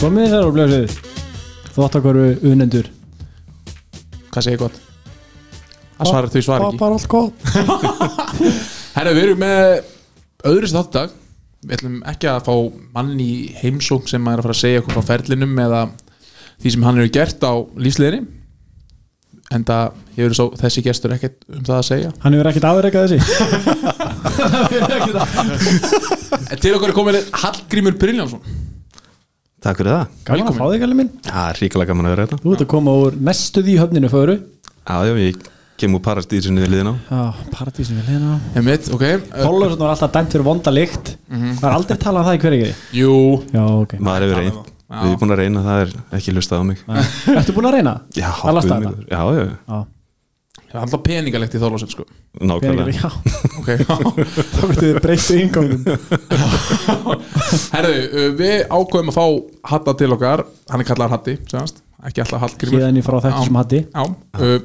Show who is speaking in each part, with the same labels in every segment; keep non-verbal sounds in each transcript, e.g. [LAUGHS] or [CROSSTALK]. Speaker 1: Komið þér og blöðsöð Þvóttakvaru unendur
Speaker 2: Hvað segir gott? Það svarar því svarar ekki
Speaker 3: bara allt gott
Speaker 2: Herra, við erum með öðru sér þáttdag Við ætlum ekki að fá mann í heimsókn sem er að fara að segja okkur frá ferlinum eða því sem hann hefur gert á lífsleginni en það hefur svo, þessi gestur ekkert um það að [LAUGHS] segja
Speaker 1: Hann hefur ekkert aðreikað þessi
Speaker 2: En til okkur er komin Hallgrímur Brynjánsson
Speaker 4: Takk fyrir það
Speaker 1: Gaman að
Speaker 2: Velkomin.
Speaker 1: fá þig alveg minn
Speaker 4: Það er ríkilega gaman að vera hérna
Speaker 1: Þú ert að koma úr næstuð í höfninu föru
Speaker 4: Já, já, ég kem úr parastýrsinu við liðin á
Speaker 1: Já, paradísum við hérna
Speaker 2: Einmitt, ok uh,
Speaker 1: Pólvarsson var alltaf dæmt fyrir vonda lykt Það er aldrei talað um það í hverju
Speaker 2: Jú,
Speaker 1: Já, ok
Speaker 4: Maður hefur reynd
Speaker 2: Já.
Speaker 4: Við erum búin að reyna, það er ekki hlustað á mig
Speaker 1: [LAUGHS] Ertu búin að reyna?
Speaker 4: Já,
Speaker 1: Það lasta
Speaker 4: guð
Speaker 1: þetta
Speaker 4: minn, já, já,
Speaker 1: Já,
Speaker 2: það er alltaf peningalegt í þólasinn sko
Speaker 1: peningar, [LAUGHS] já
Speaker 4: nákvæmlega
Speaker 2: Ok, [LAUGHS]
Speaker 1: Það verður breytið yngangum [LAUGHS]
Speaker 2: herðu, uh, við ákveðum að fá Hatta til okkar, hann er kallar Hatti segjast. ekki alltaf Hallgrímur
Speaker 1: Híðan í frá þetta sem Hatti
Speaker 2: Já, uh,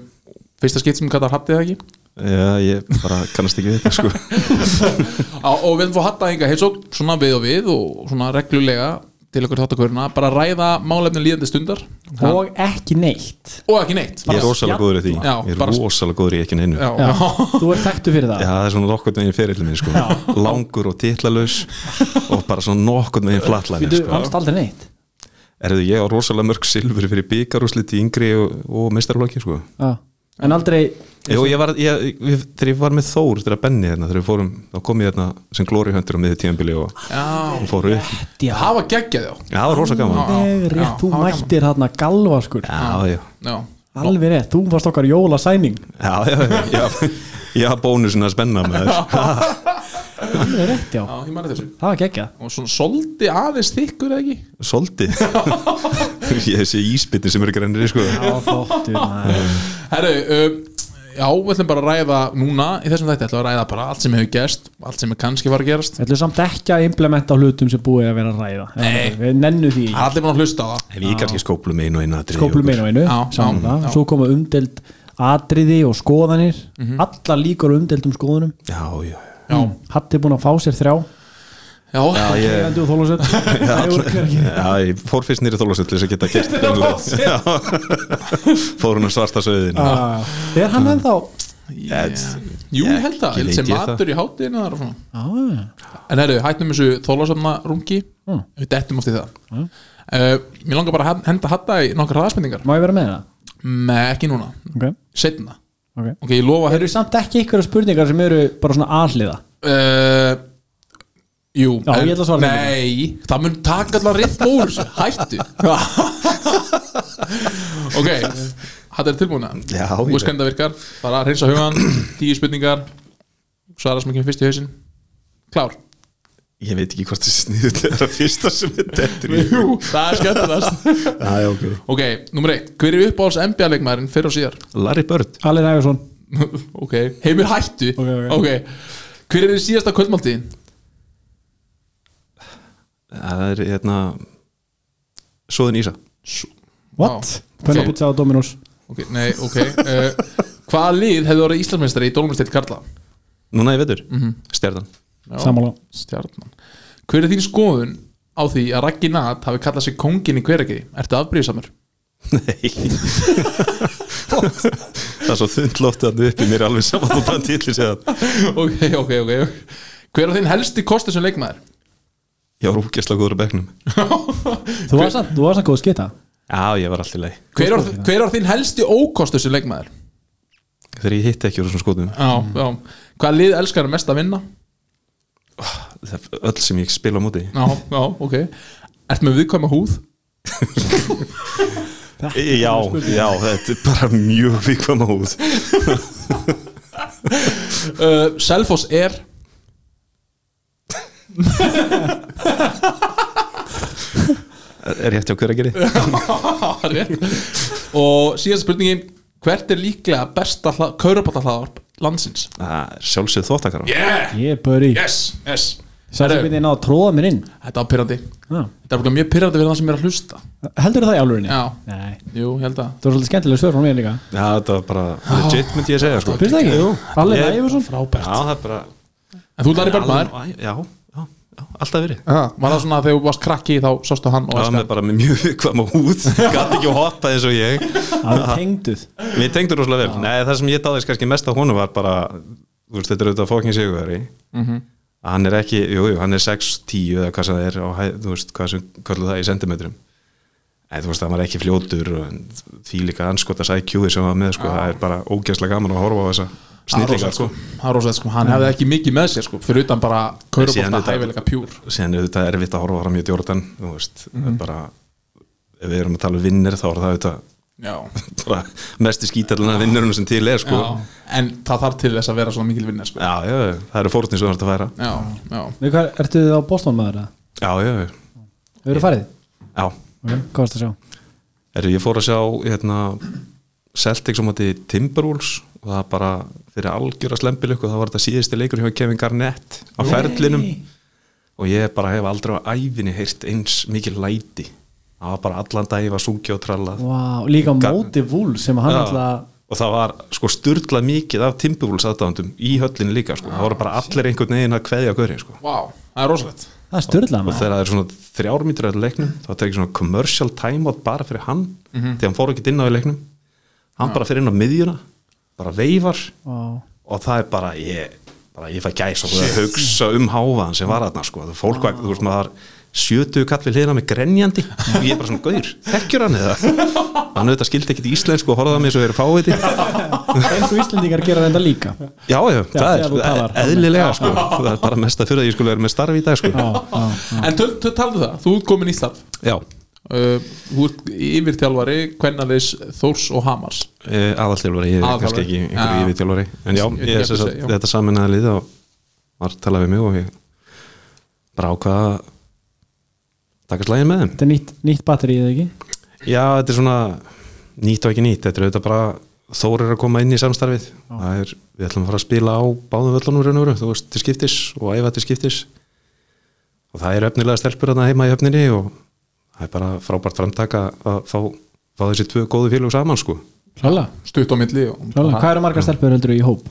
Speaker 2: fyrsta skipt sem kallar Hatti eða ekki
Speaker 4: Já, ég bara kannast ekki við þetta sko
Speaker 2: Á, og við erum fór Hatta hinga heils og svona við og við og svona reglulega til okkur þáttaköruna, bara ræða málefni líðandi stundar og,
Speaker 1: Og ekki neitt
Speaker 2: og ekki neitt
Speaker 4: Ég er rosalega góður í því
Speaker 2: Já,
Speaker 4: Ég er
Speaker 2: bara-
Speaker 4: rosalega góður í ekki neinu
Speaker 2: Já,
Speaker 4: Já,
Speaker 1: Já,
Speaker 2: já. [LAUGHS]
Speaker 1: þú ert þekktu fyrir það
Speaker 4: það er svona nokkurn veginn ferillin minn sko Langur og titlalaus Og bara svona nokkurn veginn flatlæni
Speaker 1: Býtu,
Speaker 4: sko
Speaker 1: vannst aldrei neitt
Speaker 4: Erðu ég á rosalega mörg silfur fyrir byggarúslit í yngri og, og meistarflokki sko
Speaker 1: Já. En aldrei
Speaker 4: Jó, ég var, ég, við, þegar ég var með Þór þegar að Benni hérna, þegar við fórum, þá kom ég hérna sem Glory Hunter á miðið tíðanbili og hún fór upp.
Speaker 1: Já,
Speaker 2: það var geggjað já
Speaker 4: Já, það var rosa gaman.
Speaker 2: Já,
Speaker 1: alveg
Speaker 2: já,
Speaker 1: rétt, þú
Speaker 2: já,
Speaker 1: mættir hann að galva skur
Speaker 4: Já, já,
Speaker 2: já.
Speaker 1: Alveg rétt, þú varst okkar jólasæning
Speaker 4: já, já, já, já, já bónusin að spenna með þess. [LAUGHS]
Speaker 1: Alveg rétt, já,
Speaker 2: já, ég mani þessu
Speaker 1: það var gekkja
Speaker 2: og svona soldi aðeins þykkur [LAUGHS] eða ekki
Speaker 4: Soltið. [LAUGHS] ég sé íspittin sem eru grænir, sko.
Speaker 1: Já, [LAUGHS] flottur maður.
Speaker 2: Herru, uh, já, við ætlum bara að ræða núna í þessum þætti, ætlum við að ræða bara allt sem hefur gerst allt sem er kannski var að gerast
Speaker 1: Við ætlum samt ekki að implementa á hlutum sem búið er að vera að ræða
Speaker 2: Nei.
Speaker 1: Við nennu því
Speaker 2: Það er allir búin að hlusta á það
Speaker 4: Ef ég kannski skóplum einu og einu að drýja
Speaker 1: skóplum einu og einu
Speaker 2: Já,
Speaker 1: sammála.
Speaker 2: já, já.
Speaker 1: Svo koma umdeld atriði og skoðanir Allar líkur á umdeldum skoðunum
Speaker 4: Já, já, já.
Speaker 2: Mhm. Já,
Speaker 1: Hatt er búin að fá sér þrjá
Speaker 2: já,
Speaker 4: Já, ég,
Speaker 1: Eðandi og þólusett
Speaker 2: [LAUGHS]
Speaker 4: já, ég fór fyrst nýri þólasöld til þess að geta gert Já. [LAUGHS] Fór hún að svarta söðin
Speaker 1: Er hann ennþá
Speaker 2: Jú, ég held það,
Speaker 4: Ég
Speaker 2: held sem
Speaker 4: veit ég
Speaker 2: matur í hátíðinu þar og svona.
Speaker 1: Já,
Speaker 2: En herru, hættum þessu þólasöfna rungi
Speaker 1: Hmm.
Speaker 2: Við dettum oft í það mm. Mér langar bara að henda hatta í nokkar hraðspendingar
Speaker 1: Má ég vera með það?
Speaker 2: Nei, ekki núna,
Speaker 1: Okay.
Speaker 2: setna
Speaker 1: Okay.
Speaker 2: Ok, ég lofa
Speaker 1: Það
Speaker 2: herru
Speaker 1: eru samt ekki einhverja spurningar sem eru bara svona aðliða
Speaker 2: uh, Jú
Speaker 1: Já, ég ætla að svara þeim
Speaker 2: Nei, það mun taka allar rétt úr þessu,
Speaker 1: [LAUGHS]
Speaker 2: Hættu Ok, hatta er tilbúna
Speaker 4: Já,
Speaker 2: Þú veist hvernig það virkar Bara að reynsa hugan, tíu spurningar Svara sem ekki fyrst í hausinn Klár
Speaker 4: Ég veit ekki hvort þessi sniðu þetta er að fyrsta sem þetta er
Speaker 2: Jú, það er skemmtilegast
Speaker 4: Já, já, ok
Speaker 2: Ok, nummer eitt Hver er uppáhalds NBA-leikmaðurinn fyrr og síðar? [LAUGHS]
Speaker 4: Larry Bird
Speaker 1: Allir Ægjarsson
Speaker 2: ok, heimir hættu
Speaker 1: Ok, ok.
Speaker 2: Hver er þið síðasta kvöldmáltíðin?
Speaker 4: Það er hérna Svoðin Ísa
Speaker 1: What?
Speaker 2: Vá.
Speaker 1: Pönna
Speaker 2: Ok.
Speaker 1: pizza á Dominos
Speaker 2: Ok, nei, ok uh, Hvaða lið hefði orðið Íslandsmeistari í Dólmesteitt Karla?
Speaker 4: Núna ég veitur mm Stjarnan [LAUGHS]
Speaker 2: Já,
Speaker 1: Sammála.
Speaker 2: Stjarnan Hver er þín skoðun á því að Raggi Nat hafi kallað sig kongin í hverjaki? Ertu afbríðsamur?
Speaker 4: Nei Það er svo þundlótt að upp í mér er alveg saman og þann títli segja það.
Speaker 2: [LAUGHS] ok, ok, ok Hver er þinn helsti kostur sem leikmaður? [LAUGHS]
Speaker 4: Ég var úkesslega góður á bekknum
Speaker 1: Þú var samt, þú var samt góð að skita
Speaker 4: Já, ég var alltaf leið
Speaker 2: Hver er, hver er þinn helsti ókostur sem leikmaður?
Speaker 4: Þegar ég hitti ekki úr þessum skotum
Speaker 2: Já, já Hvaða lið elskar mest að vinna?
Speaker 4: Það er öll sem ég spila á móti
Speaker 2: Já, já, ok Ertu með viðkvæma húð?
Speaker 4: Já, já, þetta er bara mjög vikvam á húð
Speaker 2: Uh, Selfoss er
Speaker 4: Er ég eftir á hverja geri?
Speaker 2: Rétt. og síðast spurningin hvert er líklega besta kaurabáttahlaðarp landsins
Speaker 4: Sjálfsögð þóttakar
Speaker 2: yeah,
Speaker 1: Ég er böri
Speaker 2: yes, yes
Speaker 1: Sætti
Speaker 2: Herru,
Speaker 1: byrði inn á að tróða mér inn
Speaker 2: þetta var pyrrandi þetta
Speaker 1: ah.
Speaker 2: er örugglega mjög pyrrandi fyrir það sem er að hlusta
Speaker 1: Heldur það í álurinni?
Speaker 2: Já.
Speaker 1: Nei
Speaker 2: jú, ég held að
Speaker 1: Það var svolítið skemmtilega svör frá mér líka
Speaker 4: Já, þetta var bara legit myndi ég að segja sko
Speaker 1: Fyrst það ekki? Allir
Speaker 4: Ég- [LAUGHS]
Speaker 1: Ægjarsson
Speaker 4: Já, það er bara
Speaker 2: en þú lærið
Speaker 4: Alveg-
Speaker 2: börnmaður
Speaker 4: Æ, Já, já, já, alltaf verið
Speaker 2: Var það svona að þegar þú varst krakki þá sástu hann og
Speaker 4: Það var
Speaker 2: elska
Speaker 4: með bara með mjög [LAUGHS] viðkvæma húð Gat ekki að hoppa eins og ég
Speaker 1: Það er tengduð
Speaker 4: Við tengdum rosalega vel Nei, það sem ég dáðist kannski mest á honum var bara Þú veist, þetta er auðvitað fókin sigurveri að Hann er ekki, jú, jú, hann er 6-10 eða hvað sem það er og hæ, þú veist, hvað sem kallar það í sentimetrum Nei, þú veist, hann var ekki fljótur og því líka anskotas IQ-ið sem hann var með, sko, það er bara ógæslega gaman að horfa á þessa
Speaker 2: Það er
Speaker 4: snillingar,
Speaker 2: rosalegt,
Speaker 4: sko
Speaker 2: sko. Það er rosalegt, sko. Hann hefði ekki mikið með sér sko, fyrir utan bara
Speaker 4: Síðan
Speaker 2: kaurubólta
Speaker 4: þetta-
Speaker 2: hæfilega pjúr
Speaker 4: síðan er þetta erfitt að horfa fram í Jordan þú veist, það er bara ef við erum að tala um vinnir þá er það auðvitað
Speaker 2: Já.
Speaker 4: bara mesti skítalina vinnurinn sem til er sko
Speaker 2: Já.
Speaker 4: já,
Speaker 2: En það þarf til þess að vera svona mikil vinnar sko.
Speaker 4: já, já, það eru fórnir sem þú ert að færa
Speaker 2: Já, já
Speaker 1: Nei, hvað- Ertu þið á Boston maður það?
Speaker 4: já, já, já,
Speaker 1: Við erum farið
Speaker 4: já.
Speaker 1: Ok, Hvað varst að sjá?
Speaker 4: Heru, ég fór að sjá hérna, Celtics á móti Timberwolves og það bara fyrir algjöra slembilöku það var þetta síðusti leikur hjá Kevin Garnett á ferlinum og ég bara hef aldrei á ævinni heyrt eins mikil læti það var bara allan dag ég var súkja og trallað
Speaker 1: Vá, líka
Speaker 4: Ga-
Speaker 1: móti vúl sem hann
Speaker 4: Já.
Speaker 1: alltaf
Speaker 4: og það var sko styrlað mikið af Timberwolves aðdándum í höllinu líka sko. það voru bara allir einhvern veginn að kveðja gauri sko.
Speaker 2: Vá, það er rosalegt
Speaker 1: Það er störðlega
Speaker 4: og
Speaker 1: maður
Speaker 4: þegar það er svona þrjármítur að leiknum þá tekið svona commercial timeout bara fyrir hann þegar hann fór ekki inn á í leiknum hann bara fyrir inn á miðjuna bara veifar
Speaker 1: Vá.
Speaker 4: og það er bara ég, bara, ég fæ gæs og það hugsa um háfaðan sem var þarna sko. Þú- fólk var, þú veist maður sjötu kall við hliðina með grenjandi og ég er bara svona gaur, þekkjur hann eða hann auðvitað skildi ekkit í íslensku og horfði að mér svo verið fáviti
Speaker 1: En þú Íslendingar gera þetta líka
Speaker 4: Já, já, það
Speaker 1: þegar þú talar.
Speaker 4: er e- eðlilega sko. það er bara mest að fyrir að ég skulle vera með starfi í dag sko.
Speaker 1: Já, já.
Speaker 2: En töl- töl- taldu það, þú ert komin í starf
Speaker 4: Já,
Speaker 2: Uh, Þú ert yfirþjálfari Kvennaliðs Þórs og Hamars
Speaker 4: E, aðalþjálfari, ég er
Speaker 2: Aðalþjálfari.
Speaker 4: kannski ekki einhverju
Speaker 2: Já.
Speaker 4: yfirþjálfari en já,
Speaker 2: Ég-
Speaker 4: ég
Speaker 2: ég-
Speaker 4: er þess að
Speaker 2: já.
Speaker 4: þetta saminnaði lið og var að tala við mig og ég bara ákvaða að taka slægin með þeim
Speaker 1: Þetta er nýtt, nýtt batteri eða ekki?
Speaker 4: Já, þetta er svona nýtt og ekki nýtt, þetta er auðvitað bara Þór er að koma inn í samstarfið það er, við ætlum að fara að spila á báðum völlunum raun og veru, þú veist, til skiptis og æfa til skiptis og það er öfnilega stelpur þarna heima í öfninni og það er bara frábært framtaka að fá, fá þessi tvö góðu félög saman sko.
Speaker 1: Klála,
Speaker 2: Stutt á milli og
Speaker 1: klála. Hvað eru margar stelpur heldur í hóp?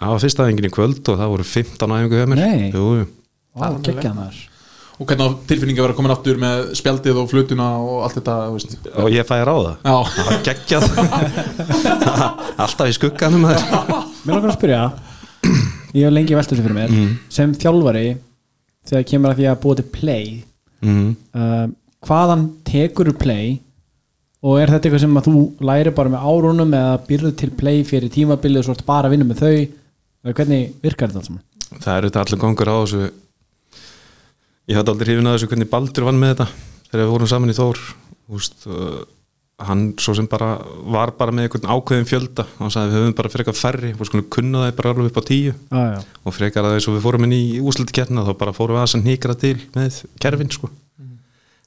Speaker 4: það var fyrsta æfingin í kvöld og það voru 15 æfingu hjá mér
Speaker 1: Nei.
Speaker 4: Jú, jú.
Speaker 1: Vá, kekjað maður
Speaker 2: Og hvernig á tilfinningi að vera komin aftur með spjaldið og flutuna og allt þetta þú veist.
Speaker 4: og ég fæ að ráða
Speaker 2: Já,
Speaker 4: [LAUGHS] það var geggjað alltaf í skugganum maður.
Speaker 1: Mér langar að spyrja Ég hef lengi velt þessu fyrir mér Sem þjálfari Þegar kemur að því að búa til play
Speaker 4: mm.
Speaker 1: uh, Hvaðan tekur play Og er þetta eitthvað sem að þú læri bara með árunum Eða býrðu til play fyrir tímabilið Og svo ertu bara að vinna með þau Eða Hvernig virkar þetta allt saman?
Speaker 4: það er auðvitað allir gangur á þessu ég hætti aldrei hrifin að þessu hvernig Baldur vann með þetta þegar við vorum saman í Þór Úst, uh, hann svo sem bara var bara með einhvern ákveðin fjölda hann sagði við höfum bara frekar færri við skulum kunna það bara alveg upp á tíu
Speaker 1: Ah, já.
Speaker 4: og frekar að þessu við fórum inn í úslutikernina þá bara fórum við aðeins að nýkra til með kerfin sko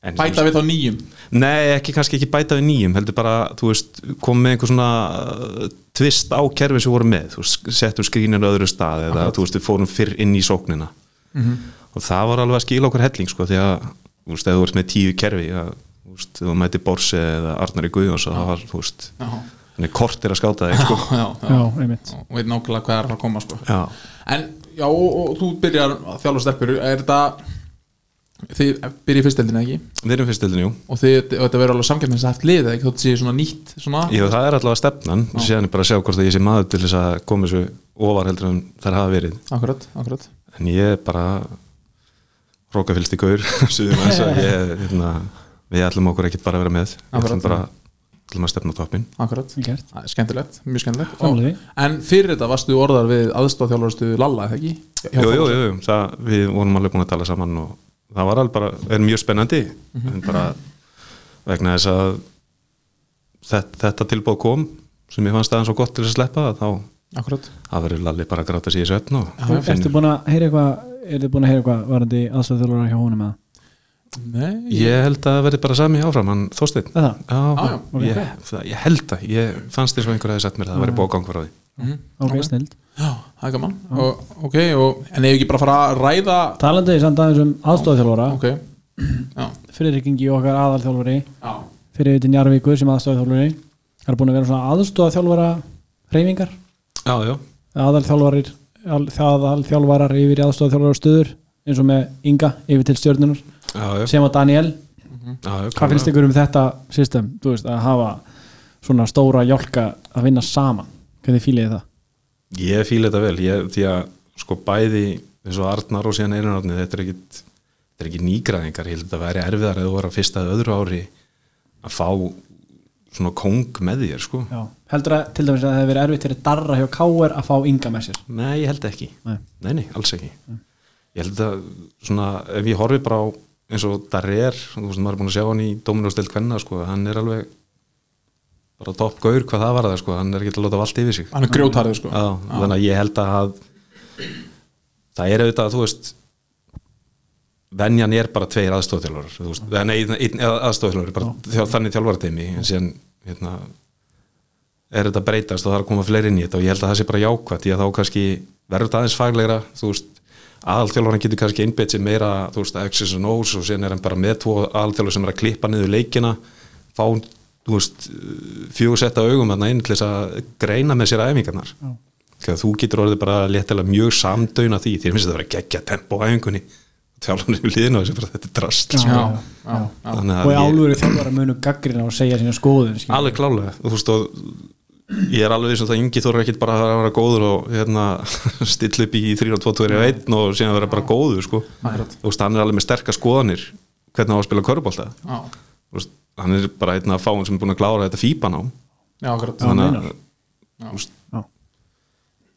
Speaker 4: en,
Speaker 2: bæta við þá nýjum
Speaker 4: Nei, ekki kannski ekki bæta við nýjum heldur bara, þú veist, kom með einhver svona uh, tvist á kerfin sem voru með þú veist, settum skrínir öðru stað eða þú veist, við fórum fyrr inn í sóknina og það var alveg að skila okkur helling sko, því að, þú veist, ef þú ert með tíu kerfi að, þú veist, þú mæti Borse eða Arnari Guðjóns og það var, þú veist
Speaker 2: Já,
Speaker 4: þannig kort er að
Speaker 2: [LAUGHS]
Speaker 4: skáta þig, sko
Speaker 2: já, já.
Speaker 1: já, einmitt
Speaker 2: Og veit nákvæmlega hvað er að koma sko.
Speaker 4: Já,
Speaker 2: En, já, og, og þú byrjar að þjálfa stelpur Er þetta Þið byrjið í fyrsteldinu ekki
Speaker 4: við erum fyrst eldin, jú
Speaker 2: Og þið, þetta verður alveg samkjöfnins haft lið eða ekki þótt séu svona nýtt svona
Speaker 4: Jú, það er allavega stefnan, síðan er bara að sjá hvort að ég sé maður til þess að koma þessu ofar heldur en þær hafa verið
Speaker 2: Akkurat, akkurat
Speaker 4: en ég er bara rókafylst í gaur [LAUGHS] suðum eins og ég hérna, við ætlum okkur ekkert bara að vera með við ætlum bara ætlum að stefna á toppin
Speaker 2: Akkurat,
Speaker 1: Vel gert.
Speaker 2: það er skemmtilegt, mjög skemmtilegt
Speaker 1: Sammála því.
Speaker 2: En fyrir þetta varstu orðar við aðstofþjálfarastu Lalla, eða ekki? Hjá
Speaker 4: jú, jú,
Speaker 2: Þór.
Speaker 4: jú, jú, það, við vorum alveg búin að tala saman og það var alveg bara, er mjög spennandi en bara vegna þess að þetta, þetta tilbúð kom sem ég fannst aðeins svo gott til að sleppa þá
Speaker 2: Akkurat
Speaker 4: það verður lalli bara að gráta sér í svefn og
Speaker 1: Er, Ertu búin að heyra eitthvað Er þið búin að heyra eitthvað varandi aðstöðþjóðlóra hjá honum eða?
Speaker 2: Nei,
Speaker 4: ég held að það verði bara sami áfram hann Þorsteinn
Speaker 1: Er það? Ah,
Speaker 4: Já,
Speaker 2: Já, já,
Speaker 1: ok. Ah.
Speaker 4: ég, það, ég held að ég fannst þér svo einhver að það sett mér að það væri bókang frá því
Speaker 1: Ok, snild
Speaker 2: Mhm. Já, það er gaman og, Ok, og, en ef ekki bara fara að ræða
Speaker 1: Talandi samt aðeins um aðstofþjálfara
Speaker 2: Ok Já,
Speaker 1: Friðrik Ingi okkar aðalþjálfari
Speaker 2: já,
Speaker 1: Fyrir utin Jarvíkur sem aðstofþjálfari Það er búin að vera svona aðstofþjálfara reyfingar
Speaker 4: Já, já,
Speaker 1: aðalþjálfarir al- aðalþjálfarar yfir í aðstofþjálfara stöður eins og með Inga yfir til stjörnunar
Speaker 4: já,
Speaker 1: sem á Daniel,
Speaker 4: já,
Speaker 1: hvað finnst ykkur um þetta system, þú veist, að hafa svona stóra jálka að vinna saman hvernig fílið þið það?
Speaker 4: Ég fíla þetta vel, ég, því að sko bæði eins og Arnar og síðan Einararni þetta er ekkit, þetta er ekki nýgræðingar ég held að þetta væri erfiðar að þú voru að fyrsta eða öðru ári að fá svona kóng með þér sko
Speaker 1: Já. heldur að til dæmis að það hefur verið erfitt fyrir darra hjá Káer að fá Inga með sér
Speaker 4: Nei, ég held ekki
Speaker 1: Nei.
Speaker 4: Nei, nei, alls ekki Ég held að svona, ef ég horfi bara á eins og Darrer, þú veist, maður er búin að sjá hann í Dóminósdelt Kvenna, sko, hann er alveg bara topp gaur hvað það var það, sko hann er ekki að láta valda yfir sig
Speaker 2: hann er grjótarður sko
Speaker 4: Já, þannig að ég held að það er auðvitað, þú veist venjan er bara tveir aðstofþjálfarar þú veist, eða nei, einn- einn aðstofþjálfari bara þjá, þannig þjálfarateimi en síðan, hérna er þetta að breytast og það er að koma fleiri inn í þetta og ég held að það sé bara jákvætt, ég að þá kannski verður þetta aðeins faglegra, þú veist aðalþjálfaran getur kannski einbeitt sér meira þú veist, X's and O's og síðan er hann bara með tvo aðalþjálfur sem er að klippa niður leikina fá, þú veist fjögursetta augum hann inn til þess að greina með sér æfingarnar þegar þú getur orðið bara léttilega mjög samdöun að því, þér finnst þetta að vera geggja tempo á æfingunni, þjálfarnir við liðinu og þessi bara þetta er drast
Speaker 1: Já,
Speaker 4: sko.
Speaker 1: já, já.
Speaker 4: Þannig að
Speaker 1: og í
Speaker 4: ég-
Speaker 1: álveru þjálfara munu gaggrina og segja sína skoðun skilur.
Speaker 4: alveg klálega og þú veist og ég er alveg þess að það yngi þóra ekkit bara að vera góður og hérna [LAUGHS] stilla upp í 3 og 2, 2 og 1 og síðan vera bara góður sko. þú veist hann er alveg með sterkar skoðanir hvernig á að spila körubólta
Speaker 2: já,
Speaker 4: hann er bara einn af fáin sem er búin að klára þetta fíban á
Speaker 2: já, akkurat
Speaker 1: Já,
Speaker 4: þannig að
Speaker 1: meinar.
Speaker 2: Já.
Speaker 4: þú veist,
Speaker 1: Já.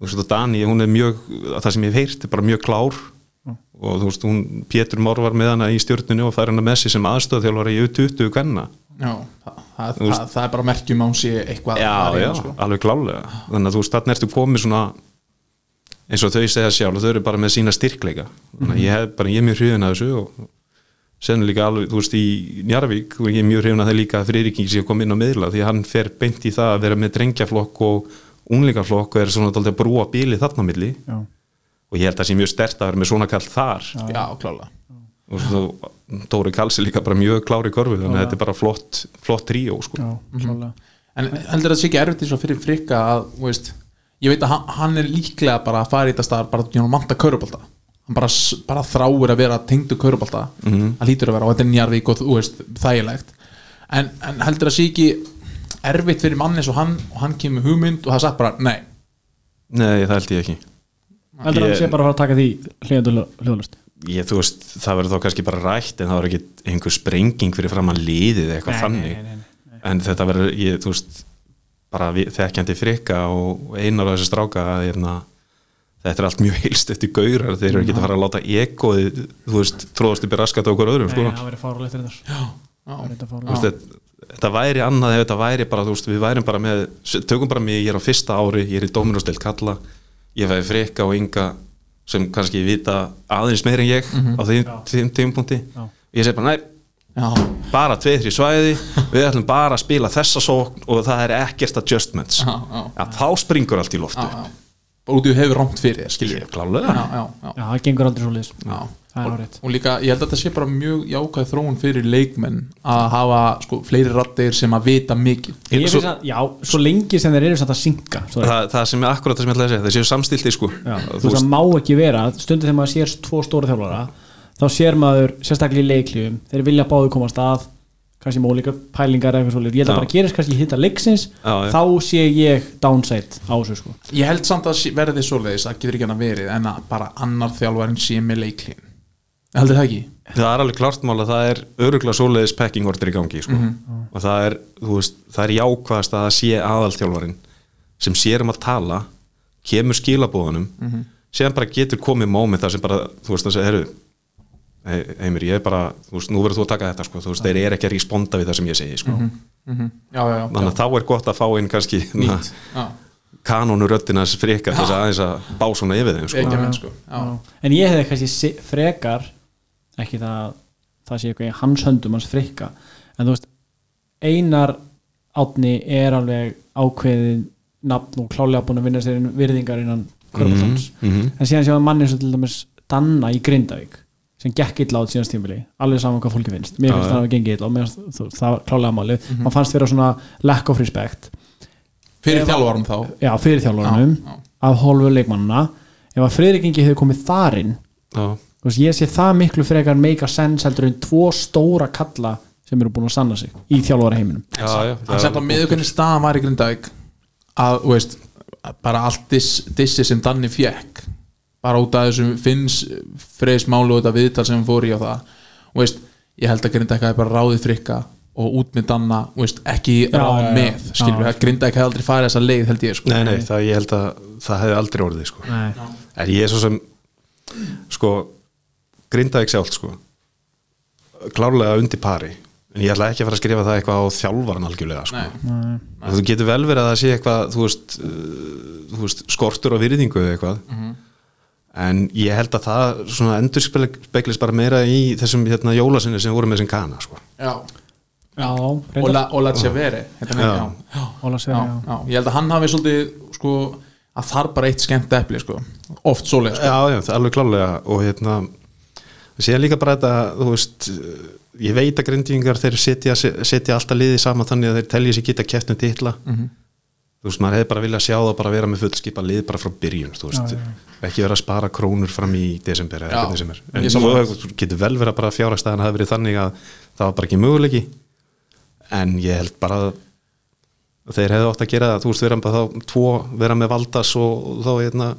Speaker 4: þú veist og Dani hún er mjög, að það sem ég hef heyrt er bara mjög klár og þú veist hún Pétur Mór var með hana í stjórninu og fær hana með sér sem aðstöð í U20 kvenna
Speaker 2: Já, það, það, það, það er bara merkjum án sé eitthvað
Speaker 4: já,
Speaker 2: að reyna,
Speaker 4: já,
Speaker 2: sko.
Speaker 4: alveg klálega þannig að þú veist, þarna ertu komið svona eins og þau segja sjálf, þau eru bara með sína styrkleika þannig að ég hef bara, ég er mjög hrifin að þessu og sen líka alveg, þú veist, í Njarvík og ég er mjög hrifin að það líka að Friðriking sé að koma inn á miðla því að hann fer beint í það að vera með drengjaflokk og unlingaflokk og er svona dálítið að brúa bíli þarna á milli
Speaker 1: Já.
Speaker 4: og ég held að það sé mjög stert að vera með svona kall þar
Speaker 2: já, klála
Speaker 4: og svo, Dóri Kalsi líka bara mjög klári korfi þannig að þetta er bara flott, flott tríó sko.
Speaker 1: Já, klárlega.
Speaker 2: En heldur það sé ekki erfitt eins og fyrir frikka að, þú veist, ég veit að hann, hann er líklega bara að fara í þetta staðar bara til að manta körubalta hann bara, s- bara þráir að vera tengdu körubalta mm -hmm. hann lítur að vera og þetta er njarvík og þú veist, þægilegt en, en heldur það sé ekki erfitt fyrir mann eins og hann og hann kemur með hugmynd og það sagt bara, nei
Speaker 4: nei, það held ég ekki
Speaker 1: heldur að
Speaker 4: Ég-
Speaker 1: það sé bara að fara að taka því hljóðlust
Speaker 4: ég, þú veist, það verður þá kannski bara rætt en það verður ekki einhver sprenging fyrir fram að liðið eða eitthvað þannig en þetta verður, ég, þú veist bara við, þekkjandi frikka og og einar af þessi stráka að, hérna, þetta er allt mjög heilst eftir gaurar þeir eru ekki að fara að láta ekoðið þú veist, tróðast upp í raskat á okkur öðrum sko.
Speaker 1: það verið fárulegt reyndar
Speaker 2: já,
Speaker 1: Það er þetta
Speaker 4: Þú
Speaker 1: fáránlegt.
Speaker 4: veist, þetta, þetta væri annað ef þetta væri bara, þú veist, við værim bara með tökum bara mig, ég er á fyrsta ári, ég er í Dóminósdeild Kalla, ég fæði freka og ynga sem kannski vita aðeins meir en ég
Speaker 2: Mhm.
Speaker 4: á þeim, þeim tímpúnti
Speaker 1: Já.
Speaker 4: ég segi bara, næ,
Speaker 2: já,
Speaker 4: bara tveið, þrjú svæði við ætlum bara að spila þessa sókn og það er ekkert adjustments
Speaker 2: Já, já.
Speaker 4: þá springur allt í loftu
Speaker 2: já, já. bara út í hefur rámt fyrir þér, skiljum
Speaker 4: Ég, klálega.
Speaker 2: já, já, já,
Speaker 1: Já, það gengur aldrei svo liðs
Speaker 2: Já.
Speaker 1: Það er
Speaker 2: Og-
Speaker 1: árétt.
Speaker 2: og líka, ég held að þetta sé bara mjög jákvæð þróun fyrir leikmenn að hafa sko, fleiri rattir sem að vita mikið
Speaker 1: Ég
Speaker 4: Svo-
Speaker 1: finnst að, já, svo lengi sem þeir eru satt að synka svo er-
Speaker 4: það, það sem er akkurat það sem ég ætla að segja, það séu samstilti sko
Speaker 1: Já,
Speaker 4: Þú
Speaker 1: þú veist, það má ekki vera stundu þegar maður sér tvo stóra þjálfara þá sér maður, sérstaklega í leikljum þeir vilja báðu komast að kannski með ólíkar pælingar eða eitthvað svolítið ég held að
Speaker 4: Já.
Speaker 1: bara gerist kannski hitta leiksins
Speaker 4: Já, já.
Speaker 1: þá sé ég downside á þessu sko
Speaker 2: Ég held samt að sé- verði svoleiðis að getur ekki hann að verið en að bara annar þjálfarinn sé með leiklín Heldur það ekki?
Speaker 4: það er alveg klart mál að það er öruglega svoleiðis packing order í gangi sko. og það er, þú veist, það er jákvæðast að það sé aðalþjálfarin sem sér um að tala kemur skilabóðunum síðan bara getur komið moment þar sem bara, þú veist, það er heimir, ég er bara, þú veist, nú verður þú að taka þetta sko, þú veist, þeir eru ekki að responda við það sem ég segi sko.
Speaker 2: Mhm.
Speaker 1: Mhm.
Speaker 2: Já, já, já,
Speaker 4: þannig að þá er gott að fá inn kannski na,
Speaker 2: já.
Speaker 4: kanonuröddinas frikar þess að aðeins að bá svona yfir þeim sko.
Speaker 2: Ekki að menn sko já.
Speaker 1: en ég hefði kannski se- frekar ekki það að það sé eitthvað í hans höndum hans frikka en þú veist, einar átni er alveg ákveðin nafn og klálega búin að vinna sér inn virðingar innan
Speaker 4: Mhm,
Speaker 1: Körbjörns en síðan séu að manni sem til dæmis Danna í Grindavík sem gekk illa át síðan stímili alveg saman hvað fólki finnst, mér finnst það að gengi illa og mér finnst þú- það var klálega málið mm
Speaker 2: Mhm.
Speaker 1: mann fannst vera svona lack of respect
Speaker 2: Fyrir þjálfarum þá
Speaker 1: já, fyrir þjálfurunum
Speaker 2: Já, já.
Speaker 1: af hólfu leikmannuna ef að Friðrik Ingi hefði komið þarinn Þú
Speaker 4: Já.
Speaker 1: þú veist, ég sé það miklu frekar make a sense heldur en tvo stóra kalla sem eru búin að sanna sig í þjálfara heiminum
Speaker 4: já, já,
Speaker 2: hann satt á miðugunni staðan var í Grindavík að, þú veist, að bara allt diss, dissi sem Danni fekk bara út af þessum finns freysmálu og þetta viðtal sem hann fór í á það og veist, ég held að Grindavík hafi bara ráðið frikka og út með Danna og veist, ekki
Speaker 1: Já,
Speaker 2: ráð
Speaker 1: já, já.
Speaker 2: með skilur við, Grindavík hefði aldrei farið þessa leið held ég sko.
Speaker 4: Nei, nei, það, ég held að það hefði aldrei orðið sko.
Speaker 1: Nei.
Speaker 4: En ég er svo sem sko, grindaði ekki sjálf sko. klárlega undir pari en ég ætla ekki að fara að skrifa það eitthvað á þjálfaran algjörlega sko.
Speaker 2: Nei.
Speaker 4: Og þú getur vel verið að það sé eitthvað þú veist, uh, þú veist skortur á virðingu eða eitthvað en ég held að það svona endur speglist bara meira í þessum hérna, jólasinni sem voru með þessum kana sko.
Speaker 2: Já.
Speaker 1: Já,
Speaker 2: og
Speaker 1: reyndar
Speaker 2: La- og Latsjaveri
Speaker 4: Já.
Speaker 1: Óla
Speaker 2: já,
Speaker 1: segja, já.
Speaker 2: já. ég held að hann hafi svolítið sko, að þar bara eitt skemmt epli sko. oft svoleið sko.
Speaker 4: Já, já, það er alveg klálega og hérna síðan líka bara þetta, þú veist ég veit að grindvíðingar þeir setja, setja alltaf liðið saman þannig að þeir telja sér geta kæft um titla
Speaker 2: Mhm.
Speaker 4: þú veist, maður hefði bara viljað sjá það bara vera með fullskipa lið bara frá byrjun, þú veist ekki vera að spara krónur fram í desember eða
Speaker 2: Já,
Speaker 4: hvernig sem er,
Speaker 2: ég
Speaker 4: en
Speaker 2: sammála.
Speaker 4: þú getur vel verið að bara fjárhagstæðan hafi verið þannig að það var bara ekki möguleiki en ég held bara að þeir hefðu átt að gera það, þú veist, vera bara þá tvo, vera með Valdas og þá hérna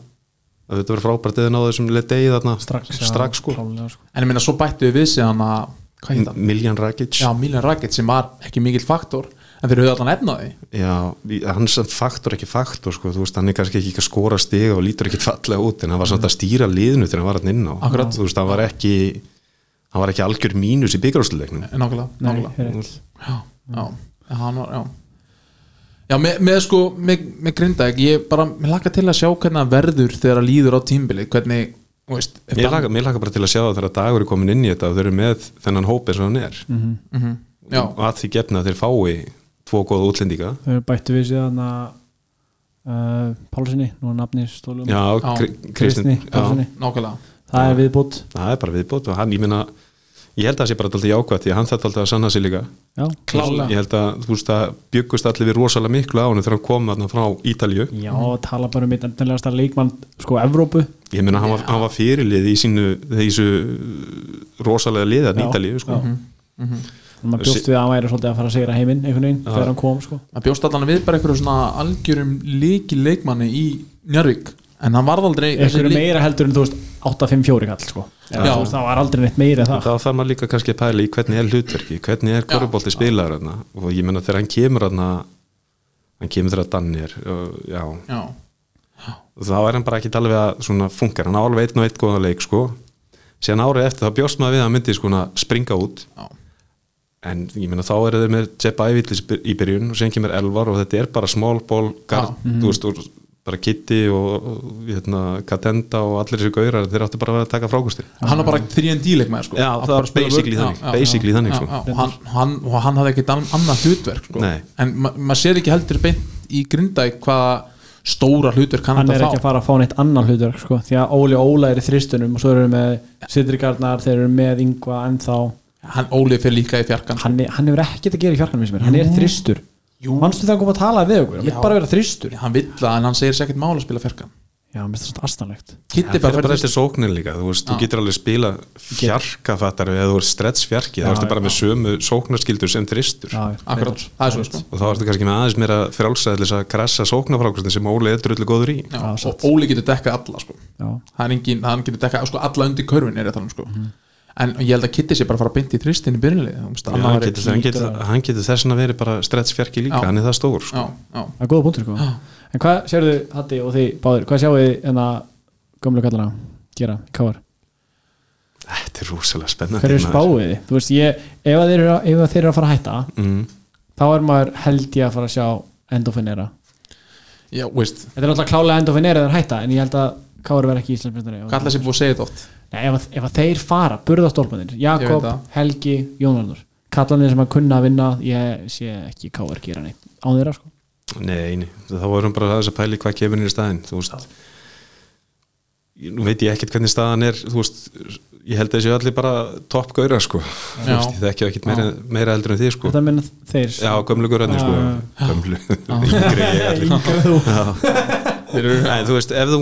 Speaker 4: að þetta verið frábært eða náðu þessum letegi þarna
Speaker 1: strax, já,
Speaker 4: strax sko,
Speaker 1: klárlega, sko.
Speaker 2: en ég minna svo bættu við við sig hann að hvað heit hann?
Speaker 4: Miljan Rakic
Speaker 2: Já, Milan Rakic sem var ekki mikill faktor en þeir höfðu allan efnaði
Speaker 4: Já, í- hann sem faktor ekki faktor sko, þú veist, hann er kannski ekki að skora stiga og lítur ekki fallega út, en hann var samt að stýra liðinu þegar hann var hann inn á,
Speaker 2: Akkurat.
Speaker 4: þú veist, hann var ekki hann var ekki algjör mínus í byggarústuleiknum
Speaker 2: Nákvæmlega,
Speaker 1: Nei, Mm.
Speaker 2: nákvæmlega
Speaker 1: rétt.
Speaker 2: Já, já, en hann var, já Já, með, með sko, með, með Grindavík ég bara, mér laka til að sjá hvernig hann verður þegar hann líður á tímbili, hvernig þú veist, ef
Speaker 4: Mér
Speaker 2: hann-
Speaker 4: laka, mér laka bara til að sjá það þegar dagur er komin inn í þetta og þau eru með þennan hóp eins og hann er
Speaker 1: Mhm.
Speaker 2: Mhm. Já,
Speaker 4: og að því gefna að þeir fái tvo góða útlendinga
Speaker 1: Þau bættu við síðan að uh, Pálsinni, nú er nafni stólum
Speaker 4: Já,
Speaker 2: Já.
Speaker 4: Kri-
Speaker 1: Kristni
Speaker 4: Kristinn já,
Speaker 1: Pálsinni,
Speaker 2: nákvæmlega
Speaker 1: það er viðbútt
Speaker 4: það er bara viðbót og hann, ég meina ég held að það sé bara alltaf jákvætt því að hann þetta alltaf að sanna sig líka
Speaker 1: Já,
Speaker 2: Klálega.
Speaker 4: ég held að þú veist að bjöggust allir við rosalega miklu á hann þegar hann kom þarna frá Ítalju
Speaker 1: Já, tala bara um eitt endanlegasta leikmann sko Evrópu
Speaker 4: ég meina hann, var- hann var fyrirlið í sínu þessu rosalega liða
Speaker 1: Já.
Speaker 4: Ítalju sko.
Speaker 1: þannig maður bjóst við að hann væri svolítið að fara að sigra heiminn einhvern veginn þegar hann kom sko
Speaker 2: hann bjóst allan við bara einhverjum svona algjörum líki leikmanni í Njárvík en hann varð aldrei þessi
Speaker 1: einhverju
Speaker 2: lí-
Speaker 1: meira heldur en þú veist 8-5-4 kall sko Eða,
Speaker 2: Já.
Speaker 1: þú veist, það var aldrei neitt meira en
Speaker 4: En
Speaker 1: það
Speaker 4: þá þarf maður líka kannski að pæla í hvernig er hlutverki hvernig er korfbólti spilaður hann og ég meina þegar hann kemur hann hann kemur þegar Danir og, já,
Speaker 2: Já,
Speaker 4: þá er hann bara ekki alveg að svona funkar, hann á alveg einn og einn góða leik sko, síðan árið eftir þá bjóst maður við að hann myndi sko springa út
Speaker 2: já,
Speaker 4: en ég meina þá eru þau með Jeb Ævillis í byrjun og sen kemur Elvar og þetta er bara small ball guard,
Speaker 1: mhm.
Speaker 4: þú veist, úr bara Kitty og og, hérna, Katenda og allir þessu gaurar, þeir áttu bara að vera að taka frákustir
Speaker 2: hann var bara 3D leikmaður sko.
Speaker 4: Já,
Speaker 2: Hann
Speaker 4: það
Speaker 2: bara
Speaker 4: var
Speaker 2: spilaði
Speaker 4: basically
Speaker 2: vörn.
Speaker 4: þannig, basically þannig, sko.
Speaker 2: já, já, og hann, hann, og hann hafði ekkit ann- annað hlutverk sko.
Speaker 4: Nei.
Speaker 2: en ma- maður sér ekki heldur beint í Grindavík hvaða stóra hlutverk hann
Speaker 1: hann er
Speaker 2: átti að
Speaker 1: ekki að
Speaker 2: fá
Speaker 1: fara að fá neitt annan hlutur sko því að Óli og Óla er í þristunum og svo eru þeir með Sindrigarnar, þeir eru með Ingva ennþá,
Speaker 2: hann Óli fyrir líka í fjarkan
Speaker 1: hann, er- hann hefur ekkert að gera í fjarkanum mér, hann er þristur
Speaker 2: Jú.
Speaker 1: mannstu það að koma að tala við okkur, hann
Speaker 2: Já.
Speaker 1: er bara að vera þristur
Speaker 2: hann vill það en hann segir sér ekkert mála að spila fjarkan
Speaker 1: já, mér finnst það svona astanlegt
Speaker 4: Það
Speaker 2: Kitty
Speaker 4: er bara
Speaker 2: bara fyrir
Speaker 4: eftir sóknin líka, þú veist, þú
Speaker 2: Já.
Speaker 4: getur alveg spila fjarka fattar eða þú er stretch fjarki,
Speaker 1: Já,
Speaker 4: þá ertu bara
Speaker 1: já.
Speaker 4: með sömu sóknarskildur sem þristur
Speaker 1: Já,
Speaker 2: akkurat,
Speaker 1: reyndar.
Speaker 2: það er svo sko.
Speaker 4: og þá ertu kannski með aðeins meira frjálsæðlis að krassa sóknarfrákustin sem Óli er drullu góður í
Speaker 2: Já,
Speaker 1: Já,
Speaker 2: og
Speaker 1: satt.
Speaker 2: Óli getur dekkað alla sko.
Speaker 1: Já.
Speaker 2: hann, engin, hann getur dekkað sko, alla undir körfin er ég að tala um sko.
Speaker 1: Mhm.
Speaker 2: en ég held að Kitty sé bara að fara að binda í þristin í
Speaker 4: Já, hann,
Speaker 2: byrjunlið
Speaker 4: getur, hann, getur, hann getur þessin að veri bara stretch fjarki líka,
Speaker 2: Já.
Speaker 4: hann er það stór sko.
Speaker 2: já, já
Speaker 1: það er góða punktur sko. en hvað sérðu Hatti og þið báðir hvað sjáu þið en að gömlu kallana gera, hvað var,
Speaker 4: Þetta er rúsalega spennandi
Speaker 1: hverju
Speaker 4: maður.
Speaker 1: spáið þið þú veist, ég, ef, að þeir eru, ef að þeir eru að fara að hætta
Speaker 4: mm.
Speaker 1: þá er maður held ég að fara að sjá endofinera,
Speaker 2: Já, veist,
Speaker 1: þetta er náttúrulega klálega endofinera þeir hætta, en ég held að Káur verð ekki Íslandsmyndari
Speaker 2: kalla sér búið að segja þetta oft
Speaker 1: Nei, ef, að- ef að þeir fara, burðastólpanir
Speaker 2: Ég veit
Speaker 1: Jakob,
Speaker 2: það.
Speaker 1: Helgi, Jónarnur kallanir sem að kunna að vinna ég sé ekki Káur gera neitt á þeirra sko.
Speaker 4: Nei, nei, þá vorum bara aðeins að pæli hvað kemur inn í staðinn, þú veist Ég- Nú veit ég ekkert hvernig staðan er, þú veist Ég held að þessi allir bara toppgauðra, sko Þú
Speaker 2: Já.
Speaker 4: veist, ég þekki það ekkert meira, meira eldur en þið, sko
Speaker 1: þetta minna þeir
Speaker 4: Já, gömlu gauðrarnir, sko
Speaker 1: Já.
Speaker 4: [LAUGHS] Gömlu, yngri ég allir
Speaker 1: Þú-
Speaker 4: En þú veist, ef þú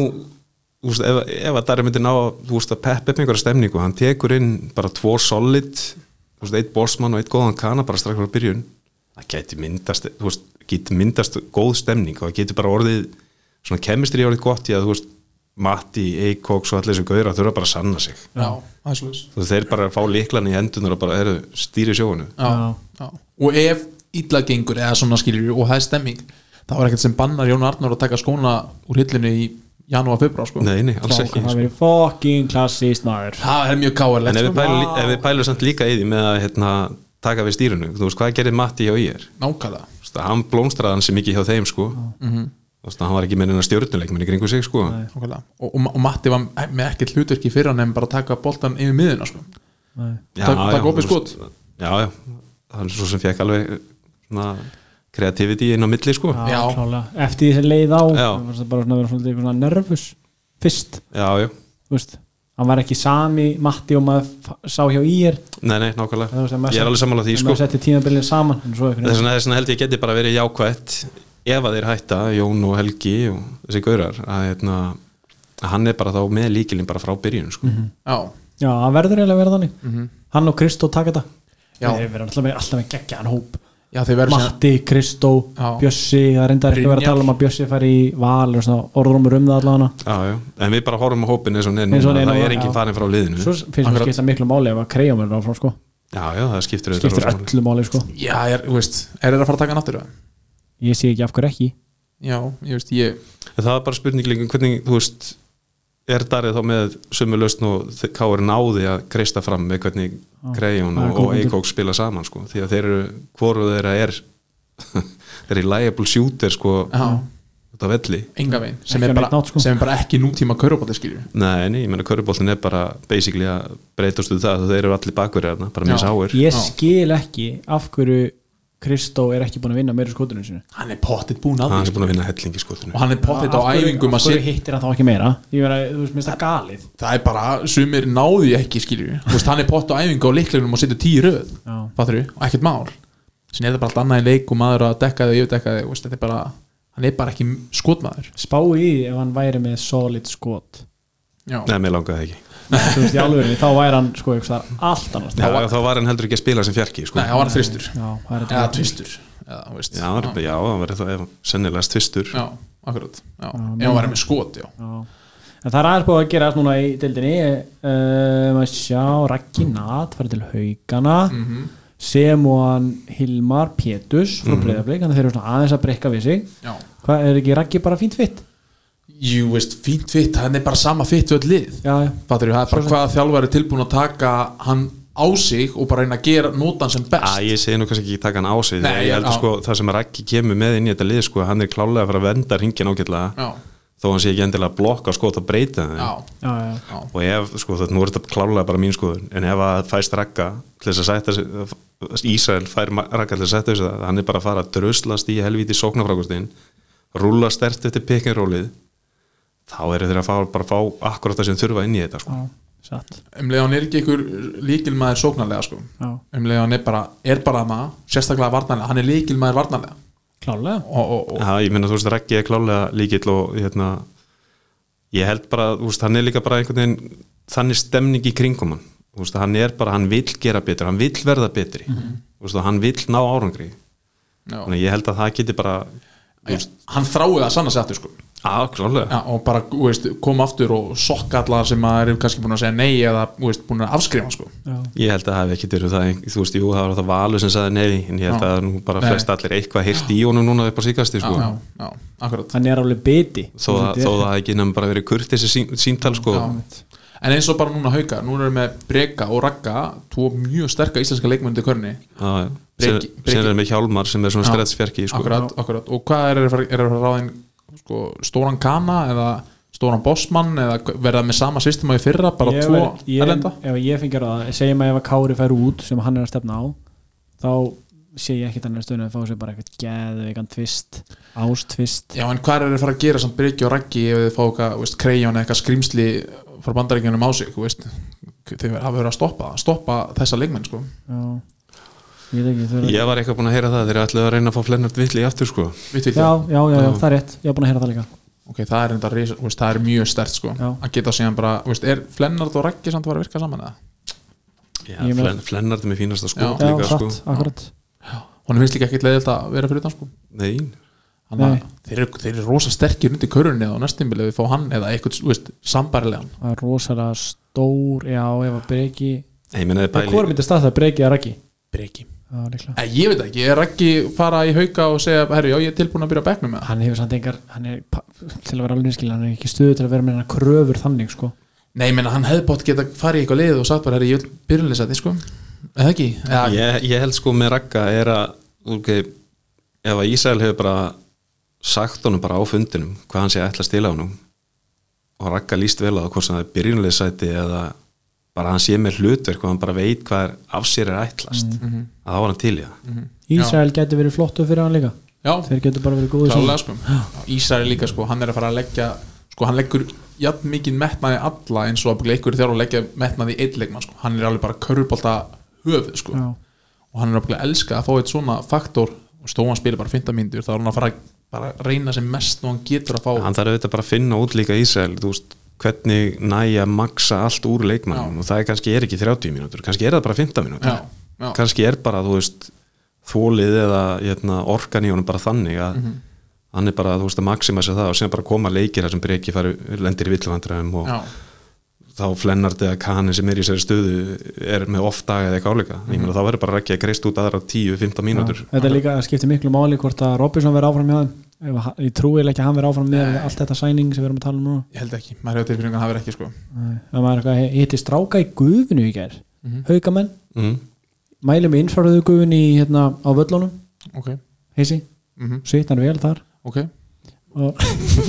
Speaker 4: þú veist, ef, ef að Darri myndi ná að, þú veist, að peppa upp einhverja stemningu hann tekur inn bara tvo solid þú veist, eitt bossmann og eitt góðan kana bara strax frá byrjun það geti myndast, þú veist, geti myndast góð stemning og það geti bara orðið svona kemistri orðið gott í að þú veist Matti, Eikóks og allir þessu gauður að þurfa bara að sanna sig
Speaker 2: Já, það er svolítið
Speaker 4: þú veist, þeir bara fá líklan í hendunar og bara eru stýri sjóinu
Speaker 1: Já.
Speaker 2: já, já. og ef illa gengur eða svona skilur og það er stemming þá er ekkert sem bannar Jón Arnór að taka skóna úr hillinu í janúar, februar sko.
Speaker 4: nei, nei, alls
Speaker 1: Strákar,
Speaker 4: ekki
Speaker 1: það verið fucking klassist maður
Speaker 2: það er mjög
Speaker 4: en
Speaker 2: káarlegt
Speaker 4: ef
Speaker 2: sko.
Speaker 4: við pælum, ef við pælum samt líka í því með að hérna, taka við stýrinu, þú veist, hvað gerir Matti hjá ég
Speaker 2: nákvæmlega Mhm.
Speaker 4: Þú veist, hann blómstraði hann sem mikið hjá þeim sko mm
Speaker 1: Mhm.
Speaker 4: -hmm. hann var ekki með neina stjórnuleikmenn í kringu sig sko
Speaker 2: Nákvæmlega. og, og, og Matti var með ekkert hlutverki fyrir hann en bara taka boltan yfir miðuna sko.
Speaker 1: Nei.
Speaker 2: Takk- takk opið
Speaker 4: þú veist, já, já, hann er svo sem fekk alveg svona kreativiti inn á milli sko já,
Speaker 2: Já.
Speaker 1: klálega. eftir því sem leið á
Speaker 4: Já.
Speaker 1: það var bara svona að vera svona, svona nervus fyrst,
Speaker 4: já,
Speaker 1: þú veist hann var ekki sami Matti og maður fa- sá hjá ír
Speaker 4: nei, nei,
Speaker 1: Það var sem maður
Speaker 4: nákvæmlega ég er
Speaker 1: sagði-
Speaker 4: alveg sammála því
Speaker 1: en
Speaker 4: sko
Speaker 1: maður setti tímabilin saman en svo
Speaker 4: þess
Speaker 1: einhvern
Speaker 4: vegna, þess vegna held ég geti bara verið jákvætt ef að þeir hætta, Jón og Helgi og þessi gaurar að hérna að hann er bara þá með líkilinn bara frá byrjun sko.
Speaker 2: já,
Speaker 1: já, það verður eiginlega að vera þannig hann og Kristó taka þetta
Speaker 2: Mhm. Já.
Speaker 1: þeir verður alltaf með, alltaf með geggjaðan hóp
Speaker 2: já þeir verður síðan-
Speaker 1: Matti, Kristó,
Speaker 2: Já.
Speaker 1: Bjössi það reyndar ekki að vera að tala um að Bjössi fari í val og svona orðrumur um það allavega
Speaker 4: já, já. en við bara horfum á hópin eins og hann er
Speaker 1: Eins og
Speaker 4: núna,
Speaker 1: hann er
Speaker 4: það
Speaker 1: núna,
Speaker 4: er
Speaker 1: já.
Speaker 4: enginn farin frá liðinu
Speaker 1: svo finnst mér
Speaker 2: Akkurat.
Speaker 1: skipta miklu máli ef að kreyjum er áfram sko
Speaker 4: Já, já, það skiptir auðvitað
Speaker 1: skiptir
Speaker 4: rosamáli.
Speaker 1: öllu máli sko
Speaker 2: já, er, þú veist, er það að fara að taka hann aftur eða?
Speaker 1: ég sé ekki af hverju ekki
Speaker 2: já, ég veist, ég
Speaker 4: En það er bara spurning líka um hvernig, þú veist er Darrið þá með sömu lausn og Káur náði að kreista fram með hvernig Greyon
Speaker 1: það er
Speaker 4: og,
Speaker 1: góð
Speaker 4: og
Speaker 1: punktur.
Speaker 4: Eikók spila saman sko, því að þeir eru, hvoru þeirra er [LAUGHS] þeir eru liable shooter sko,
Speaker 2: já,
Speaker 4: út af velli
Speaker 2: enga veginn sem,
Speaker 1: Ekki
Speaker 2: er
Speaker 1: á
Speaker 2: bara-
Speaker 1: neitt nátt, sko.
Speaker 2: sem er bara ekki nútíma kaurubóti skilju
Speaker 4: Nei, nei, ég meina körfuboltin er bara basically að breytast úr það, þeir eru allir bakverðir bara
Speaker 2: Já.
Speaker 4: mjög sáir
Speaker 1: ég
Speaker 2: Já.
Speaker 1: skil ekki af hverju Kristó er ekki búin að vinna meira skotunum sinu
Speaker 2: hann er pottitt búinn að því
Speaker 4: hann er
Speaker 2: sko.
Speaker 4: búin að vinna hellingi skotinu
Speaker 2: og hann er pottitt á
Speaker 1: af
Speaker 2: æfingum að
Speaker 1: hverju
Speaker 2: setja
Speaker 1: hittir hann þá ekki meira ég meina, þú veist, minnst það galið
Speaker 2: það er bara, sumir náðu ég ekki skilju Þú veist, hann er pott á æfingu og líklegunum og setur tíu í röð
Speaker 1: Já.
Speaker 2: fattur og ekkert mál sem er það bara allt annað en leik og maður að dekka þig og yfirdekka þig þú veist, þetta er bara, hann er bara ekki skotmaður
Speaker 1: spáu í því ef hann væri með solid skot
Speaker 2: já,
Speaker 4: Nei, mér langaði ekki
Speaker 1: þú veist, í alvegurinn, þá væri hann sko einhvers staðar allt annars
Speaker 4: Já, já, þá var hann heldur ekki að spila sem fjarki sko.
Speaker 2: nei, hann var þristur
Speaker 1: já, það er
Speaker 2: eða
Speaker 1: þetta
Speaker 2: tvistur eða, þú veist.
Speaker 4: Já, hann var- já, hann var það sennilegast tvistur
Speaker 2: já, akkurat já, ef hann var með skot, já
Speaker 1: Já. en það er aðeins búið að gera núna í dildinni um, að sjá Raggi Nat farið til haugana
Speaker 2: Mm.
Speaker 4: Mhm.
Speaker 1: sem og hann Hilmar Pétus frá mm þannig að þeir eru svona aðeins að breyka við sig
Speaker 2: já,
Speaker 1: hvað er ekki Raggi bara fínt fitt?
Speaker 2: jú, veist, fínt fitt hann er bara sama fitt við öll lið
Speaker 1: já, já,
Speaker 2: fattur, það er bara
Speaker 1: Svo sem-
Speaker 2: hvaða þjálfari er tilbúin að taka hann á sig og bara reyna að gera notan sem
Speaker 4: Já,
Speaker 2: best
Speaker 4: ég segi nú kannski ekki taka hann á sig því
Speaker 2: Nei,
Speaker 4: að ég heldur
Speaker 2: já.
Speaker 4: sko það sem Raggi kemur með inn í þetta lið sko hann er klálega að fara að venda ringin ágætlega
Speaker 2: já,
Speaker 4: þó hann sé ekki endilega að blokka sko, skot og breyta þeim
Speaker 2: já,
Speaker 1: já, já.
Speaker 4: og ef, sko þetta nú er þetta klálega bara mín skoðun en ef að fæst Ragga til þess að sætta sig Ísrael fær Ma- Ragga til þess að sætta sig það hann er bara að fara að dröslast í helvíti sóknarfrákostin rúla stert eftir pikkinrólið þá eru þeir að fá, bara fá akkurat það sem þurfa inn í þetta sko
Speaker 1: já, satt
Speaker 2: um leið hann er ekki ykkur líkilmaður sóknarlega sko
Speaker 1: Já.
Speaker 2: um leið hann er bara, er bara maður sérstaklega varnarlega, hann er líkilmaður varnarlega
Speaker 1: klálega
Speaker 2: og, og, og,
Speaker 4: Já, ég meina, þú veist, Raggi er klálega líkill og hérna, ég held bara, þú veist, hann er líka bara einhvern veginn, þannig stemning í kringum hann, þú veist, hann er bara, hann vill gera betur, hann vill verða betri, þú veist, og hann vill ná árangri,
Speaker 2: Mhm. já,
Speaker 4: þannig að ég held að það geti bara, þú veist,
Speaker 2: hann þráið að sanna sig aftur sko
Speaker 4: að klálega,
Speaker 2: já, og bara þú veist, koma aftur og sokka allar sem maður er kannski búin að segja nei eða þú veist, búin að afskrifa sko
Speaker 1: já.
Speaker 4: ég held að það hef ekki verið það, ein- þú veist, jú, það var það valur sem sagði nei, en ég held
Speaker 2: Já.
Speaker 4: að nú bara
Speaker 2: Nei.
Speaker 4: flest allir eitthvað heyrst í honum núna upp á síkasti, sko.
Speaker 2: já, já, akkurat
Speaker 1: hann er alveg biti
Speaker 4: Þó að, þó að það ekki nefnum bara verið kurt þessi sín, síntal sko
Speaker 2: en eins og bara núna haukar, núna erum við Breka og Ragga, tvo mjög sterka íslenska leikmöndi körni,
Speaker 4: Já, já.
Speaker 2: Breki-
Speaker 4: Síðan-
Speaker 2: Breki-
Speaker 4: síðan er með Hjálmar sem er svona
Speaker 2: Já.
Speaker 4: strætsfjarki sko.
Speaker 2: akkurat, akkurat og hvað er að fara, er að fara ráðin sko, stóran kana eða stóran bossmann eða hva- verða með sama systema í fyrra, bara
Speaker 1: Ég
Speaker 2: tvo
Speaker 1: væri- ég,
Speaker 2: erlenda
Speaker 1: ef ég fengi ráða, segjum að ef að Kári fær út sem hann er að stefna á þá sé ég ekki þannig að stöðun að fá sér bara eitthvað geðveikan tvist ástvist
Speaker 2: Já, en hvað er að fara að gera samt Breki og Raggi ef þið fá eitthvað, þú veist, kreyjón eða eitthvað skrýmsli frá bandaríkjunum á sig, þú veist þau hafa verið að stoppa, stoppa þessa leikmenn, sko
Speaker 1: já, ég veit ekki þú verður-
Speaker 4: Ég var eitthvað búin að heyra það þegar ætlaði að reyna að fá Flennart Vittli aftur sko
Speaker 2: Vitt, vitt,
Speaker 1: já,
Speaker 2: já.
Speaker 1: já, já, já, það er rétt, ég er búin að heyra það líka
Speaker 2: ok, það er, enda, risa- þú veist, það er mjög stert sko.
Speaker 1: Já.
Speaker 2: að geta síðan bara, þú veist, er Flennard og Raggi samt að fara að virka saman eða?
Speaker 4: Já,
Speaker 1: Ég meina-
Speaker 4: flenn, flennart er mér fínasta sko
Speaker 2: Já,
Speaker 1: já,
Speaker 4: líka,
Speaker 1: satt,
Speaker 4: sko.
Speaker 1: akkurat
Speaker 2: Honum finnst líka ekkit leiðilt að vera fyrir utan sko.
Speaker 4: Nei,
Speaker 2: Þannig að
Speaker 1: Nei.
Speaker 2: þeir, eru- þeir eru rosa sterkir undir körunni á næstum við fá hann eða eitthvað, þú veist, sambarilegan
Speaker 1: það er rosalega stór, já, ef að breki
Speaker 4: Nei, ég meina
Speaker 1: hvað er
Speaker 4: bæli
Speaker 1: myndið stað það, breki eða raggi
Speaker 2: Breki.
Speaker 1: já, líklega
Speaker 2: Eh, Ég veit ekki, er Raggi fara í hauka og segja, herru, já, ég er tilbúin að byrja að bekna með það
Speaker 1: hann hefur samt engar, hann er pa- til að vera alveg skil, hann er ekki í stöðu til að vera með hennar kröfur þannig, sko
Speaker 2: Nei, ég meina, hann hefði bótt geta farið í eitthvað lið og sagt bara, herru, ég vil byrjunlega sæti, sko Eða ekki? Eða,
Speaker 4: ég, ég held sko með Ragga er að ok, ef að Ísæl hefur bara sagt honum bara á fundinum hvað hann sé að ætla að stila honum og Ragga líst vel á það hvort sem það er byrjunuleg sæti eða bara hann sé með hlutverk og hann bara veit hvað er af sér er ætlast að þá var hann til í það
Speaker 1: Ísrael getur verið flottu fyrir hann líka
Speaker 2: Já,
Speaker 1: þeir getur bara verið góði
Speaker 2: klálega, sko Ísari líka, sko, hann er að fara að leggja sko, hann leggur jafn mikið metnaði í alla eins og að leikur þjálf að leggja metnaði í eitt leikmann, sko, hann er alveg bara körubólta höfuð, sko,
Speaker 1: já,
Speaker 2: og hann er alveg elska að fá eitt svona faktor og stóðan spila bara 15 mínútur, þá er hann að fara að bara að reyna sem mest og hann getur að fá
Speaker 4: hann þarf auðvitað bara að finna út líka Ísæl þú veist hvernig næja að maksa allt úr leikmannum og það er kannski er ekki 30 mínútur, kannski er það bara 15 mínútur
Speaker 2: Já, já.
Speaker 4: kannski er bara, þú veist þólið eða hérna, orkan í honum bara þannig að
Speaker 2: Mhm.
Speaker 4: hann er bara, þú veist, að maxima sér það og síðan bara koma leikir þar sem breki fari, lendir í villvandræðum og
Speaker 2: Já,
Speaker 4: þá flennart eða kanin sem er í sér stöðu er með oft dag eða eitthvað áleika ég
Speaker 2: Mhm.
Speaker 4: meina þá verður bara ekki að greist út aðra 10-15 mínútur
Speaker 1: þetta er líka það skiptir miklu máli hvort að Robinson verið áfram hjá þeim Ef hann- ég trúi eiginlega ekki að hann verið áfram með allt þetta sæning sem við erum að tala um núna
Speaker 2: ég held ekki, maður hefur tilbyrjungan hafi ekki, sko
Speaker 1: Nei, ef maður er eitthvað, ég hitti stráka í guðinu í gær haugamenn,
Speaker 4: mm.
Speaker 1: mælum í infraröðu guðinu í, hérna, á völlunum
Speaker 2: Ok,
Speaker 1: heisi,
Speaker 2: mm
Speaker 1: svitnar vel þar
Speaker 2: ok
Speaker 1: og,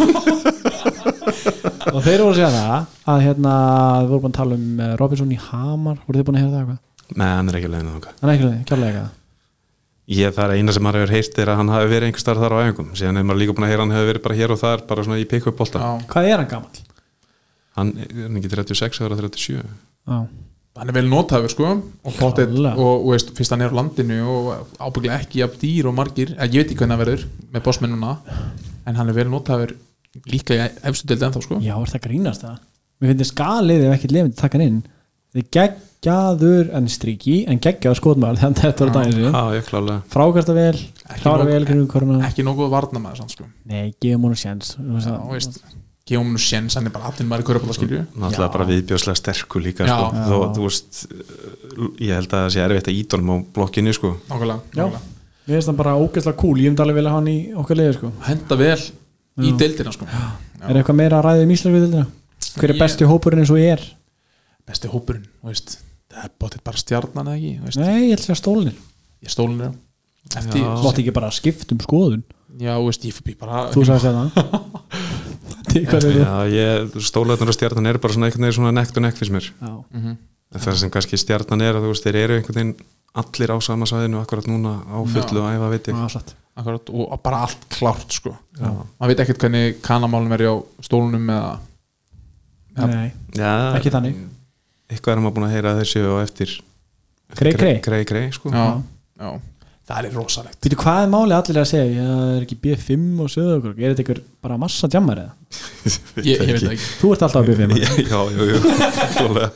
Speaker 1: [LAUGHS] og þeir voru að segja það að hérna, við vorum búin að tala um eh, Robinson í Hamar, voru þið búin að heyra það eitthvað?
Speaker 4: Nei, hann er ekki leiðin þangað
Speaker 1: Hann er ekki kjárlega eitthvað
Speaker 4: Ég það er eina sem maður hefur heyrt er að hann hafi verið einhver starf þar á æfingum síðan er maður líka búin að heyra að hann hefur verið bara hér og þar bara svona í pick-up bolta
Speaker 2: Já.
Speaker 1: Hvað er hann gamall?
Speaker 4: hann er hann ekki 36 eða 37
Speaker 1: Já,
Speaker 2: hann er vel notaður sko og, pottet,
Speaker 1: Klálega.
Speaker 2: og, og veist, fyrst hann er á landinu og ábygglega ekki af dýr og margir eh, ég veit ekki hvernig hann verður með bossmennuna en hann er vel notaður líklega efstu deildi ennþá sko
Speaker 1: já, er það grínast það? Mér finnst þið skalið ef ekkert lefandi takkan inn Þið geggjaður en striki en geggjaður skotmæl þegar þetta var daginn
Speaker 4: Já,
Speaker 1: sinni
Speaker 4: ég klálega
Speaker 1: Frákasta vel, klára
Speaker 2: Ah, nóg-
Speaker 1: vel kringum koruna
Speaker 2: ekki nokkuð varnamaður sann sko
Speaker 1: Nei, gefum hún sjens
Speaker 2: Já, veist, gefum nú sjens, hann er bara allir maður í körupála skilju
Speaker 4: Náttúrulega
Speaker 1: Já.
Speaker 4: bara viðbjóðslega sterkur líka
Speaker 2: Já.
Speaker 4: sko.
Speaker 2: Já.
Speaker 4: Þó, þú veist, ég held að það sé erfitt að ídónum á blokkinni sko.
Speaker 1: Já.
Speaker 2: nákvæmlega, nákvæmlega.
Speaker 1: Mér finnst það bara ógeðslega cool, ég myndi alveg vilja hafa hann í okkar leiði sko.
Speaker 2: henda vel í deildina sko Já.
Speaker 1: Er eitthvað meira að ræða um Íslands við þetta? Hver er
Speaker 2: Ég-
Speaker 1: besti hópurinn eins og er?
Speaker 2: besti hópurinn, þú veist það er bóttið bara stjarnan eða ekki þú veist.
Speaker 1: Nei, ég held sér að stólnir
Speaker 2: ég stólin er á eftir,
Speaker 4: Já.
Speaker 1: Mátti ekki bara skipta um skoðun
Speaker 2: já, þú veist, ég fyrir bara
Speaker 1: Þú sagði
Speaker 2: [LAUGHS]
Speaker 1: það Tíkar er
Speaker 4: Já, ég, stólaðnur og stjarnan eru bara svona einhvern veginn svona nekt og nekt fyrst mér
Speaker 1: það
Speaker 4: en það sem kannski stjarnan er að þú veist, þeir eru einhvern veginn allir á sama sæðinu akkurat núna á fullu að æfa veit ég
Speaker 1: Aðsatt
Speaker 2: Akkurat, og bara allt klárt sko maður veit ekkert hvernig kanamálum er á stólunum eða Já.
Speaker 1: Nei,
Speaker 4: Já,
Speaker 1: ekki þannig
Speaker 4: eitthvað er maður búin að heyra að þeir séu á eftir
Speaker 1: Grey, grey.
Speaker 4: grei, grei sko.
Speaker 2: já,
Speaker 1: Já.
Speaker 2: já. það er rosalegt
Speaker 1: Býtu, hvað er málið allir að segja? Já, það er ekki B5 og söðu okkur Er þetta ykkur bara massa jammar eða?
Speaker 2: ég, ég veit það ekki
Speaker 1: Þú ert alltaf á B5
Speaker 4: [LAUGHS] já, já, já, já. klálega.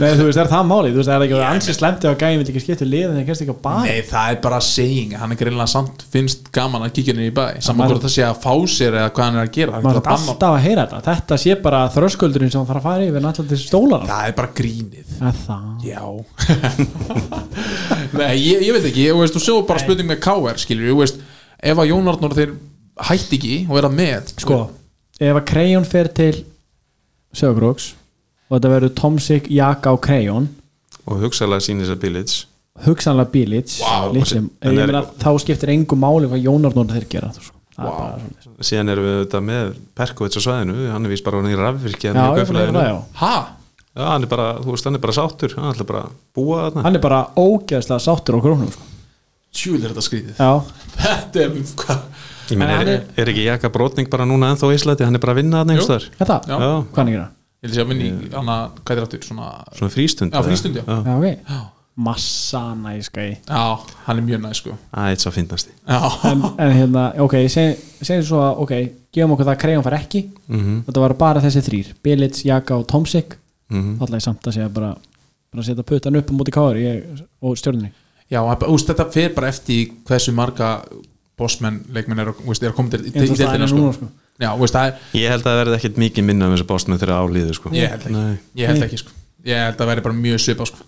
Speaker 1: Nei, þú veist, er það málið? Þú veist, er það ekki ansið slemti á gæmi Vil ekki skipta lið en það kemst ekki á bæ
Speaker 2: Nei, það er bara saying, hann er greinlega samt finnst gaman að kíkja niður í bæ saman
Speaker 1: maður-
Speaker 2: hvort það sé að fá sér eða hvað hann er að gera hann er
Speaker 1: Maður
Speaker 2: að
Speaker 1: er
Speaker 2: banna-
Speaker 1: alltaf að heyra þetta Þetta sé bara þröskuldurinn sem hann þarf að fara yfir Náttúrulega þessi stólar
Speaker 2: það er bara grínið
Speaker 1: Það
Speaker 2: já Nei, ég, ég veit ekki, ég, veist, þú séu bara spurning með KR skilur, ég veist, ef að Jón Arnór þeir hætti ekki og vera með
Speaker 1: sko, ef að Crayon fer til Sögróks og þetta verður Tomsik, Jaka og Crayon
Speaker 4: og hugsaðlega sýnir þess að Billits
Speaker 1: hugsanlega Bilic
Speaker 4: Vá,
Speaker 1: litlum,
Speaker 4: en
Speaker 1: ég
Speaker 4: er-
Speaker 1: meina, þá skiptir engu máli hvað Jónarnóta þeir gera þú, sko. Það er
Speaker 2: Vá.
Speaker 1: bara svoleiðis.
Speaker 4: síðan erum við auðvitað með Perkovits á svæðinu, hann er vís bara hann hérna í rafvirkja
Speaker 1: Já, ég finn að það, já.
Speaker 2: ha,
Speaker 4: já, hann er bara, þú veist, hann er bara sáttur hann ætla bara að búa þarna
Speaker 1: hann er bara ógeðslega sáttur á krónum sko.
Speaker 2: tjúl er þetta skrítið
Speaker 1: já,
Speaker 2: þetta er, um hvað
Speaker 4: ég meina,
Speaker 1: En hann
Speaker 4: er,
Speaker 1: er-
Speaker 4: er ekki Jaka Brotning bara núna ennþá í Íslandi, hann er bara að vinna þarna einhvers þar
Speaker 1: þetta,
Speaker 2: Já.
Speaker 4: já,
Speaker 1: hvað hann er að gera
Speaker 2: Ég held að sé að minni í hana, hvað er aftur, svona
Speaker 4: svona frístund
Speaker 2: Já, frístund, já.
Speaker 1: já, ok,
Speaker 2: Já.
Speaker 1: massana í skæði
Speaker 2: Já, hann er mjög næ sko
Speaker 4: Það er svo fyndnasti
Speaker 2: Já,
Speaker 1: en, en hérna, ok, segjum seg svo að ok, gefum okkur það að Crayon fær ekki
Speaker 4: Mhm.
Speaker 1: þetta var bara þessi þrýr, Billits, Jaka og Tomsik þá ætla ég samt að segja bara, bara setja puttan upp á móti káður og stjórnirni
Speaker 2: já hann- úst, þetta fer bara eftir í hversu marga bossmenn leikmenn er, úst, er að koma til í- í- í
Speaker 1: eins og staðan
Speaker 2: deildina,
Speaker 1: er núna sko
Speaker 2: Já, úst, það er,
Speaker 4: Ég held að það verði ekkit mikið minna um þessu bóstmenn þegar álíðu sko.
Speaker 2: ég held ekki
Speaker 4: Nei.
Speaker 2: Ég held ekki sko Ég held að vera bara mjög svipa sko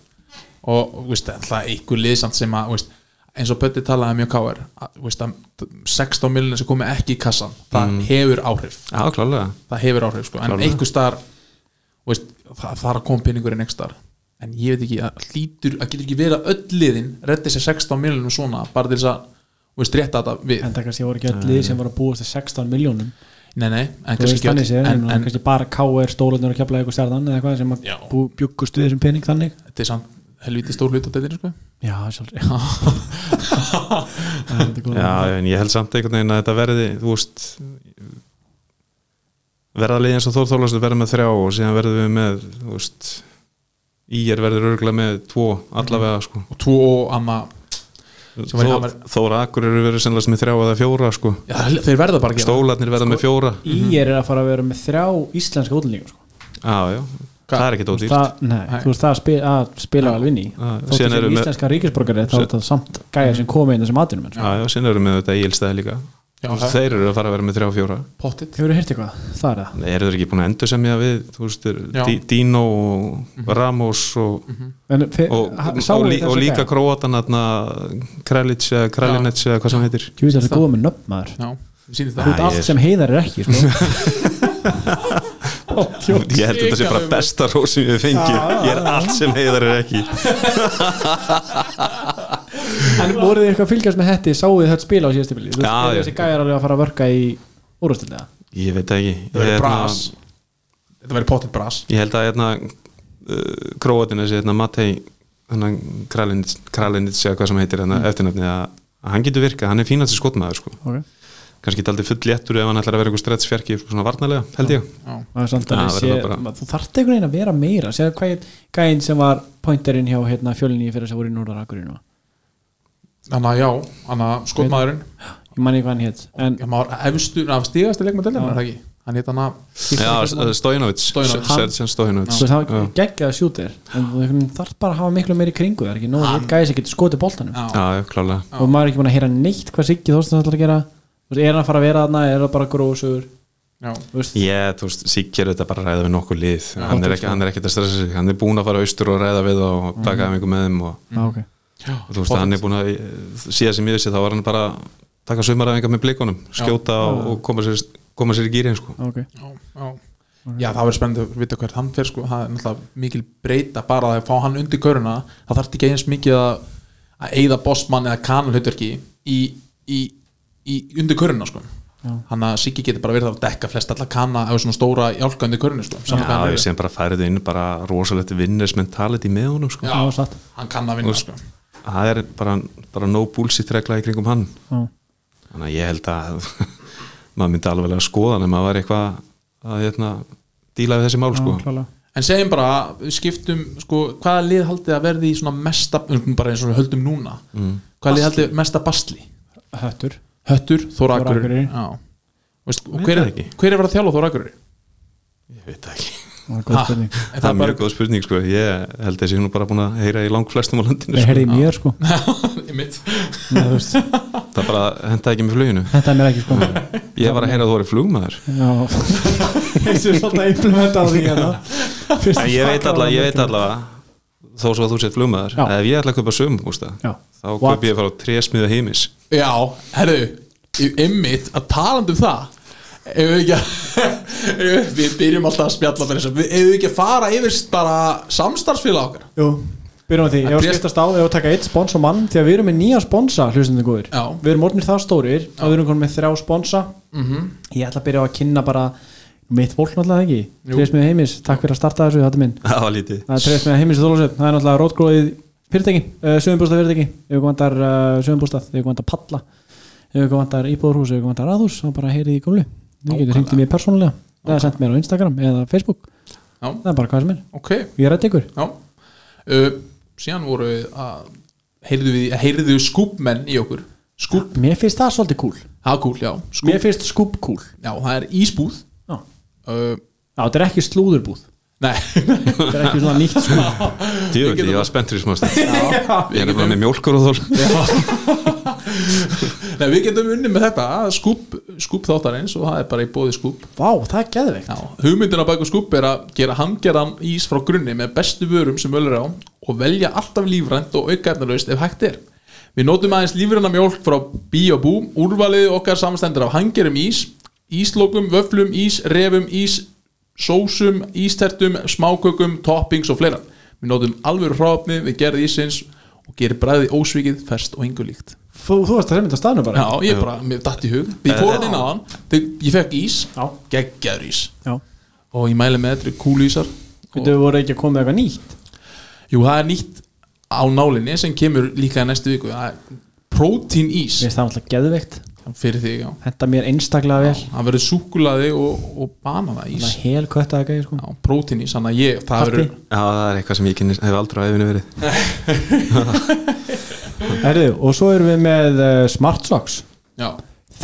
Speaker 2: Og úst, það er einhver liðsamt sem að úst, eins og Pötti talaði um mjög káir úst, að 16 miljonar sem komi ekki í kassan það hefur áhrif
Speaker 4: Já, klálega
Speaker 2: það hefur áhrif sko en
Speaker 4: Klárlega.
Speaker 2: einhver staðar þú veist, það, það er að koma pinningurinn einhver staðar en ég veit ekki, það hlýtur, það getur ekki verið að öll liðin reddi sér 16 miljonum svona bara til þess að, þú veist, rétta þetta við
Speaker 1: en það kannski voru ekki öll lið sem voru að búast til 16 miljónum
Speaker 2: nei, nei, en
Speaker 1: þú
Speaker 2: kannski
Speaker 1: veist
Speaker 2: ekki
Speaker 1: þannig
Speaker 2: öll
Speaker 1: séð,
Speaker 2: en,
Speaker 1: en,
Speaker 2: en
Speaker 1: kannski bara K.R. stólunar og keflaði eitthvað stjarnan eða eitthvað sem að
Speaker 2: Já.
Speaker 1: bú- bjuggust við þessum pening þannig
Speaker 2: þetta er samt helviti stór hlut á
Speaker 1: [LAUGHS]
Speaker 2: deildinu sko
Speaker 1: já, sjálf já. Það er þetta góð.
Speaker 4: Já, en ég held samt einhvern veginn að þetta verði þú veist verða liðið eins og Þór Þólastur verða með þrjá og síðan verðum við með þú veist, Íer verður örgulega með tvo allavega sko
Speaker 2: og tvo og amma Mhm. Sem verður
Speaker 4: Þór,
Speaker 2: hamar-
Speaker 4: Þór Akur eru verið sennilega með þrjá eða fjóra sko
Speaker 2: já, þeir verða bara að gera
Speaker 4: Stólarnir verða
Speaker 2: Sko-
Speaker 4: með fjóra
Speaker 1: Í er að fara að vera með þrjá íslenska útlendinga sko.
Speaker 4: Já, já, það er ekki dótýrt
Speaker 1: það, nei, þú veist það að spila, að spila alveg inn í
Speaker 4: Já,
Speaker 1: þótt
Speaker 4: síðan
Speaker 1: að
Speaker 4: eru
Speaker 1: sem
Speaker 4: með-
Speaker 1: íslenska ríkisborgari þá er þetta samt gæja sem komið inn þessum aðdunum sko.
Speaker 4: Já, já, síðan eru með þetta Ílstæði líka
Speaker 2: Já,
Speaker 4: Þú veist,
Speaker 2: það-
Speaker 4: Þeir eru að fara að vera með þrjá fjóra
Speaker 2: pottit
Speaker 1: hefur þú hirt eitthvað, það er það
Speaker 4: Nei, eru þeir ekki búin að endur semja við þú veist, er
Speaker 2: Já. Mhm.
Speaker 4: Dí- Dino og Ramos og,
Speaker 1: en, fyr,
Speaker 4: og,
Speaker 1: sáu
Speaker 4: og,
Speaker 1: þið
Speaker 4: lí,
Speaker 1: þessa
Speaker 4: og líka
Speaker 1: gæja?
Speaker 4: króatan Kralits eða Kralinets eða hvað sem hann heitir
Speaker 1: Jú, þetta er góð með nöfnmaður
Speaker 2: já, við sýnum
Speaker 1: Þú
Speaker 2: það
Speaker 1: veit
Speaker 4: Æ,
Speaker 1: allt
Speaker 4: ég-
Speaker 1: sem heiðar er ekki sko.
Speaker 4: [LAUGHS]
Speaker 1: Ó, djók.
Speaker 4: Ég held að þetta sé bara besta rós sem við fengjum Ég er allt sem heiðar er ekki
Speaker 1: En voruð þið eitthvað að fylgjast með hetti Sáuð þið þetta spila á síðast tímabili? Þú veist,
Speaker 4: Já,
Speaker 1: eru
Speaker 4: já.
Speaker 1: Þessi gæjar alveg að fara að verka í úrvastilega
Speaker 4: Ég veit það ekki
Speaker 2: það
Speaker 4: Ég,
Speaker 2: verður
Speaker 4: hérna,
Speaker 2: bras þetta verður pottit bras
Speaker 4: ég held að hérna, uh, króatin þessi hérna, Matei hérna, Kralinits, Kralinits eða hvað sem heitir hérna,
Speaker 1: Mm.
Speaker 4: eftirnafni að að hann getur virkað, hann er fínast skotmaður sko.
Speaker 1: okay.
Speaker 4: kannski þetta aldrei full léttur ef hann ætlar að vera eitthvað stretts fjarki svona varnarlega, held ég
Speaker 2: já,
Speaker 1: Það er samt að
Speaker 4: Já,
Speaker 1: ég
Speaker 4: verður
Speaker 1: sé,
Speaker 4: það bara-
Speaker 1: maður- þú þarft einhvern veginn að vera meira Sér hvað gæinn sem var pointerinn hjá hérna, fjölinni fyrir þess að voru í Norðarakurinn
Speaker 2: þannig að já, þannig að skotmaðurinn
Speaker 1: Ég manni hvað hann hétt En
Speaker 2: Já, maður efstu, af stígasti leikmann deildina, er það ekki? Hann hétt hann að
Speaker 4: Já, Stojanovic
Speaker 2: Stojanovic.
Speaker 4: Sergjan Stojanovic
Speaker 1: þú veist, það geggjaði að sjúta þér En þú einhvern veginn þarft bara að hafa miklu meiri í kringu Það er ekki nóg að gæja sem getur skotið boltanum
Speaker 2: Já.
Speaker 4: Já, já, klálega
Speaker 1: Og maður er ekki búin að heyra neitt hvað Siggi Þorstins ætlar að gera Þú veist, Er hann að fara að vera þarna, er það bara gróðsugur
Speaker 2: Já,
Speaker 4: Ég, þú veist, Siggi er þetta bara að ræða við nokkur lið hann er,
Speaker 1: þú
Speaker 4: ekki, hann er ekkert að stressa sig, hann er búin að fara austur og ræða við og
Speaker 2: Mhm.
Speaker 4: taka þeim einhver með þeim og,
Speaker 1: Ah, okay.
Speaker 4: og þú veist, hann er búin að síðan sem ég vissi, þá var hann bara að taka sumaræðingar með blikunum, skjóta og, og koma, sér, koma sér í gýrin, sko
Speaker 1: Okay.
Speaker 2: já, já. já það verður spennandi að vita hvert hann fer sko. það er náttúrulega mikil breyta bara að fá hann undir köruna það þarf ekki eins mikið að, að eyða bossmann eða kanalhautverki í, í, í undir köruna sko. hann að Siggi getur bara verið að dekka flest alla kana eða svona stóra jálka undir köruna sko. Sama hvað
Speaker 4: Já,
Speaker 2: hann
Speaker 4: ég
Speaker 2: er.
Speaker 4: sem bara færið inn bara rosalegt vinners mentality með honum, sko
Speaker 1: Já, satt.
Speaker 2: hann kann að vinna sko.
Speaker 4: það er bara, bara no bullshit regla í kringum hann
Speaker 1: Já.
Speaker 4: þannig að ég held að [LAUGHS] maður myndi alveg að skoða hann ef maður var eitthvað að hérna, díla við þessi mál sko.
Speaker 1: klálega.
Speaker 2: en segjum bara, við skiptum sko, hvaða lið haldið að verði í svona mesta bara eins og við höldum núna hvaða lið haldið mesta basli
Speaker 1: Höttur
Speaker 2: Höttur, Þóra
Speaker 1: Þór Akureyri.
Speaker 2: Akureyri Já. Veist, og
Speaker 4: Veit
Speaker 2: hver er,
Speaker 4: það ekki.
Speaker 2: hver er verið að þjálfa Þóra Akureyri?
Speaker 4: ég veit það ekki
Speaker 1: Það er góð
Speaker 2: Ha,
Speaker 1: spurning
Speaker 2: er
Speaker 4: það er mjög
Speaker 2: bara- [LAUGHS]
Speaker 4: góð spurning sko. ég held þessi hún bara búin að heyra í lang flestum á landinu
Speaker 1: Það
Speaker 4: sko.
Speaker 1: heyrði í mér sko
Speaker 2: Einmitt.
Speaker 1: Nei, þú veist,
Speaker 4: það bara henda ekki með fluginu
Speaker 1: Þetta er mér ekki sko
Speaker 4: ég var að heyra að þú voru flugmaður
Speaker 1: [LAUGHS] Já Þessu er svolítið að implementa á því hérna Fyrst
Speaker 4: en ég veit allavega, ég veit allavega þó svo að þú sér flugmaður
Speaker 1: Já.
Speaker 4: ef ég ætla að kaupa sömubústa
Speaker 1: Já.
Speaker 4: þá
Speaker 1: What?
Speaker 4: kaup ég frá trésmiða heimis
Speaker 2: Já, herru Einmitt, að talandi um það ef við ekki að [LAUGHS] við byrjum alltaf að spjalla með þessu Við- ef við ekki að fara yfir bara samstarfsfélag okkar
Speaker 1: Jú, byrjum á því Ég var
Speaker 2: Andrés-
Speaker 1: skiptast á, ég var að taka eitt spons á mann Því að við erum með nýja sponsa, hlustandi góðir
Speaker 2: Já.
Speaker 1: Við erum orðnir það stórir og við erum konum með þrjá sponsa -hmm.
Speaker 4: Mhm.
Speaker 1: Ég ætla að byrja á að kynna bara Mitt fólk náttúrulega ekki Trésmiða heimis, takk fyrir að starta þessu, þetta er minn
Speaker 4: það var lítið
Speaker 1: Það er trefst með heimis og þólusöf Það er náttúrulega rótgróðið fyrirtæki uh, Sjöfumbústað fyrirtæki Ef ykkur vantar uh, sjöfumbústað Ef ykkur vantar palla Ef ykkur vantar íbúðurhús Ef ykkur vantar aðhús Þá bara heyrið í gömlu Þú getur hringt í mér persónulega Það er sendt mér á Instagram eða Facebook
Speaker 2: Já.
Speaker 1: Það er bara hvað sem er
Speaker 2: Ok,
Speaker 1: Ég rætti ykkur
Speaker 2: já uh, síðan voru við að heyrðu, við, heyrðu skúpmenn í okkur skúp,
Speaker 1: Mér finnst það svolítið cool
Speaker 2: það er kúl, já skúp,
Speaker 1: Mér finnst skúb cool
Speaker 2: já, það er ísbúð
Speaker 1: Já,
Speaker 2: uh,
Speaker 1: Já, þetta er ekki slúðurbúð
Speaker 2: nei, [LAUGHS]
Speaker 1: Þetta er ekki svona nýtt sko. skúb
Speaker 4: Djöfum, ég var spenntur í smá stund Ég er nefnilega með mjólkur og þól
Speaker 2: nei, við getum unni með þetta skúp, skúp þáttarins og það er bara í bóði skúp
Speaker 1: Vá, það er geðveikt
Speaker 2: já, hugmyndina baku skúp er að gera handgerðan ís frá grunni með bestu vörum sem öllur á og velja alltaf lífrænt og aukaefnalaust ef hægt er við notum aðeins lífræna mjólk frá bí og bú úrvalið okkar samanstendur af hangerum ís íslokum, vöflum, ís, refum ís, sósum, ístertum smákökum, toppings og fleira við notum alvöru hrófni við gerð ísins og gerir bræði ósvikið fest og engu líkt
Speaker 1: Þú, þú varst að reynda á staðnum bara Eh,
Speaker 2: Já, ég bara, mér datt í hug Ég fór hann inn á hann, ég fekk ís
Speaker 1: Já.
Speaker 2: Geggjaður ís
Speaker 1: Já.
Speaker 2: Og ég mæli með þetta kúlísar
Speaker 1: Veitu, við voru ekki að koma með eitthvað nýtt
Speaker 2: Jú, það er nýtt á nálinni sem kemur líka í næstu viku Það er prótín ís
Speaker 1: Mér finnst það alltaf geðveikt
Speaker 2: Fyrir þig, já
Speaker 1: Henta mér einstaklega vel
Speaker 2: Það verður súkulaði og, og banana
Speaker 1: Það
Speaker 2: ís
Speaker 1: er hel kött að gæði sko
Speaker 2: Já, prótín ís, þannig að ég Það
Speaker 1: Partí.
Speaker 2: verður,
Speaker 4: Já, það er eitthvað sem ég kynni, hef aldrei á efinu verið
Speaker 1: Herðu, og svo erum við með uh, Smart Socks
Speaker 2: já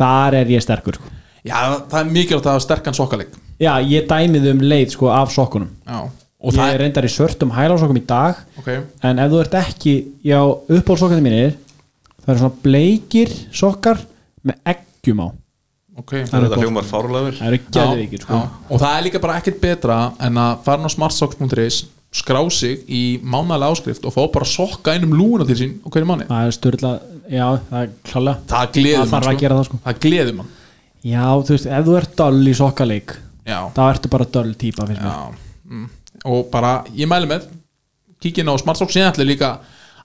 Speaker 1: Þar er ég sterkur sko
Speaker 2: Já, það er mikilvægt að hafa sterkan sokkaleg
Speaker 1: Já, ég dæmið um leið sko af sokkunum
Speaker 2: Já, og
Speaker 1: Ég
Speaker 2: það
Speaker 1: er reyndar í svörtum hælásokkum í dag
Speaker 2: Ok,
Speaker 1: En ef þú ert ekki Já, uppáhaldsokkarnir mínir Það eru svona bleikir sokkar Með eggjum á
Speaker 2: ok
Speaker 1: Það er
Speaker 4: Þetta hljómar fárlegur
Speaker 1: Það eru geðvikið sko
Speaker 2: já. og það er líka bara ekkert betra en að fara inn á smartsocks.is skrá sig í mánalega áskrift og fá bara sokka einum lúna til sín og hverju manni
Speaker 1: Það er styrla, já, það er klálega
Speaker 2: það gleður
Speaker 1: Það þarf að gera það, sko.
Speaker 2: það gleður mann
Speaker 1: Já, þú veist, ef þú ert döll í sokkaleik
Speaker 2: já,
Speaker 1: þá ertu bara döll típa fyrir
Speaker 2: já.
Speaker 1: mig
Speaker 2: Mm. og bara ég mæli með kíkin á smartsocks ég ætla líka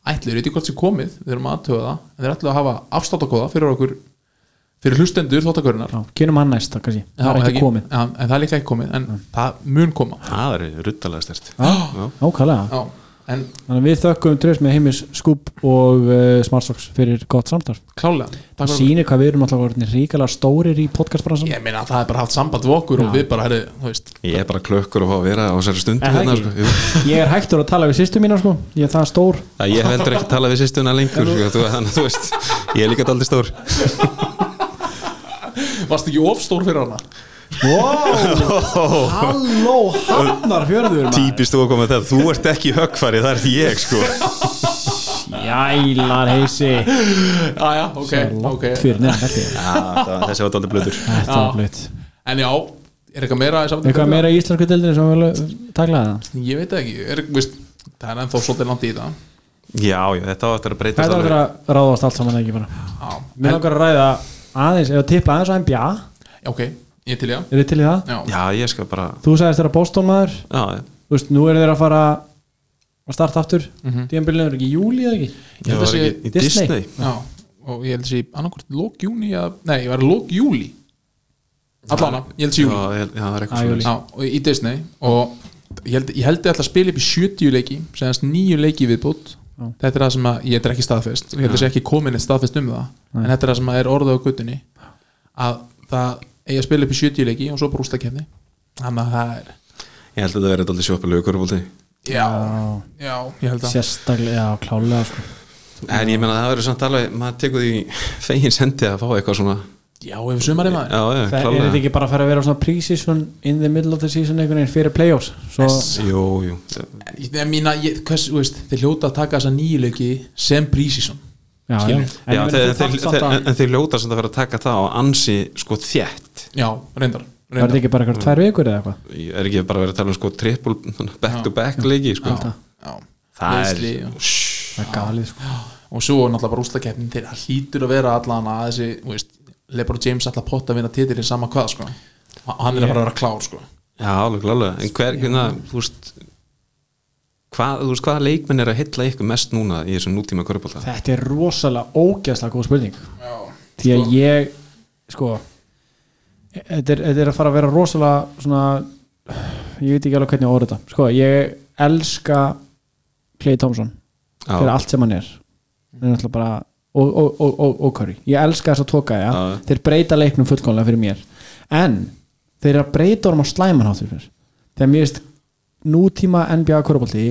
Speaker 2: ætla, ég veit ekki hvort sem komið við erum að aðtöða það, en þeir ætla að hafa afstáttakóða fyrir okkur fyrir hlustendur þóttakörunar
Speaker 1: Já, kynum hann næst, þá kannski Það er ekki komið
Speaker 2: já, en það er líka ekki komið, en það mun koma
Speaker 4: Það er ruttalega stert
Speaker 2: já,
Speaker 1: Ákvæðlega,
Speaker 2: en
Speaker 1: þannig að við þökkum trefst með heimis skúb og uh, smartsocks fyrir gott samtar
Speaker 2: klálega Takk
Speaker 1: Það
Speaker 2: fyrir-
Speaker 1: sýnir hvað við erum alltaf orðinir ríkala stórir í podcastbransan
Speaker 2: ég meina það er bara haft samband við okkur og við bara, herri, þú veist
Speaker 4: Ég er bara klökkur að fá að vera á þessari stundu
Speaker 1: Er það
Speaker 4: hérna,
Speaker 1: ekki?
Speaker 4: sko. Jú.
Speaker 1: [LAUGHS] Ég er hægtur að tala við sýstu mína sko Ég er það stór
Speaker 4: Það ég hef heldur ekki talað við sýstuna lengur sko, þú- Þannig að þú veist, ég er líka daldi stór
Speaker 2: varst ekki of stór fyrir hana [LAUGHS]
Speaker 1: Wow, [LAUGHS] halló, hannar fjörður
Speaker 4: Típist þú að koma með það, þú ert ekki höggfari, það ert ég sko
Speaker 1: Jælar heisi
Speaker 2: aðja, Ah, ok, ok
Speaker 1: Látt fyrir neðan þetta
Speaker 4: Já, það- Þessi var daldi blöður
Speaker 1: Þetta
Speaker 2: Já.
Speaker 1: var blöitt
Speaker 2: en já, er eitthvað meira í sambandi
Speaker 1: Eitthvað
Speaker 2: við
Speaker 1: meira í íslensku deildinu sem við taklaði það
Speaker 2: það? ég veit það ekki, er, veist, það er ennþá svolítið langt í það
Speaker 4: Já, já, þetta var eftir að breytast
Speaker 1: Þetta var
Speaker 4: alveg.
Speaker 1: að ráðast allt saman eða ekki bara
Speaker 2: já,
Speaker 1: Mér langar að ræða aðeins, eða tippa aðeins á NBA
Speaker 2: Já, ok, ég til ég
Speaker 1: Er þið til í það?
Speaker 2: já, já,
Speaker 4: Já, ég skal bara
Speaker 1: Þú sagðist þeirra Boston maður
Speaker 4: Já, já.
Speaker 1: Þú veist, nú eru þeir að fara að starta aftur mm -hmm. Tíðanbyrðin er ekki í júli eða ekki
Speaker 2: Ég held
Speaker 4: Ég
Speaker 2: að
Speaker 4: var
Speaker 2: sé-
Speaker 4: ekki í
Speaker 1: Disney.
Speaker 4: Disney
Speaker 2: já og ég held að sé annarkvort lók júni að, nei, ég var lók júli allan að, ég held að sé
Speaker 4: Já,
Speaker 2: júli
Speaker 4: ég- já, það er
Speaker 1: Já,
Speaker 4: eitthvað svo
Speaker 1: júli.
Speaker 2: já, og í Disney og ég held, ég held að ég ætla að spila upp í 70 leiki segjast nýju leiki viðbútt þetta er það sem að, ég þetta er ekki staðfest og ég held að sé ekki komin eitt staðfest um það en þetta er það sem að er orðað á guttunni að það eigi að spila upp í 70 leiki og svo bara ústakefni þannig að það er,
Speaker 4: Ég held að þetta verið daldi sjóppalegu körubólti
Speaker 2: já, já, ég held að
Speaker 1: Sérstaklega, já, klálega sko.
Speaker 4: En ég meina það verður samt alveg, maður tekur því fegin sendi að fá eitthvað svona
Speaker 2: já, ef sumari maður
Speaker 4: Já,
Speaker 1: Það
Speaker 4: já,
Speaker 1: er þetta
Speaker 4: klálega
Speaker 1: ekki bara að fara að vera svona pre-season in the middle of the season einhvern veginn fyrir playoffs Svo,
Speaker 4: Jú, jú
Speaker 2: ég ég meina, ég, hvers, þú veist, þeir hljóta að taka þessa nýju leiki sem prísísson
Speaker 1: já, já.
Speaker 2: Skilur.
Speaker 1: En
Speaker 4: Já,
Speaker 1: ég meina,
Speaker 4: þeir,
Speaker 1: þú
Speaker 4: þeir,
Speaker 1: þarft samt
Speaker 4: þeir,
Speaker 1: að-
Speaker 4: en þeir ljóta samt að vera að taka það á ansi sko þjætt
Speaker 2: já, reyndar,
Speaker 1: Var þetta
Speaker 2: reyndar.
Speaker 1: ekki bara eitthvað tvær vikur eða eitthvað
Speaker 4: Ég er ekki bara að vera að tala um sko triple back to back leiki sko.
Speaker 2: Já,
Speaker 4: það er
Speaker 2: Leiðsli og-
Speaker 4: Shhh.
Speaker 1: Það er galið sko
Speaker 2: og svo náttúrulega bara úslakeppnin til að hlýtur að vera allan að þessi, þú veist, Lebron James alltaf potta að vinna titilin sama hvað, sko og hann er að fara að vera klár, sko
Speaker 4: Já, alveg klálega En hver, hverna, þú veist hvað, þú veist hvaða leikmenn er að hitla ykkur mest núna í þessum nútíma körubólta
Speaker 1: Þetta er rosalega ógeðslega góð spurning
Speaker 2: Já,
Speaker 1: Því að ég sko þetta er, þetta er að fara að vera rosalega svona ég veit ekki alveg hvernig ég á að orða þetta sko, ég elska Clay Thompson fyrir
Speaker 4: Já,
Speaker 1: allt sem hann er hann er náttúrulega bara og, og, og, og, og Curry, ég elska þess að tóka ja.
Speaker 4: Já.
Speaker 1: þeir breyta leiknum fullkomlega fyrir mér en þeir eru að breyta orðum á slæmanháttur fyrir þegar mér veist nútíma NBA korfbaldi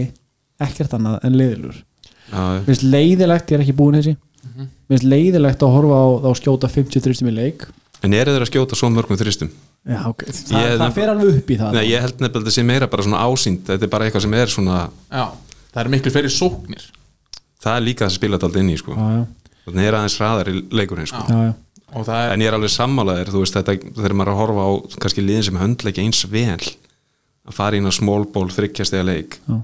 Speaker 1: ekkert annað en liðilur
Speaker 4: já,
Speaker 1: Mér finnst leiðilegt, ég er ekki búin þessi Mér finnst leiðilegt að horfa á þá skjóta 50 þristum í leik
Speaker 4: en eru þeir að skjóta svo mörgum þristum
Speaker 1: Já, okay. það,
Speaker 4: Ég-
Speaker 1: það fer alveg upp í það
Speaker 4: Nei, ég held nefnilega að þetta sé meira bara svona ásýnd þetta er bara eitthvað sem er svona
Speaker 2: Já, það er miklu fyrir sóknir
Speaker 4: það er líka að spila þetta alltaf inn í sko.
Speaker 1: já, já,
Speaker 4: þannig er aðeins hraðar í leikurinn sko.
Speaker 1: já, já.
Speaker 2: og það er,
Speaker 4: en ég er alveg sammálaðir þú veist þetta þegar maður er að horfa á kannski liðin sem höndla ekki eins vel að fara inn á smólból þryggjastega leik
Speaker 1: Já.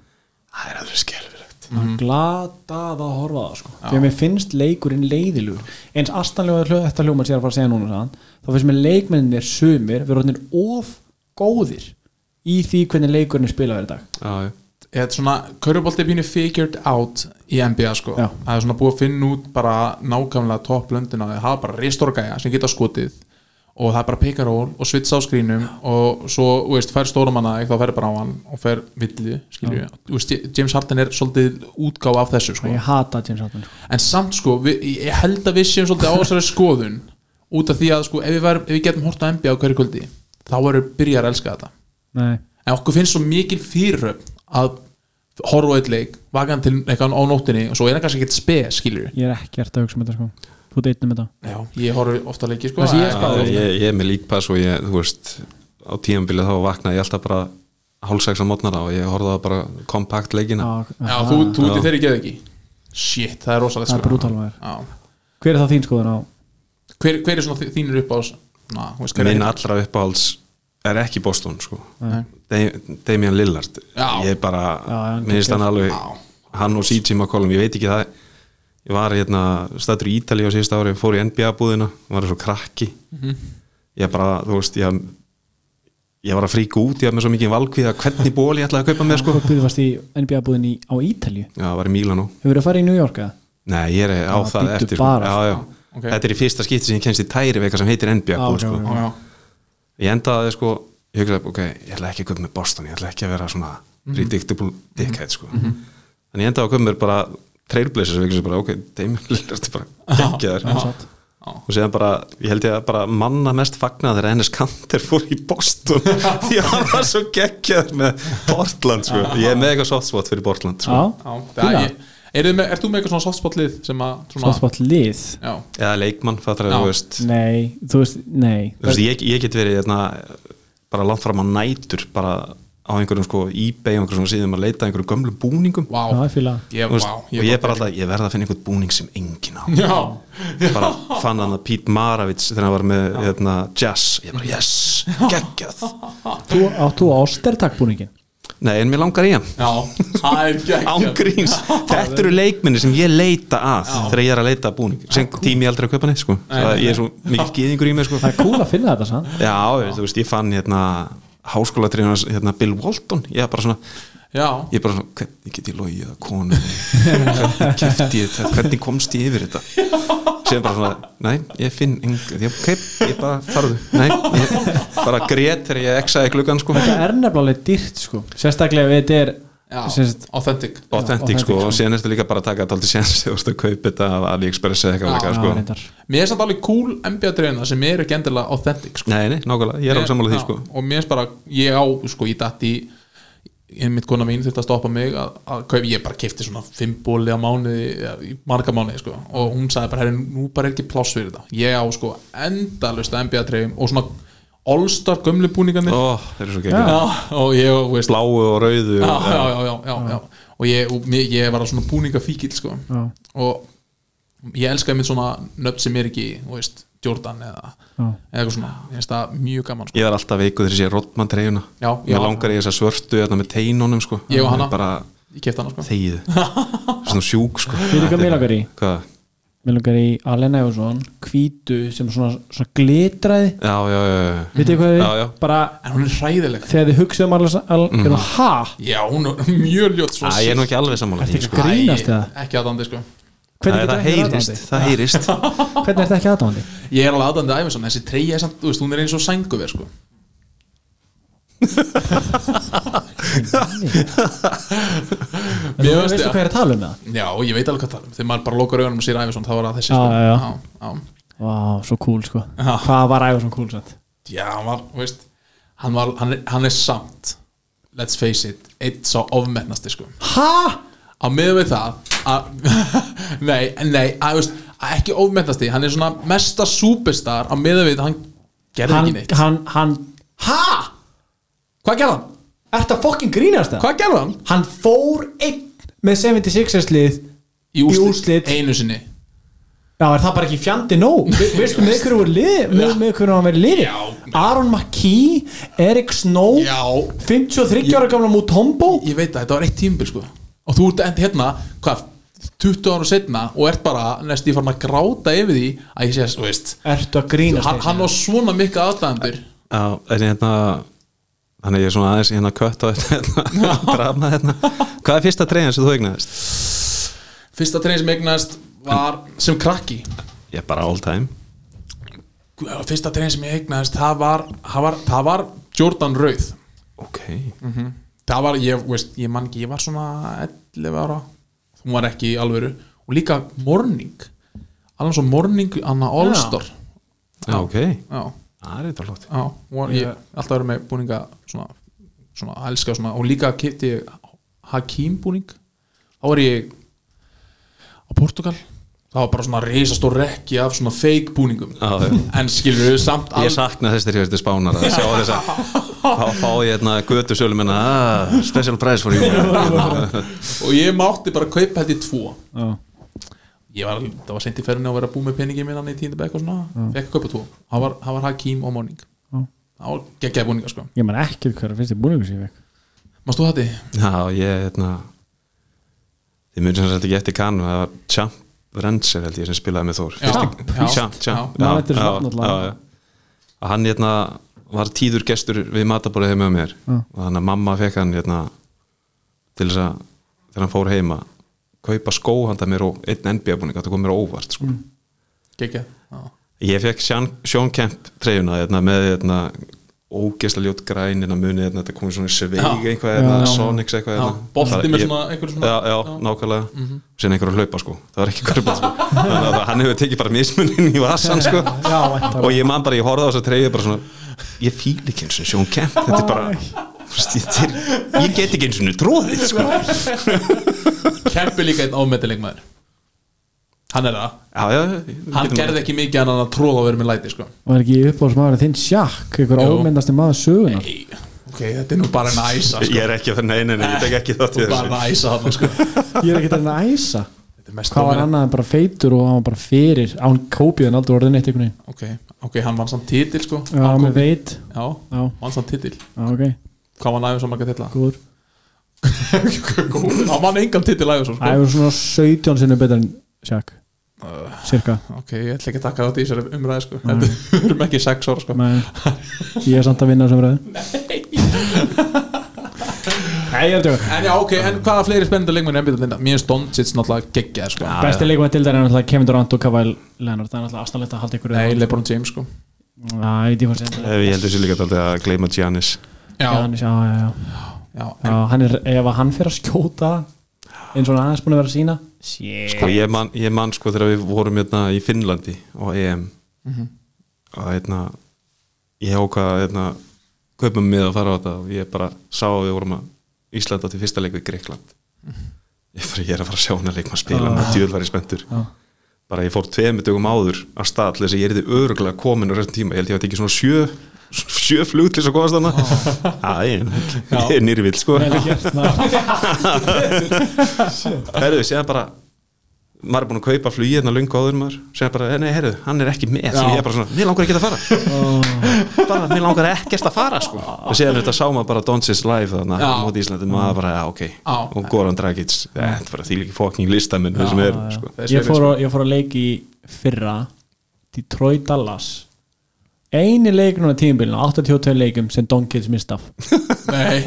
Speaker 4: það er alveg skelfilegt
Speaker 1: mm. glatað að horfa á það sko. því að mér finnst leikurinn leiðilugur eins astanlega hljó, þetta hljómar sér að fara að segja núna sann, þá finnst mér leikmennir sumir við rótnir of góðir í því hvernig leikurinn er spilað er í dag
Speaker 4: já, já.
Speaker 2: eða svona Körubolt er pínu figured out í NBA sko,
Speaker 1: Já.
Speaker 2: það er svona búið að finna út bara nákvæmlega topplöndina það hafa bara ristorgæja sem geta skotið og það er bara pick and roll og svits á skrínum og svo, þú veist, fær stórumanna eitthvað fer bara á hann og fer villu skilju, þú veist, James Harden er svolítið útgáð af þessu sko
Speaker 1: ég hata James Harden sko.
Speaker 2: en samt sko, við, ég held að við séum svolítið á þessari skoðun út af því að sko, ef við, værum, ef við getum hort á NBA á hverju kvöldi þá erum við byrjar að elska þetta
Speaker 1: Nei.
Speaker 2: en okkur finnst svo mikil fyriröfn að horfa á eitt leik vaka hann til eitthvað á nóttinni og svo er hann kannski ekkert spes, skilur
Speaker 1: ég er ekkert að hugsa um þetta sko. þú ert einnum þetta
Speaker 2: Já, ég horfi ofta leiki sko
Speaker 1: Það sé ég Já,
Speaker 2: en-
Speaker 4: Já,
Speaker 1: já.
Speaker 4: Eh, ég, ég er með líkpass og ég, þú veist á tímanbilið þá vaknaði ég alltaf bara hálfsæks á mótnara og ég horfði á bara kompakt leikina
Speaker 2: Já, þú, þú ert í
Speaker 4: Já.
Speaker 2: þeirri geð ekki Shit, það er rosalega
Speaker 1: Það er brútal, maður.
Speaker 2: Já.
Speaker 1: hver er það þín skoðun á
Speaker 2: hver, hver er svona þí- þínir upp á Na, þú veist, hver er-
Speaker 4: minn allra uppáhalds er ekki Boston sko.
Speaker 1: Nei.
Speaker 4: Dam- Damian Lillard
Speaker 2: Já.
Speaker 4: ég bara,
Speaker 1: Já, já, hann
Speaker 4: minnst hann alveg
Speaker 2: Já.
Speaker 4: hann og CJ McCollum, ég veit ekki það ég var hérna, stættur í Ítali á síðust ári, fór í NBA búðina var svo krakki
Speaker 2: Mhm.
Speaker 4: ég bara, þú veist, ég ég var að fríka út, ég var með svo mikið valkvíða hvernig ból ég ætlaði að kaupa með sko
Speaker 1: hvað byrðu fast í NBA búðinni á Ítalju
Speaker 4: já, það var í Mílanó
Speaker 1: hefur verið að fara í New York eða?
Speaker 4: Nei, ég er á
Speaker 1: Já,
Speaker 4: það
Speaker 1: bíddu
Speaker 4: eftir
Speaker 1: bara,
Speaker 4: sko. já, já.
Speaker 2: Ok.
Speaker 4: Þetta er í fyrsta skipti sem ég kennst í tæri veika sem heitir NBA
Speaker 1: Já,
Speaker 4: búð,
Speaker 1: ok,
Speaker 4: sko.
Speaker 1: ok.
Speaker 2: Já, já.
Speaker 4: Ég endaði sko, ég hugsaði, ok, ég ætla ekki að köpa með Boston ég ætla ekki að vera svona
Speaker 2: Mhm.
Speaker 4: predictable dickhead sko. en ég endaði að köpa með bara trailblazers og ég hugsaði bara, ok, Damon Lillard er bara geggjaður
Speaker 1: satt.
Speaker 4: sko.
Speaker 2: Já.
Speaker 4: og séðan bara, ég held ég að bara manna mest fagna þegar Ennis Kanter fór í Boston [LAUGHS] því að hann var svo geggjaður með Portland sko. ég er með eitthvað soft spot fyrir Portland sko.
Speaker 1: já,
Speaker 2: Já, það
Speaker 1: fíla.
Speaker 2: er, er, er, þú með eitthvað svona softspot-lið sem að svona,
Speaker 1: softspot lið
Speaker 2: Já,
Speaker 4: eða leikmann, það er
Speaker 2: Já.
Speaker 4: að þú veist
Speaker 1: nei, þú veist, nei
Speaker 4: Þú veist, ég, ég get verið hérna, bara langt fram á nætur bara á einhverjum sko ebay og einhverjum svona síðum að leita að einhverjum gömlu búningum
Speaker 2: vá
Speaker 1: Já, ég fíla.
Speaker 2: Ég,
Speaker 4: Þú veist,
Speaker 2: vá,
Speaker 4: og ég er bara alltaf, ég verð að finna einhvern búning sem enginn á
Speaker 2: Já,
Speaker 4: [LAUGHS]
Speaker 2: [LAUGHS]
Speaker 4: bara fann hann að Pete Maravich þegar hann var með hérna, jazz ég bara yes, geggjað
Speaker 1: þú, áttu ástertakbúningin
Speaker 4: nei en mér langar í hann
Speaker 2: já, það er geggjað.
Speaker 4: ángríns, þetta eru leikminni sem ég leita að þegar ég er að leita að búning sem tími ég aldrei að kaupa neitt sko það, ég er svo mikil gýðingur í mig sko
Speaker 1: það er cool að finna þetta sann
Speaker 4: já, þú veist, ég fann hérna háskólatriðunars hérna Bill Walton ég er bara svona,
Speaker 2: Já,
Speaker 4: ég bara svona, hvernig get ég logið að konu hvernig kefti ég þetta, hvernig komst ég yfir þetta síðan bara svona, nei, ég finn engu, ég, ok, ég bara farðu nei, ég bara grét þegar ég exaði klukkan sko,
Speaker 1: þetta er nefnilega alveg dýrt sko sérstaklega við þetta er
Speaker 2: já,
Speaker 1: sérst,
Speaker 2: authentic
Speaker 4: authentic
Speaker 1: authentic,
Speaker 4: sko og síðan ertu líka bara að taka þetta aldrei séns þú veist að kaupa þetta af AliExpress eða eitthvað
Speaker 2: Já,
Speaker 4: líka
Speaker 1: já,
Speaker 4: sko
Speaker 1: reyndar.
Speaker 2: Mér er samt alveg cool NBA-dreina sem eru ekki endilega authentic sko.
Speaker 4: nei, nei, nákvæmlega, ég er alveg sammála því
Speaker 2: Já,
Speaker 4: sko
Speaker 2: Og mér er bara, ég á, sko, ég datt í ég mitt konar mín þurfti að stoppa mig að, að kaup, ég bara kefti svona fimm bóli á mánuði, eða í marga mánuði sko. og hún sagði bara, herri, nú bara er ekki pláss fyrir þetta ég á sko endalust NBA-dreifum og svona all-star gömlu búningarnir
Speaker 4: ó, þeir eru svo geggjað
Speaker 2: Já, og ég, og, veist,
Speaker 4: bláu og rauðu
Speaker 2: já,
Speaker 4: og-
Speaker 2: já, já, já, já, já. og ég, og mér, ég var svona búningafíkil sko.
Speaker 1: Já.
Speaker 2: og ég elskaði mér svona nöfn sem er ekki, þú veist, Jordan eða,
Speaker 1: Já.
Speaker 2: eða eitthvað svona, ég finnst það mjög gaman sko.
Speaker 4: ég er alltaf veiku þegar ég sé Rodman treyjuna
Speaker 2: Já, já.
Speaker 4: mér langar ég þess að svörtu þarna með teinunum sko
Speaker 2: Ég og hana.
Speaker 4: bara
Speaker 2: ég kefti hana sko.
Speaker 4: þegið svona sjúk sko
Speaker 1: Veitu hvað mig langar í?
Speaker 4: Hvað?
Speaker 1: mér langar í Allen Iverson hvítu sem svona, svona glitraði
Speaker 4: já, já, já, já.
Speaker 1: veit ég hvað
Speaker 4: Mhm. Já,
Speaker 1: við
Speaker 4: já. Mhm.
Speaker 1: bara
Speaker 2: en hún er hræðileg
Speaker 1: þegar þið hugsið um alveg al, mm. ha,
Speaker 2: já, hún er [LAUGHS] mjög ljótt
Speaker 4: Æ,
Speaker 2: svona
Speaker 4: ég er nú ekki alveg sammála því sko.
Speaker 1: ekki- grínast
Speaker 2: Æ,
Speaker 1: eða?
Speaker 2: ekki aðdandi sko
Speaker 4: Æ,
Speaker 1: hvernig
Speaker 4: það
Speaker 1: getur ekki
Speaker 4: heyrist,
Speaker 1: aðdáðandi
Speaker 4: það heyrist
Speaker 1: hvernig er þetta ekki aðdáðandi
Speaker 2: ég er alveg aðdandi æfisson, þessi treyja er samt, þú veist, hún er eins og sænguver sko
Speaker 1: en þú
Speaker 2: Mér finnst
Speaker 1: veistu
Speaker 2: ég-
Speaker 1: hvað ég er að tala um það
Speaker 2: já, og ég veit alveg hvað það er, þegar maður bara lokar augunum og sér æfisson, þá var það þessi
Speaker 1: Já,
Speaker 2: sko.
Speaker 1: já, já.
Speaker 2: já, já.
Speaker 1: Vá, svo cool sko
Speaker 2: Já.
Speaker 1: Hvað var Iverson cool satt?
Speaker 2: Já, hann var, þú veist hann, var, hann, er, hann er samt Let's face it Eitt sá ofmennasti sko
Speaker 1: Ha?
Speaker 2: á miðum við það að, [LAUGHS] nei, nei, að, þú veist, að ekki ofmyndast því, hann er svona mesta superstar á miðum við, hann gerði
Speaker 1: hann,
Speaker 2: ekki neitt
Speaker 1: hann, hann
Speaker 2: ha? Hvað gerði hann?
Speaker 1: Ertu að fokkin grínast það?
Speaker 2: Hvað gerði hann?
Speaker 1: Hann fór einn með 76ers lið
Speaker 2: Í úrslit,
Speaker 1: úrslit.
Speaker 2: einu sinni
Speaker 1: Já, er það bara ekki fjandi
Speaker 2: [LAUGHS]
Speaker 1: nóg? Vi- Veistu með hverju voru liðið? Með, með hverju hann verið liðið?
Speaker 2: Já.
Speaker 1: Aron McKee, Erik Snow
Speaker 2: Já.
Speaker 1: 53 ára gamla Mutombo
Speaker 2: Ég veit að þetta var eitt tímbil sko Og þú ert end hérna, hvað, 20 ára setna Og ert bara næstu í farin að gráta yfir því Að ég sé að, þú veist
Speaker 1: Ertu að grínast?
Speaker 2: Hann, hann á svona mikið aðstæðandur
Speaker 4: Já, en ég hérna Þannig ég er svona aðeins í hérna kött á þetta hérna, [LAUGHS] drama hérna Hvað er fyrsta treyjan sem þú eignaðist?
Speaker 2: Fyrsta treyð sem eignast var sem krakki
Speaker 4: Ég er bara all time
Speaker 2: Fyrsta treyð sem ég eignast Það var, það var, það var Jordan Rauð
Speaker 4: Ok,
Speaker 2: Það var, ég, veist, ég man ekki Ég var svona 11 ára Hún var ekki í alvöru Og líka Morning Allan svo Morning, Anna Allstar
Speaker 4: já, ok Það
Speaker 2: Já.
Speaker 4: er eitthvað flott
Speaker 2: Já, og ég
Speaker 1: Ég-
Speaker 2: alltaf verið með búninga svona, svona elska svona og líka kipti ég Hakim búning þá var ég á Portugal það var bara svona risastór rekki af svona fake búningum
Speaker 4: Já, já.
Speaker 2: en skilur við samt
Speaker 4: Ég sakna þess þegar ég verður spánar að sjá þess [LAUGHS] að fá, fá ég hérna götu sölu minna ah, special price for you [LAUGHS]
Speaker 2: og ég mátti bara kaupa held í tvo
Speaker 1: Já.
Speaker 2: ég var, það var sent í ferðinni að vera búið með peningin minna í tíndabæk og svona, fekk að kaupa tvo það var, það var Hakim og Morning
Speaker 1: Já.
Speaker 2: það var geggjaði búninga sko
Speaker 1: Ég man ekki hverja fyrst ég búningur sem ég vekk
Speaker 2: Mást þú þetta?
Speaker 4: Já, ég hérna Þið mjög sem sagt ekki eftir kann það var Champ Renser held ég sem spilaði með Þór
Speaker 2: Já.
Speaker 4: Fyrsti-
Speaker 2: Já.
Speaker 4: Champ, Champ
Speaker 1: Já. Maður eftir þessu nafn allavega.
Speaker 4: Að Hann hérna var tíður gestur við mataborið heima með mér og þannig að mamma fekk hann hérna til þess að þegar hann fór heima kaupa skó handa mér og einn NBA búning þetta kom mér á óvart
Speaker 1: Mm.
Speaker 4: sko
Speaker 2: Geggjað Já.
Speaker 4: Ég fekk Sean, Sean Kemp treyjuna hérna, með hérna, ógeðslega ljót græn hérna, muni, hérna, þetta komið svona sveig
Speaker 2: Já.
Speaker 4: eitthvað, hérna,
Speaker 1: Já.
Speaker 4: Sonics eitthvað
Speaker 2: Já,
Speaker 4: hérna.
Speaker 2: bolti
Speaker 4: Það-
Speaker 2: með
Speaker 4: ég-
Speaker 2: svona einhverju svona-
Speaker 4: Já, já,
Speaker 2: já. Mhm.
Speaker 4: nákvæmlega mm -hmm. Sen einhverju að hlaupa sko, það var ekki körpa sko. Þannig að það- hann hefur tekið bara mismuninn í vasan sko
Speaker 1: Já, væntanlega.
Speaker 4: Og ég man bara, ég horfði á þess að treyja bara svona Ég fíl ekki eins og Sean Kemp Þetta er bara þú veist, ég, til, ég get ekki eins og tróðið sko
Speaker 2: Kempi líka einn ámetileg maður Hann er það
Speaker 4: Já, já,
Speaker 2: hann gerði ekki mikið annað en að tróða að vera með læti sko.
Speaker 1: Var ekki uppáðs maður þinn sjakk Ykkur
Speaker 2: Jú.
Speaker 1: ómyndasti maður sögunar
Speaker 2: Nei, ok, þetta er nú bara næsa
Speaker 4: [LAUGHS] Ég
Speaker 2: sko.
Speaker 4: er ekki að finna einu, ég tek ekki þátt í
Speaker 2: Þú
Speaker 4: þessu
Speaker 2: bara næsa hann
Speaker 4: [LAUGHS]
Speaker 2: sko.
Speaker 1: Ég er ekki að æsa
Speaker 2: Þetta er mest
Speaker 1: Hvað var
Speaker 2: ómeðal-
Speaker 1: annað en bara feitur og hann var bara fyrir Án kópið en aldrei orðin eitt einhvern veginn
Speaker 2: ok, ok, hann vann samt titil sko.
Speaker 1: Já,
Speaker 2: hann
Speaker 1: með veit
Speaker 2: já,
Speaker 1: Já,
Speaker 2: vann samt titil
Speaker 1: já ok,
Speaker 2: hvað var næfum svo marga titla?
Speaker 1: góður
Speaker 2: hann vann engan titil æfum svo sko.
Speaker 1: Ægur svona 17 sinni betur en sjakk [LAUGHS] Cirka
Speaker 2: ok, ég ætla ekki að taka þátt í þessari umræði sko. Þetta- [LAUGHS] við erum ekki sex ára sko.
Speaker 1: Men, Ég er samt að vinna sem [LAUGHS] ræði Nei, ég er tjók
Speaker 2: en já, ok, en hvaða fleiri spennandi leikmenn er ennbyrðan þinna? Mér stónd sitt náttúrulega geggjað sko.
Speaker 1: Besti leikvæð til dæri er náttúrulega Kevin Durant og Kavall Leonard Það er náttúrulega astanlegt að halda ykkur
Speaker 2: nei, Lebron James sko.
Speaker 1: Nei, ég veit ekki hvað
Speaker 4: Ég heldur sér líka dálítið að gleyma Giannis
Speaker 2: já,
Speaker 1: sem Já, já, já
Speaker 2: já,
Speaker 1: Já, hann er, ef hann fyrir að skjóta eins og hann er aðeins búin að vera að sína
Speaker 4: sko, ég, man, ég man sko þegar við vorum hérna, í Finnlandi á EM að hérna ég ákvað hérna kaupum mig að fara á þetta og ég bara sá að við vorum að Ísland átti fyrsta leik við Greikland ég, bara, ég er að fara að sjá hana leik maður spila með djúðværi spenntur bara ég fór tveimur dögum áður að stað til þess að ég erði öruglega komin á þessum tíma, ég held ég að tekið svona sjö sjö flug til þess að komast hana það ég er nýrvill sko
Speaker 1: [LAUGHS]
Speaker 4: Herðu, séðan bara maður er búin að kaupa flugið hérna lungu áður en maður séðan bara, nei, herðu, hann er ekki með og ég er bara svona, mér langar ekki að fara bara, mér langar ekkert að fara sko og séðan þetta sá maður bara Donsis live þannig
Speaker 2: Já.
Speaker 4: að móti Íslandi, maður bara, já, ok
Speaker 2: Já.
Speaker 4: og Goran Dragic, eh, þetta er bara því líki fókning listamenn þeir sem er, sko
Speaker 2: Þessi
Speaker 1: ég
Speaker 2: er
Speaker 1: fór, að, ég fór að leiki í fyrra Detroit Dallas eini leik núna tíðinbílinu 82 leikum sem Don Kids mist [LAUGHS] af
Speaker 2: nei,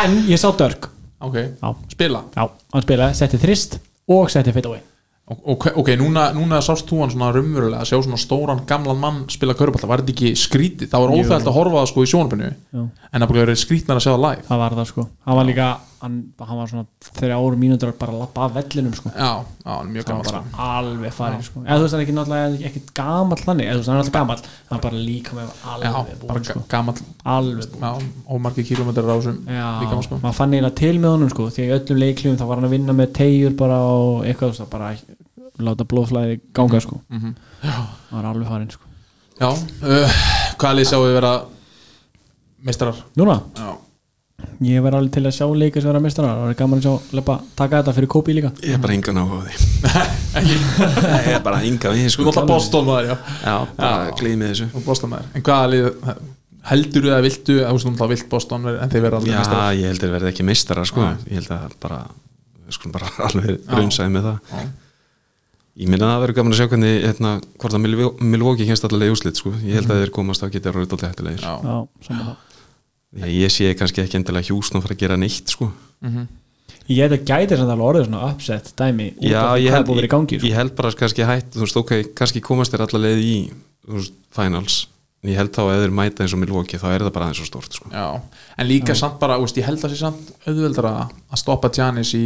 Speaker 1: en ég sá Dörg
Speaker 2: ok,
Speaker 1: já,
Speaker 2: spila
Speaker 1: já, hann spilaði, setti þrist og setti feit away
Speaker 2: Og, og, ok, núna, núna sást þú hann svona raunverulega að sjá svona stóran gamlan mann spila körbólta, var þetta ekki skrítið það var óþægt að horfa á það sko í sjónarbyrnu en það búið að vera skrítnar að sjá það live
Speaker 1: það var það sko, hann var líka hann, hann var svona þegar árum mínútur bara að lappa af vellinum sko.
Speaker 2: já, já, hann er mjög
Speaker 1: hann
Speaker 2: gammal
Speaker 1: var
Speaker 2: sko.
Speaker 1: bara alveg farinn sko. eða þú veist hann er ekki náttúrulega ekkert gamall þannig eða þú veist hann er alltaf gamall hann er bara líka með
Speaker 2: já,
Speaker 1: alveg
Speaker 2: bara
Speaker 1: búinn
Speaker 2: ga-
Speaker 1: sko.
Speaker 2: gamall
Speaker 1: alveg búinn
Speaker 2: já, ómargi kílómetrar á þessum
Speaker 1: já,
Speaker 2: líka sko.
Speaker 1: maður fann eiginlega til með honum sko, því að í öllum leikljum þá var hann að vinna með tegjur bara og eitthvað þú veist, að bara láta blóðflæði ganga sko
Speaker 2: Mhm,
Speaker 1: hann var alveg farinn sko.
Speaker 2: já, uh, hvað lið sjáum við vera meistarar
Speaker 1: núna,
Speaker 2: já,
Speaker 1: ég verði alveg til að sjá leika sem vera mestrar, það verði gaman að sjá lepa, taka þetta fyrir kópi líka
Speaker 4: Ég er bara engan áhuga á því Ég er bara engan við því,
Speaker 2: þú
Speaker 4: sko.
Speaker 2: er alltaf Boston maður, já
Speaker 4: Já, bara glýmið þessu
Speaker 2: og Boston maður, en hvaða lið heldur eða viltu, eða þú stundum þá vilt Boston vera- en þeir vera alveg meistarar
Speaker 4: Já, ég held að verði ekki meistara sko. Ég held að bara, við skulum bara [LAUGHS] alveg raunsaði með það
Speaker 2: Já.
Speaker 4: Ég minna að það verður gaman að sjá hvernig hérna, hvort að Milvo- Milwaukee kemst allavega í úslit sko. Ég held að þeir komast að geta rauð alltaf hættilegir
Speaker 2: já,
Speaker 1: já, saman það
Speaker 4: Ég, ég sé kannski ekki endilega hjúsn og fara að gera neitt sko.
Speaker 1: ég held að gæti samt alveg orðið svona upset dæmi út af því
Speaker 4: ég,
Speaker 1: hvað er
Speaker 4: held,
Speaker 1: búið að vera í gangi sko.
Speaker 4: ég held bara að kannski hætt þú veist, ok, kannski komast þér allavega í þú veist, finals En ég held þá að ef þeir mæta eins og Milwaukee þá er það bara aðeins og stórt sko.
Speaker 2: Já, en líka samt bara, úst, ég held að sé samt auðveldara að stoppa Giannis í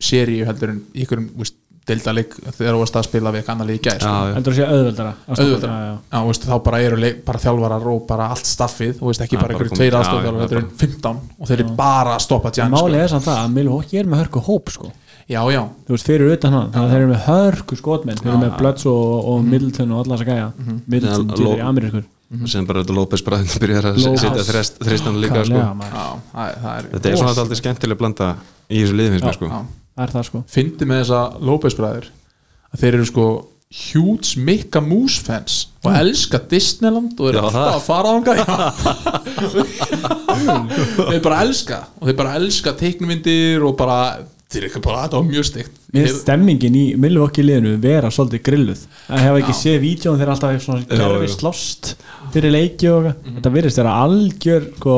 Speaker 2: seríu heldur en í ykkurum úst, deildaleg þegar þú varst að spila við kannan líka
Speaker 4: Já,
Speaker 2: sko.
Speaker 4: já.
Speaker 1: heldur að sé auðveldara að stoppa-
Speaker 2: auðveldara,
Speaker 1: já, já.
Speaker 2: já, úst, þá bara eru leik, bara þjálfarar og bara allt staffið og veist, ekki
Speaker 4: Já,
Speaker 2: bara
Speaker 4: bara
Speaker 2: ykkur
Speaker 4: komið-
Speaker 2: tveir
Speaker 4: já,
Speaker 2: aðstofþjálfarar,
Speaker 4: já,
Speaker 2: þetta eru 15 og þeir eru bara að stoppa Giannis
Speaker 1: Málið
Speaker 2: sko.
Speaker 1: er samt það að Milwaukee er með hörku hóp sko.
Speaker 2: Já, já,
Speaker 1: þú veist fyrir utan hann þannig að þeir eru með hörku skotmenn þeir eru með Bloods og, og Middleton og alla þess að gæja Middleton
Speaker 4: Nei,
Speaker 1: til
Speaker 4: Lo-
Speaker 1: í Ameríkur
Speaker 4: sem bara þetta López bræðin byrjar að
Speaker 1: López.
Speaker 4: setja þrest- þristan líka sko.
Speaker 1: Kallega, maður.
Speaker 2: já það, er- það er
Speaker 4: þetta er svona alltaf skemmtileg blanda í þessu liði finnst mér sko.
Speaker 2: já.
Speaker 1: það er það sko
Speaker 2: Fyndi með þessa Lópezbræður að þeir eru sko huge Mikka Moose fans
Speaker 1: Mm.
Speaker 2: og elska Disneyland og eru
Speaker 4: Já,
Speaker 2: alltaf
Speaker 4: það.
Speaker 2: að fara á hanga [LAUGHS] þeir bara elska og þeir bara elska teiknumyndir og bara þeir eru ekki bara þetta var mjög stygt
Speaker 1: Mér finnst stemmingin í Milwaukee liðinu vera svolítið grilluð að hefa ekki séð vídjón þegar alltaf er svona gerfi
Speaker 4: já.
Speaker 1: slost fyrir leiki og eitthvað. þetta virðist þeirra algjör sko,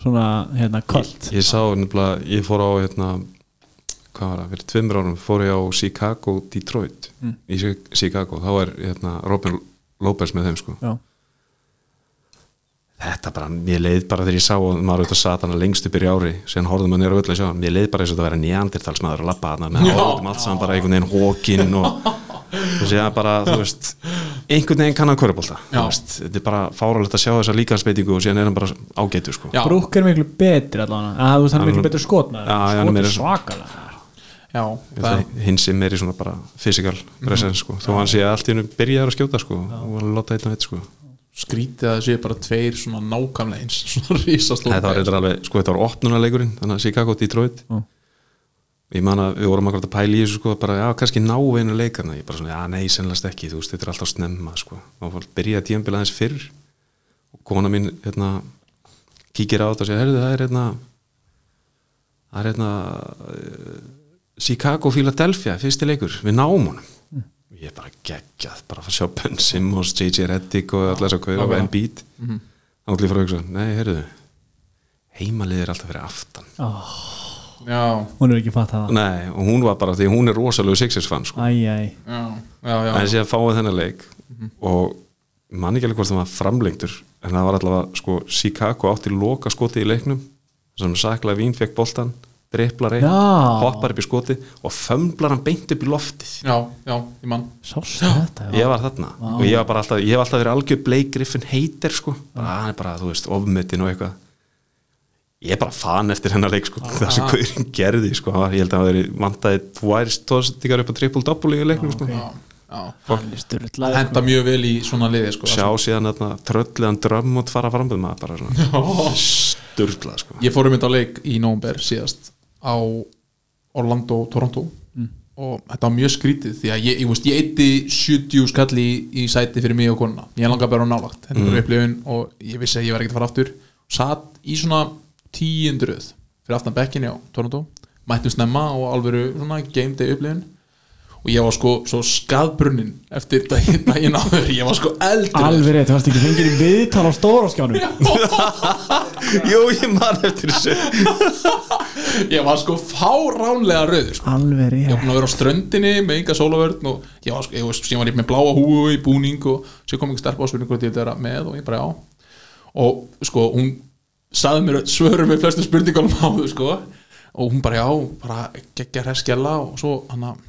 Speaker 1: svona hérna kvöld
Speaker 4: ég sá nefnilega, ég fór á hérna, hvað var það, fyrir tveimur árum fór ég á Chicago, Detroit
Speaker 2: Mm.
Speaker 4: í Chi- Chicago, þá er hérna, Robin López með þeim sko.
Speaker 1: já,
Speaker 4: þetta bara, mér leið bara þegar ég sá og maður auðvitað sat hana lengst upp í ári síðan horfðum maður nýra öll að sjá hann, mér leið bara eins og þetta væri neandertalsmaður að labba hana með
Speaker 2: Já.
Speaker 4: hálfum allt saman bara einhvern veginn hókin og og síðan bara, þú veist einhvern veginn kann að körubólta
Speaker 2: Já.
Speaker 4: þetta er bara fáralegt að sjá þessa líkansbeitingu og síðan er hann bara ágætu sko.
Speaker 2: Já.
Speaker 1: Brúk er miklu betri allavega að þú veist hann er miklu
Speaker 4: Hann-
Speaker 1: betur skotmaður
Speaker 4: Já, já, hann
Speaker 1: skot er
Speaker 4: er meira-
Speaker 1: svakalega
Speaker 2: já, það,
Speaker 4: hins sem er í svona bara physical presence sko, þó hann sé allt í hennu byrjaður að skjóta sko, og hann láta einn og einn sko
Speaker 2: skrítið að það séu bara tveir svona nákvæmlega eins [LAUGHS] svona risastóð
Speaker 4: þetta var reyndar alveg, sko þetta var opnunaleikurinn þannig að Chicago Detroit
Speaker 1: Já.
Speaker 4: ég man að við vorum akkurat að pæla í þessu sko bara, já, kannski ná einu leikana ég bara svona, já, nei, sennilegast ekki, þú veist, þetta er alltaf snemma sko, og fólk byrjaði tíðanbila aðeins fyrr og kona mín, hérna kíkir á þetta og segir, herðu, það er hérna það er hérna eh, Chicago Philadelphia, fyrsti leikur við náum honum ég er bara geggjað, bara að fá að sjá Ben Simmons J.J. Reddick og allar þess að kauða og Embiid, þá ætlum ég frá hugsa nei, herðu, heimalið er alltaf fyrir aftan
Speaker 2: já,
Speaker 1: hún er ekki fatt að það
Speaker 4: Nei, og hún var bara því hún er rosalegu Sixers fan sko.
Speaker 1: æj, æj,
Speaker 2: já, já, já,
Speaker 4: en síðan fáið þennan leik og mann ekki alveg hvort það var framlengdur en það var allavega sko Chicago átti loka skoti í leiknum sem sakla vín fekk boltan, dreplar einn
Speaker 1: Já.
Speaker 4: hoppar upp í skoti og fömblar hann beint upp í loftið
Speaker 2: já, já, ég mann
Speaker 1: sástu þetta já.
Speaker 4: ég var þarna og ég var bara alltaf, ég hef alltaf verið algjör Blake Griffin heitir sko, bara hann er bara, þú veist, ofmötin og eitthvað ég er bara fan eftir hennar leik sko, það sem Guðurinn gerði sko, Hann var- ég held að hann veri vantaði tvær stóðsendingar upp á triple-double í leiknum sko,
Speaker 2: já, já,
Speaker 1: hann er styrlaður
Speaker 2: henda mjög vel í svona liði sko
Speaker 4: sjá síðan þarna trölliðan drömm og fara fram með maður bara svona sturglað sko
Speaker 2: ég fór um þetta á leik í nómber síðast á Orlando Toronto og þetta var mjög skrítið því að ég, ég, veist, ég eitti 70 skalli í, í sæti fyrir mig og konuna ég langar bara á nálagt, þetta var upplifun og ég vissi að ég var ekkert að fara aftur satt í svona tíundruð fyrir aftan bekkinni á Toronto mættum snemma og alvöru svona game day upplifun og ég var sko svo skadbrunnin eftir daginn, [LAUGHS] daginn áður ég var sko eldur
Speaker 1: alveg rétt, þú varst ekki fengið í viðtal á stóra skjánum
Speaker 4: jú ég man eftir þessu
Speaker 2: ég var sko fáránlega rauður sko.
Speaker 1: alveg rétt
Speaker 2: ég var búinn að vera á ströndinni með enga sólavörn og ég var, sko- ég var, ég var með bláa húu í búning og sér kom einhver stelpa á spurningu hvort ég þetta vera með og ég bara [LAUGHS] já og sko hún saði mér svörum við flestu spurningunum á þau sko og hún bara já, bara geggja hreskjala og svo hann að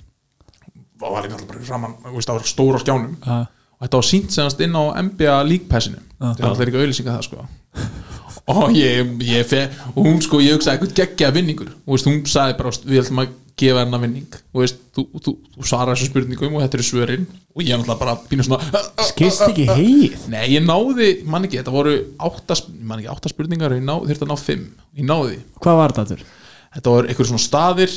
Speaker 2: var hann alltaf bara framan, þú veist, á stóra skjánum
Speaker 1: Já.
Speaker 2: og þetta var sínt senast inn á NBA líkpæsinu, þetta er alltaf ekki auðlýsinga það sko og ég, ég fe, og hún sko, ég hugsaði eitthvað geggja vinningur, og veist, hún sagði bara við ætlum að gefa hennar vinning og veist, þú, þú, þú, þú svarar þessu spurningum og þetta eru svörin og ég er alltaf bara pínu svona
Speaker 1: skist ekki heið
Speaker 2: Nei, ég náði, man ekki, þetta voru átta, sp- man ekki, átta spurningar og ég ná, þurfti að ná fimm, ég náði
Speaker 1: hvað var þetta þurr?
Speaker 2: þetta voru einhverjum svona staðir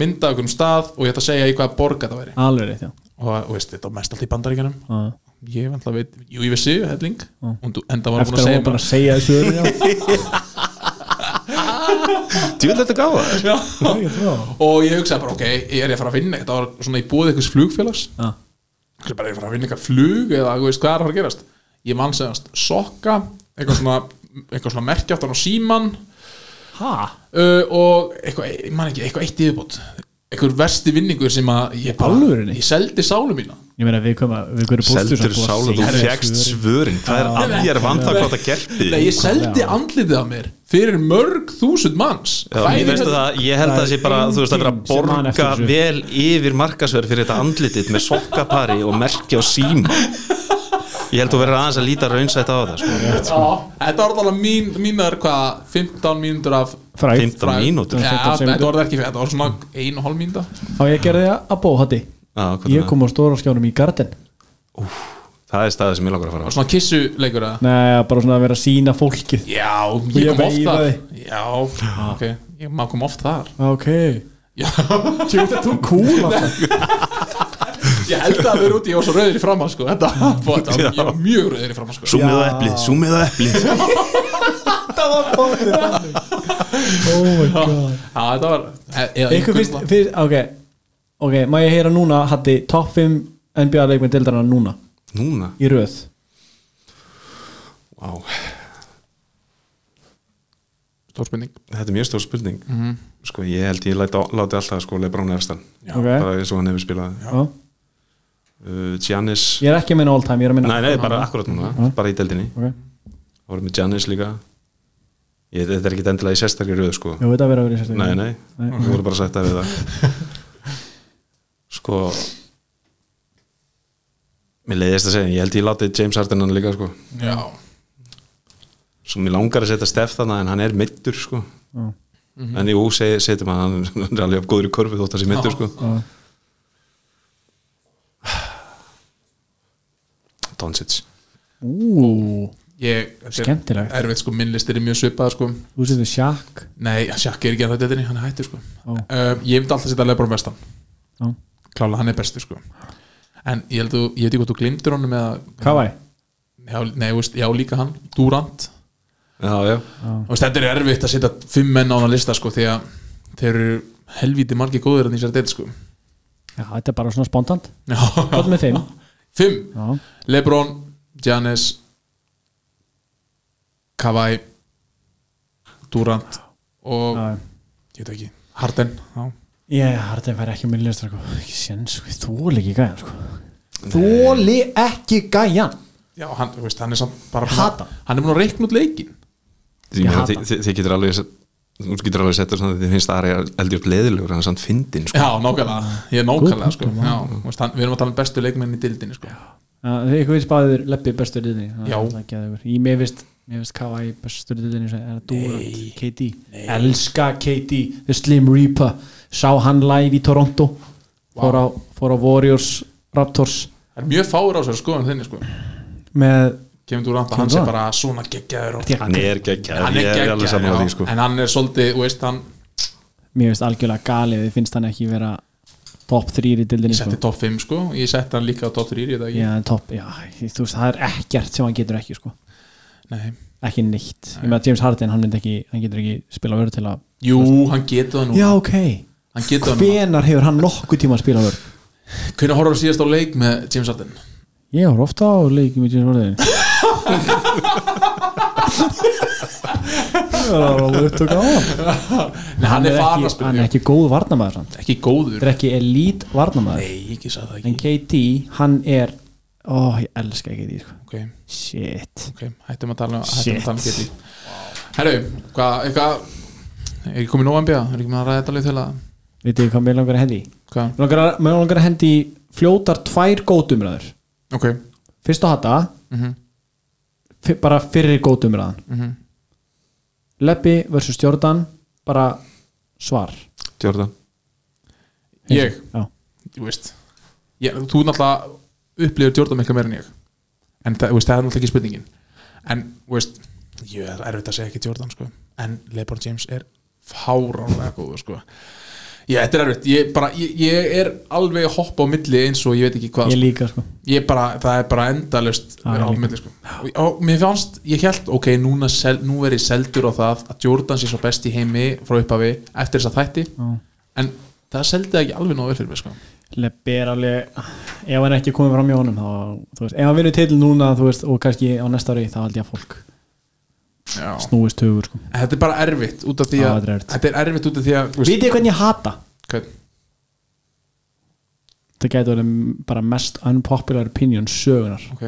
Speaker 2: mynda einhverjum stað og ég ætla að segja í hvaða borg þetta væri
Speaker 1: alveg rétt, já Ah.
Speaker 2: og þú veist, þetta var mest alltaf í bandaríkjanum
Speaker 1: Já.
Speaker 2: ég veit, veit, jú, ég vissi, helling og þú enda var hún
Speaker 1: eftir
Speaker 2: að
Speaker 1: að
Speaker 2: segja
Speaker 1: hún bara
Speaker 2: bara
Speaker 1: að segja þessu
Speaker 4: Djúvel þetta gáða þér
Speaker 2: og ég hugsaði bara, ok, ég er ég að fara að vinna þetta var svona í búið einhvers flugfélags
Speaker 1: Já.
Speaker 2: ég bara, er ég að fara að vinna eitthvað flug eða þú veist, hvað er að fara að gerast ég vann segjast sokka, eitthvað svona eitthvað svona merkjáttan á síman
Speaker 1: ha?
Speaker 2: uh, og eitthvað, ég man ekki, eitthvað eitt yfirbót eitthvað versti vinningur sem að ég bara,
Speaker 1: Alvörinni?
Speaker 2: ég seldi sálu mína
Speaker 1: ég meina við koma við hverju bústur
Speaker 4: Seldur sála, þú fjækst svörin Hvað er að ég er vant að hvað það gerði
Speaker 2: Nei, ég seldi andlitið af mér fyrir mörg þúsund manns hérna-
Speaker 4: Já, ég,
Speaker 2: Fæði-
Speaker 4: veist það, ég held að
Speaker 1: Það
Speaker 4: það sé
Speaker 1: er
Speaker 4: bara þú veist að vera að
Speaker 1: enginn sem man eftir
Speaker 4: borga
Speaker 1: þessu.
Speaker 4: vel yfir markasverð fyrir þetta andlitið með sokkapari og merki og síma ég held að vera aðeins að líta raunsætt á það sko.
Speaker 2: Já, Þetta var alveg mín, mínar hvað 15 mínútur af
Speaker 1: fræð
Speaker 4: 15 mínútur
Speaker 2: Já,
Speaker 4: já,
Speaker 1: 15
Speaker 2: þetta
Speaker 1: sekúndur.
Speaker 2: var ekki fyrir, þetta var svona ein og hálf mínúta
Speaker 1: þá ég gerði það að bóhati
Speaker 4: hvað
Speaker 1: ég
Speaker 4: er
Speaker 1: kom á stóra skjánum í garden
Speaker 4: það? það er staðið sem ég langar að fara á
Speaker 2: og svona kissuleikur eða?
Speaker 1: Nei, bara svona að vera að sína fólkið
Speaker 2: Já, ég
Speaker 1: Ég
Speaker 2: kom oft þar
Speaker 1: veifaði.
Speaker 2: Já, ok, ég maður kom oft þar
Speaker 1: Ok
Speaker 2: Já,
Speaker 1: Tjóta, þú kúl alltaf
Speaker 2: ég held að vera úti, ég var svo rauður í framar sko Þetta, [LAUGHS] þetta var, ég var mjög rauður í framar sko
Speaker 4: Súmið á eplið, súmið á eplið
Speaker 1: Oh my
Speaker 2: Já,
Speaker 1: god
Speaker 2: já, þetta var e- eða
Speaker 1: Ykkur
Speaker 2: einhver-
Speaker 1: finnst, finnst, ok Ok, má ég heyra núna, Hatti, topp 5 NBA leikmenn deildarna núna
Speaker 4: Núna,
Speaker 1: Í röð
Speaker 4: vá,
Speaker 2: Stór spurning
Speaker 4: þetta er mjög stór spurning
Speaker 2: Mhm.
Speaker 4: Sko, ég held ég læti, láti alltaf sko Lebrón Efstan,
Speaker 2: Já,
Speaker 1: Ok.
Speaker 4: bara eins og hann hefur spilað
Speaker 1: Já.
Speaker 4: uh, Giannis,
Speaker 1: Ég er ekki að minna all time, ég er að minna
Speaker 4: nei, nei, bara akkurat núna bara í deldinni,
Speaker 1: Ok,
Speaker 4: það voru með Giannis líka ég, þetta er ekki endilega í sérstakri röðu sko
Speaker 1: jú, þetta verður að vera í sérstaklega
Speaker 4: Nei, nei,
Speaker 1: Nei.
Speaker 4: við vorum bara að setja við það Sko Mér leiðist að segja, ég held ég láti James Harden hann líka sko
Speaker 2: Já,
Speaker 4: Svo mér langar að setja Steph þannig en hann er mittur sko
Speaker 1: Já.
Speaker 4: En jú, seg, setjum að hann hann er alveg góður í körfu þótt að sé mittur sko
Speaker 1: Já.
Speaker 4: Doncic
Speaker 1: Ú,
Speaker 2: ég þetta er
Speaker 1: Skemmtilegt.
Speaker 2: Erfitt sko, minnlistir er mjög svipaðar sko
Speaker 1: þú setur sjakk
Speaker 2: Nei, Sjakki er ekki að þetta þetta hann er hættur sko
Speaker 1: Ó.
Speaker 2: uh, Ég myndi alltaf setja Lebron vestan
Speaker 1: Já.
Speaker 2: Klála, hann er bestur sko En ég held þú, ég veit ekki hvað þú glimtir honum eða,
Speaker 1: Kavæ
Speaker 2: já, Nei, þú veist, já líka hann, Durant
Speaker 4: Já, já,
Speaker 2: Og veist, þetta er erfitt að setja fimm menn á hann lista sko Því að þeir eru helvíti margir góður en því sér þetta sko
Speaker 1: Já, þetta er bara svona spontant
Speaker 2: Já,
Speaker 1: Hvað með 5?
Speaker 2: fimm
Speaker 1: Já,
Speaker 2: Lebron, Giannis Kawhi Durant og
Speaker 1: já
Speaker 2: ég veit ekki, Harden já.
Speaker 1: Ég harði að vera ekki minn listar sko. ekki séns, sko. þóli ekki gæjan sko. þóli ekki gæjan
Speaker 2: Já, hann, þú veist, hann er samt bara
Speaker 1: Ég hata hann.
Speaker 2: Hann er búin að reikna út leikin
Speaker 4: Því
Speaker 1: Ég
Speaker 4: meina,
Speaker 1: hata
Speaker 4: þið þið- þið getur alveg Þú getur alveg setja svona, þið finnst Ari eldur leðilegur en samt fyndin sko
Speaker 2: Já, nákvæmlega, ég er nákvæmlega
Speaker 1: Good
Speaker 2: sko.
Speaker 1: punktur,
Speaker 2: já, þú veist, hann, Við erum að tala um bestu leikmenn í dildinni sko.
Speaker 1: uh, ykkur við spáðir leppi bestur í
Speaker 2: Já.
Speaker 1: því í mér vist mér veist hvað í bestur í því er að Durant, KD, elska KD The Slim Reaper, sá hann live í Toronto fór, á, fór á Warriors Raptors
Speaker 2: Það er mjög fáur á sér sko en þinni sko.
Speaker 1: með
Speaker 2: Kevin Durant,
Speaker 1: Kevin
Speaker 2: hann sé
Speaker 1: Durant?
Speaker 2: bara svona geggjaður og,
Speaker 4: Hann er geggjað,
Speaker 2: Hann
Speaker 4: ég
Speaker 2: er
Speaker 4: er alveg saman á
Speaker 2: geggjaður,
Speaker 4: því
Speaker 2: já,
Speaker 4: sko
Speaker 2: en hann er svolítið þú veist, hann
Speaker 1: mér veist algjörlega galið, þið finnst hann ekki vera top 3 í dildinni
Speaker 2: ég setti top 5 sko. Ég setti hann líka á top 3 ég, yeah.
Speaker 1: Já, en topp, já, þú veist, það er ekkert sem hann getur ekki, sko,
Speaker 2: Nei
Speaker 1: ekki neitt ég með að James Harden, hann, myndi ekki, hann getur ekki spila vörð til að,
Speaker 2: Jú, hann getur það nú
Speaker 1: já, ok
Speaker 2: Hann getur það nú
Speaker 1: hvenar hefur hann nokkuð tíma að spila vörð
Speaker 2: Hvernig horfður síðast á leik með James Harden?
Speaker 1: ég var ofta á leikið með James Harden það var alveg upptök á hann
Speaker 2: Nei, hann er farin að
Speaker 1: ekki, hann
Speaker 2: spila
Speaker 1: er
Speaker 2: ekki,
Speaker 1: ekki góð varnamaður hann.
Speaker 2: ekki góður
Speaker 1: þetta er ekki elít varnamaður
Speaker 2: Nei, ekki sagði það
Speaker 1: en
Speaker 2: ekki
Speaker 1: KD, hann er ó, ég elska ekki því, sko,
Speaker 2: Ok,
Speaker 1: shit
Speaker 2: ok, hættum að tala um, hættum
Speaker 1: Shit.
Speaker 2: að tala um geti Herru, hvað, eitthvað er ekki komið nóg NBA er ekki með að ræða þetta alveg til að
Speaker 1: veit ekki hvað mér langar að hendi í?
Speaker 2: hvað,
Speaker 1: Mér langar að- mér langar að hendi í fljótar tvær gótumræður
Speaker 2: ok
Speaker 1: fyrst á hata
Speaker 2: mm -hmm.
Speaker 1: fi- bara fyrir gótumræðan Leppi versus Jordan bara svar
Speaker 4: Jordan
Speaker 2: ég,
Speaker 1: Já.
Speaker 2: þú veist ég, þú náttúrulega upplifir Jordan mikla meira en ég en það, þú veist, það er náttúrulega ekki spurningin en þú veist, ég er erfitt að segja ekki Jordan sko. en Lebron James er fáránlega góður sko. ég, þetta er erfitt ég, bara, ég, ég er alveg að hoppa á milli eins og ég veit ekki hvað
Speaker 1: ég
Speaker 2: sko.
Speaker 1: líka sko
Speaker 2: ég bara, það er bara endalust
Speaker 1: Já,
Speaker 2: vera á
Speaker 1: ég líka.
Speaker 2: milli sko. og, og mér fannst, ég held, ok, núna sel, nú er ég seldur á það að Jordan sé svo best í heimi frá upphafi eftir þessa þætti
Speaker 1: Já.
Speaker 2: en það seldi ekki alveg nóg vel fyrir mig sko.
Speaker 1: Leppi er alveg ef hann er ekki komið fram í honum þá, þú veist, ef hann vinnur til núna þú veist, og kannski á næsta ári þá held ég að fólk
Speaker 2: Já.
Speaker 1: snúist hugur sko.
Speaker 2: En þetta er bara erfitt út af því
Speaker 1: Já,
Speaker 2: að
Speaker 1: þetta er erfitt.
Speaker 2: þetta er erfitt út af því að þú veist,
Speaker 1: vitið þið hvernig ég hata
Speaker 2: hvern-
Speaker 1: það gæti verið bara mest unpopular opinion sögunar
Speaker 2: ok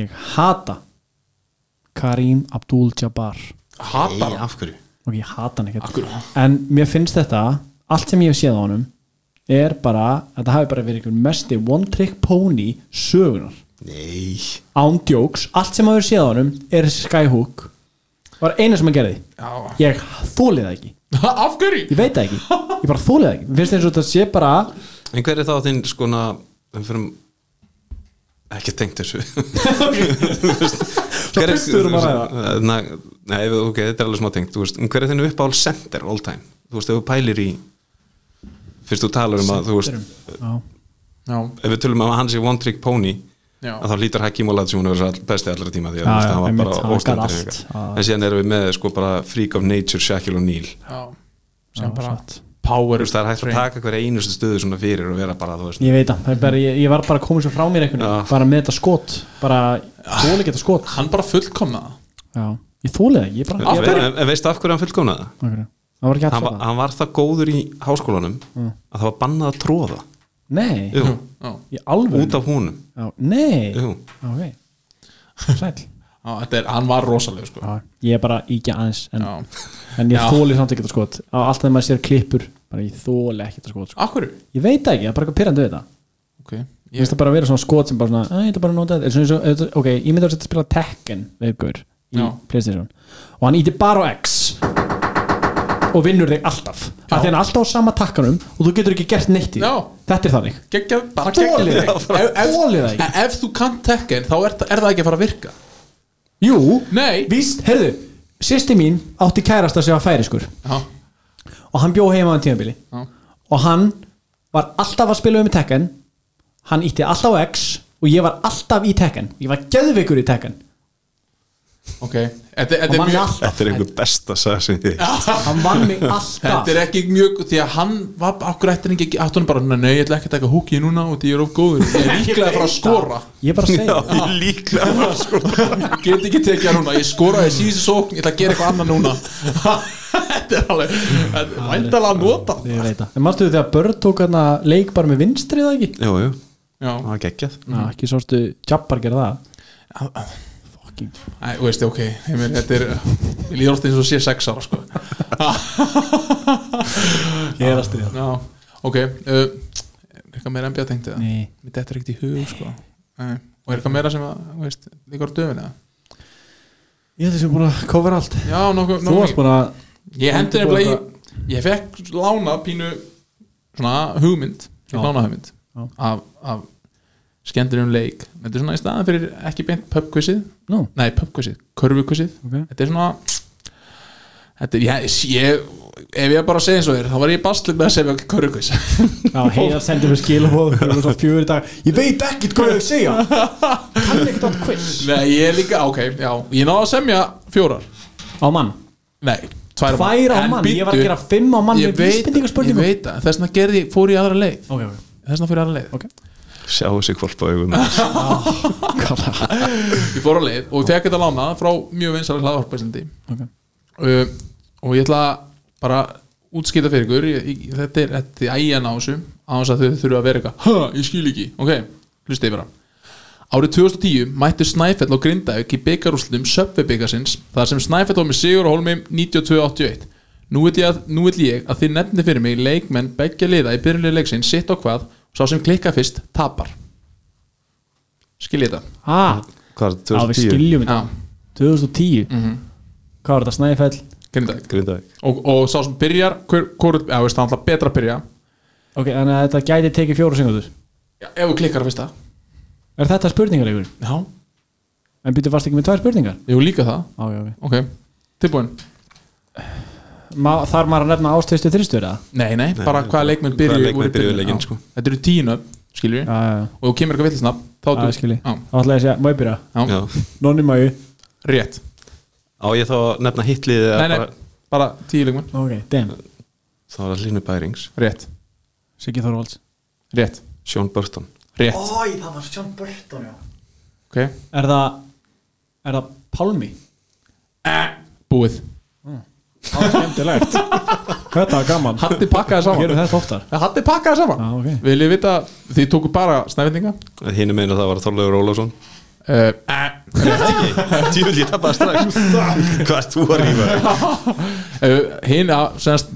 Speaker 1: ég hata Karim Abdul-Jabbar
Speaker 2: hatar
Speaker 4: Nei,
Speaker 2: hann
Speaker 4: af hverju?
Speaker 1: og ég hata hann ekkert
Speaker 2: Akkur-
Speaker 1: en mér finnst þetta, allt sem ég hef séð á honum er bara, að þetta hafi bara verið einhver mesti one trick pony sögunar
Speaker 4: Nei
Speaker 1: ándjóks, allt sem maður séð á honum er þessi skyhook var eina sem hann gerði
Speaker 2: Já. [LAUGHS]
Speaker 1: ég þólið það ekki,
Speaker 2: af hverju?
Speaker 1: ég veit það ekki ég bara þólið það ekki, Mér finnst eins og þetta sé bara
Speaker 4: En hver er þá þinn skona við fyrir ekki tengt
Speaker 1: [LAUGHS]
Speaker 4: þessu Svo
Speaker 1: fyrstu erum að ræða.
Speaker 4: Nei, nei, ok, þetta er alveg smá tengt þú veist, En hver er þinn uppáhald center all time? Þú veist, ef þú pælir í fyrst þú talar um að þú veist,
Speaker 1: já,
Speaker 2: Já.
Speaker 4: ef við tölum um að hann sé one trick pony
Speaker 2: Já.
Speaker 4: að þá lítur Hakim Olajuwon að vera besti allra tíma því
Speaker 1: Já,
Speaker 4: að þú veist,
Speaker 1: já,
Speaker 4: hann var
Speaker 1: einmitt,
Speaker 4: bara
Speaker 1: hann gat
Speaker 4: óstendur
Speaker 1: allt. Já.
Speaker 4: en síðan erum við með sko bara freak of nature Shaquille O'Neal
Speaker 2: Já. sem
Speaker 1: Já,
Speaker 2: bara
Speaker 1: satt.
Speaker 2: power
Speaker 4: Þú veist, það er hægt að
Speaker 2: train.
Speaker 4: taka hverja einustu stöðu svona fyrir og vera bara, þú veist,
Speaker 1: ég veit það, það er bara, ég, ég var bara komin svo frá mér einhvern
Speaker 4: Já.
Speaker 1: veginn, bara með þetta skot bara, þólið geta skot
Speaker 2: hann bara fullkomna það.
Speaker 1: já, ég þólið það ekki, ég bara
Speaker 2: Af
Speaker 4: en,
Speaker 2: hverju?
Speaker 4: en, en veistu af hverju hann fullkomnaði það?
Speaker 1: Af hverju? það var ekki
Speaker 4: Hann,
Speaker 1: alltaf
Speaker 4: var-
Speaker 1: það
Speaker 4: hann var það góður í háskólanum
Speaker 1: Mm.
Speaker 4: að það var bannað að tróða
Speaker 1: nei,
Speaker 4: Jú,
Speaker 2: Já.
Speaker 1: í alveg
Speaker 4: út af húnum
Speaker 1: Já, nei
Speaker 4: Jú.
Speaker 1: ok, sæl
Speaker 2: Já, þetta er, hann var rosalega sko.
Speaker 1: Já, ég er bara íkja aðeins en,
Speaker 2: Já.
Speaker 1: en ég
Speaker 2: Já.
Speaker 1: þóli samt ekki þetta skot á alltaf þegar maður sér klippur bara ég þóli ekki þetta skot sko.
Speaker 2: af hverju?
Speaker 1: ég veit það ekki, það er bara eitthvað pyrrandu við þetta
Speaker 2: ok,
Speaker 1: ég
Speaker 2: ég,
Speaker 1: finnst það bara að vera svona skot sem bara svona "Æ, þetta er bara notað eins og eins og- eins og- ok, ég myndi að setja að spila Tekken við ykkur í
Speaker 2: Já.
Speaker 1: Playstation og hann ítir bara á X og vinnur þig alltaf
Speaker 2: Já.
Speaker 1: af því hann er alltaf á sama takkanum og þú getur ekki gert neitt í því.
Speaker 2: Já.
Speaker 1: þetta er þannig
Speaker 2: geggja, bara
Speaker 1: Þolið
Speaker 2: geggja
Speaker 1: það, bara þolið það ekki.
Speaker 2: en ef þú kannt tekken þá er, þa- er það ekki að fara að virka
Speaker 1: jú,
Speaker 2: Nei.
Speaker 1: víst, heyrðu sýsti mín átti kærasta sem var færiskur
Speaker 2: já,
Speaker 1: og hann bjó heima á tímabili
Speaker 2: já,
Speaker 1: og hann var alltaf að spila um í Tekken hann ítti alltaf á X og ég var alltaf í Tekken ég var geðvikur í Tekken
Speaker 2: ok þetta, þetta,
Speaker 1: hann
Speaker 2: er
Speaker 1: vann
Speaker 2: mjög,
Speaker 1: alltaf,
Speaker 4: er einhver besta sagði sem þið
Speaker 1: hann vann
Speaker 2: [LAUGHS]
Speaker 1: mig alltaf
Speaker 2: þetta er ekki mjög því að hann var, okkur eftir hann ekki átti hann bara, nei, ég ætla ekki að taka húkið núna og því ég er of góður, ég er líklega að fara að skora
Speaker 1: ég er bara að segja
Speaker 4: ég líklega sko.
Speaker 2: get ekki tekið hann núna, ég skoraði síðustu sókn ég ætla að gera eitthvað annað núna [LAUGHS] þetta er alveg þetta er væntalega að nota
Speaker 1: ég veit það en mannstu þegar börn tók hann að leik bara með vinstri eða ekki
Speaker 4: Jú, jú, það
Speaker 2: já,
Speaker 4: var geggjað
Speaker 1: Ná, ekki sástu Jabbar gerða það fucking
Speaker 2: Æ, þú veist, ok, ég meir, þetta er ég líður oft eins og sé sex ára sko.
Speaker 1: ég er að stríða
Speaker 2: já, ok uh, er eitthvað meira NBA tengt eða?
Speaker 1: Nei.
Speaker 2: mér þetta er ekkert í hug sko. Nei. og er eitthvað meira sem að, þú veist, líka á döfin eða?
Speaker 1: ég held að sem búin að cover allt
Speaker 2: já, nokkuð
Speaker 1: þú varst búin að
Speaker 2: Ég hendi nefnilega í Ég fekk lána pínu svona hugmynd,
Speaker 1: Já.
Speaker 2: lána hugmynd
Speaker 1: Já.
Speaker 2: af, af skemmtir um leik þetta er svona í staðan fyrir ekki beint pubquizið,
Speaker 1: nú
Speaker 2: nei pubquizið körfuquizið,
Speaker 1: Ok.
Speaker 2: þetta er svona þetta er, ég, ég ef ég bara að segja eins og þér, þá var ég bastlið með að segja körfuquiz [LAUGHS]
Speaker 1: Já, heiða sendið mér skilabóð Við erum svo fjögur í dag Ég veit ekkert hvað ég er að segja Kann ekkert átt quiz
Speaker 2: Nei, ég er líka, ok, já, ég náði að semja fjórar,
Speaker 1: Á mann
Speaker 2: nei, tvær
Speaker 1: Tvær á
Speaker 2: En
Speaker 1: mann, ég var
Speaker 2: bíddu,
Speaker 1: að gera fimm á mann
Speaker 2: ég
Speaker 1: með
Speaker 2: veit, ég
Speaker 1: vísbendingarspurningum
Speaker 2: veit það, þess vegna gerði, ég- fór ég aðra leið
Speaker 1: Ok, ok
Speaker 2: þess vegna fór ég aðra leið
Speaker 4: Sjáu sig hvolpa augum
Speaker 1: Kalla.
Speaker 2: ég fór á leið og ég fekk þetta lána frá mjög vinsæli hlaðvarpæslindi
Speaker 1: Ok.
Speaker 2: uh, og ég ætla að bara útskýta fyrir ykkur ég, ég, þetta er þetta er ægjan á þessu á þess að þau þurfa að vera eitthvað "Ha, ég skil ekki, ok, hlusta yfir hann Árið 2010 mættu Snæfell og Grindavík í byggarúslutum Söpvi byggarsins þar sem Snæfell var með Sigur Holmi 92-81 Nú vil, ég að, nú vil ég að þið nefni fyrir mig leikmenn beggja liða í byrjunlega leiksinn sitt og hvað, sá sem klikka fyrst tapar Skil ég þetta?
Speaker 1: ah, á
Speaker 4: Hvað er
Speaker 1: við
Speaker 4: 2010?
Speaker 1: skiljum
Speaker 2: Já,
Speaker 1: þetta 2010, hvað var þetta Snæfell
Speaker 2: grindag
Speaker 4: Grindavík
Speaker 2: og, og sá sem byrjar, hver, hver, já, veist, það er alltaf betra að byrja
Speaker 1: ok, þannig að þetta gæti tekið fjóra sekundur
Speaker 2: já, ef þú klikkar á fyrsta
Speaker 1: er þetta spurningar ykkur?
Speaker 2: Já,
Speaker 1: en byrju varst ekki með tvær spurningar?
Speaker 2: jú líka það
Speaker 1: Ah, okay, okay.
Speaker 2: Ok, tilbúin
Speaker 1: Ma, þar maður að nefna ástvistu þristu er það?
Speaker 2: Nei, nei, bara
Speaker 4: nei,
Speaker 2: hvaða leikmenn
Speaker 4: hvaða
Speaker 2: byrjuðu
Speaker 4: leikmenn
Speaker 2: voru í
Speaker 4: byrjuðu
Speaker 2: byrjun,
Speaker 4: leikinn,
Speaker 2: já.
Speaker 4: sko.
Speaker 2: Þetta eru tíinu, skilur við
Speaker 1: já, já, já,
Speaker 2: Og þú kemur eitthvað villisnafn, þá
Speaker 1: Já, ég skil ég.
Speaker 2: Já,
Speaker 1: þá ætla ég að segja, má ég byrja?
Speaker 2: já,
Speaker 4: Já.
Speaker 1: Nonni Maju
Speaker 2: rétt
Speaker 4: Á ég þá að nefna hitlið
Speaker 2: Nei, nei, bara tíu leikmenn
Speaker 1: ok, damn,
Speaker 4: Þá er það Hlynur Bærings
Speaker 2: Rétt,
Speaker 1: Siggi Þorvalds
Speaker 2: rétt,
Speaker 4: Sean Burton
Speaker 2: rétt
Speaker 1: Ói, það var Sjón Burton, já
Speaker 2: Ok,
Speaker 1: Er það, er það Pálmi?
Speaker 2: búið
Speaker 1: Það var skemmtilegt Þetta var gaman
Speaker 2: Hatti pakkaði
Speaker 1: Gerum
Speaker 2: saman
Speaker 1: þetta oftar
Speaker 2: Hatti pakkaði saman
Speaker 1: Já, ok.
Speaker 2: Viljið vita, þið tóku bara snæfendinga
Speaker 4: Hinn meina það var Þorleifur [LAUGHS] Ólafsson
Speaker 2: uh, uh,
Speaker 4: Djúvel ég tapaði strax Hvað ert þú að rífa?
Speaker 2: Hinn að, Eh, semst,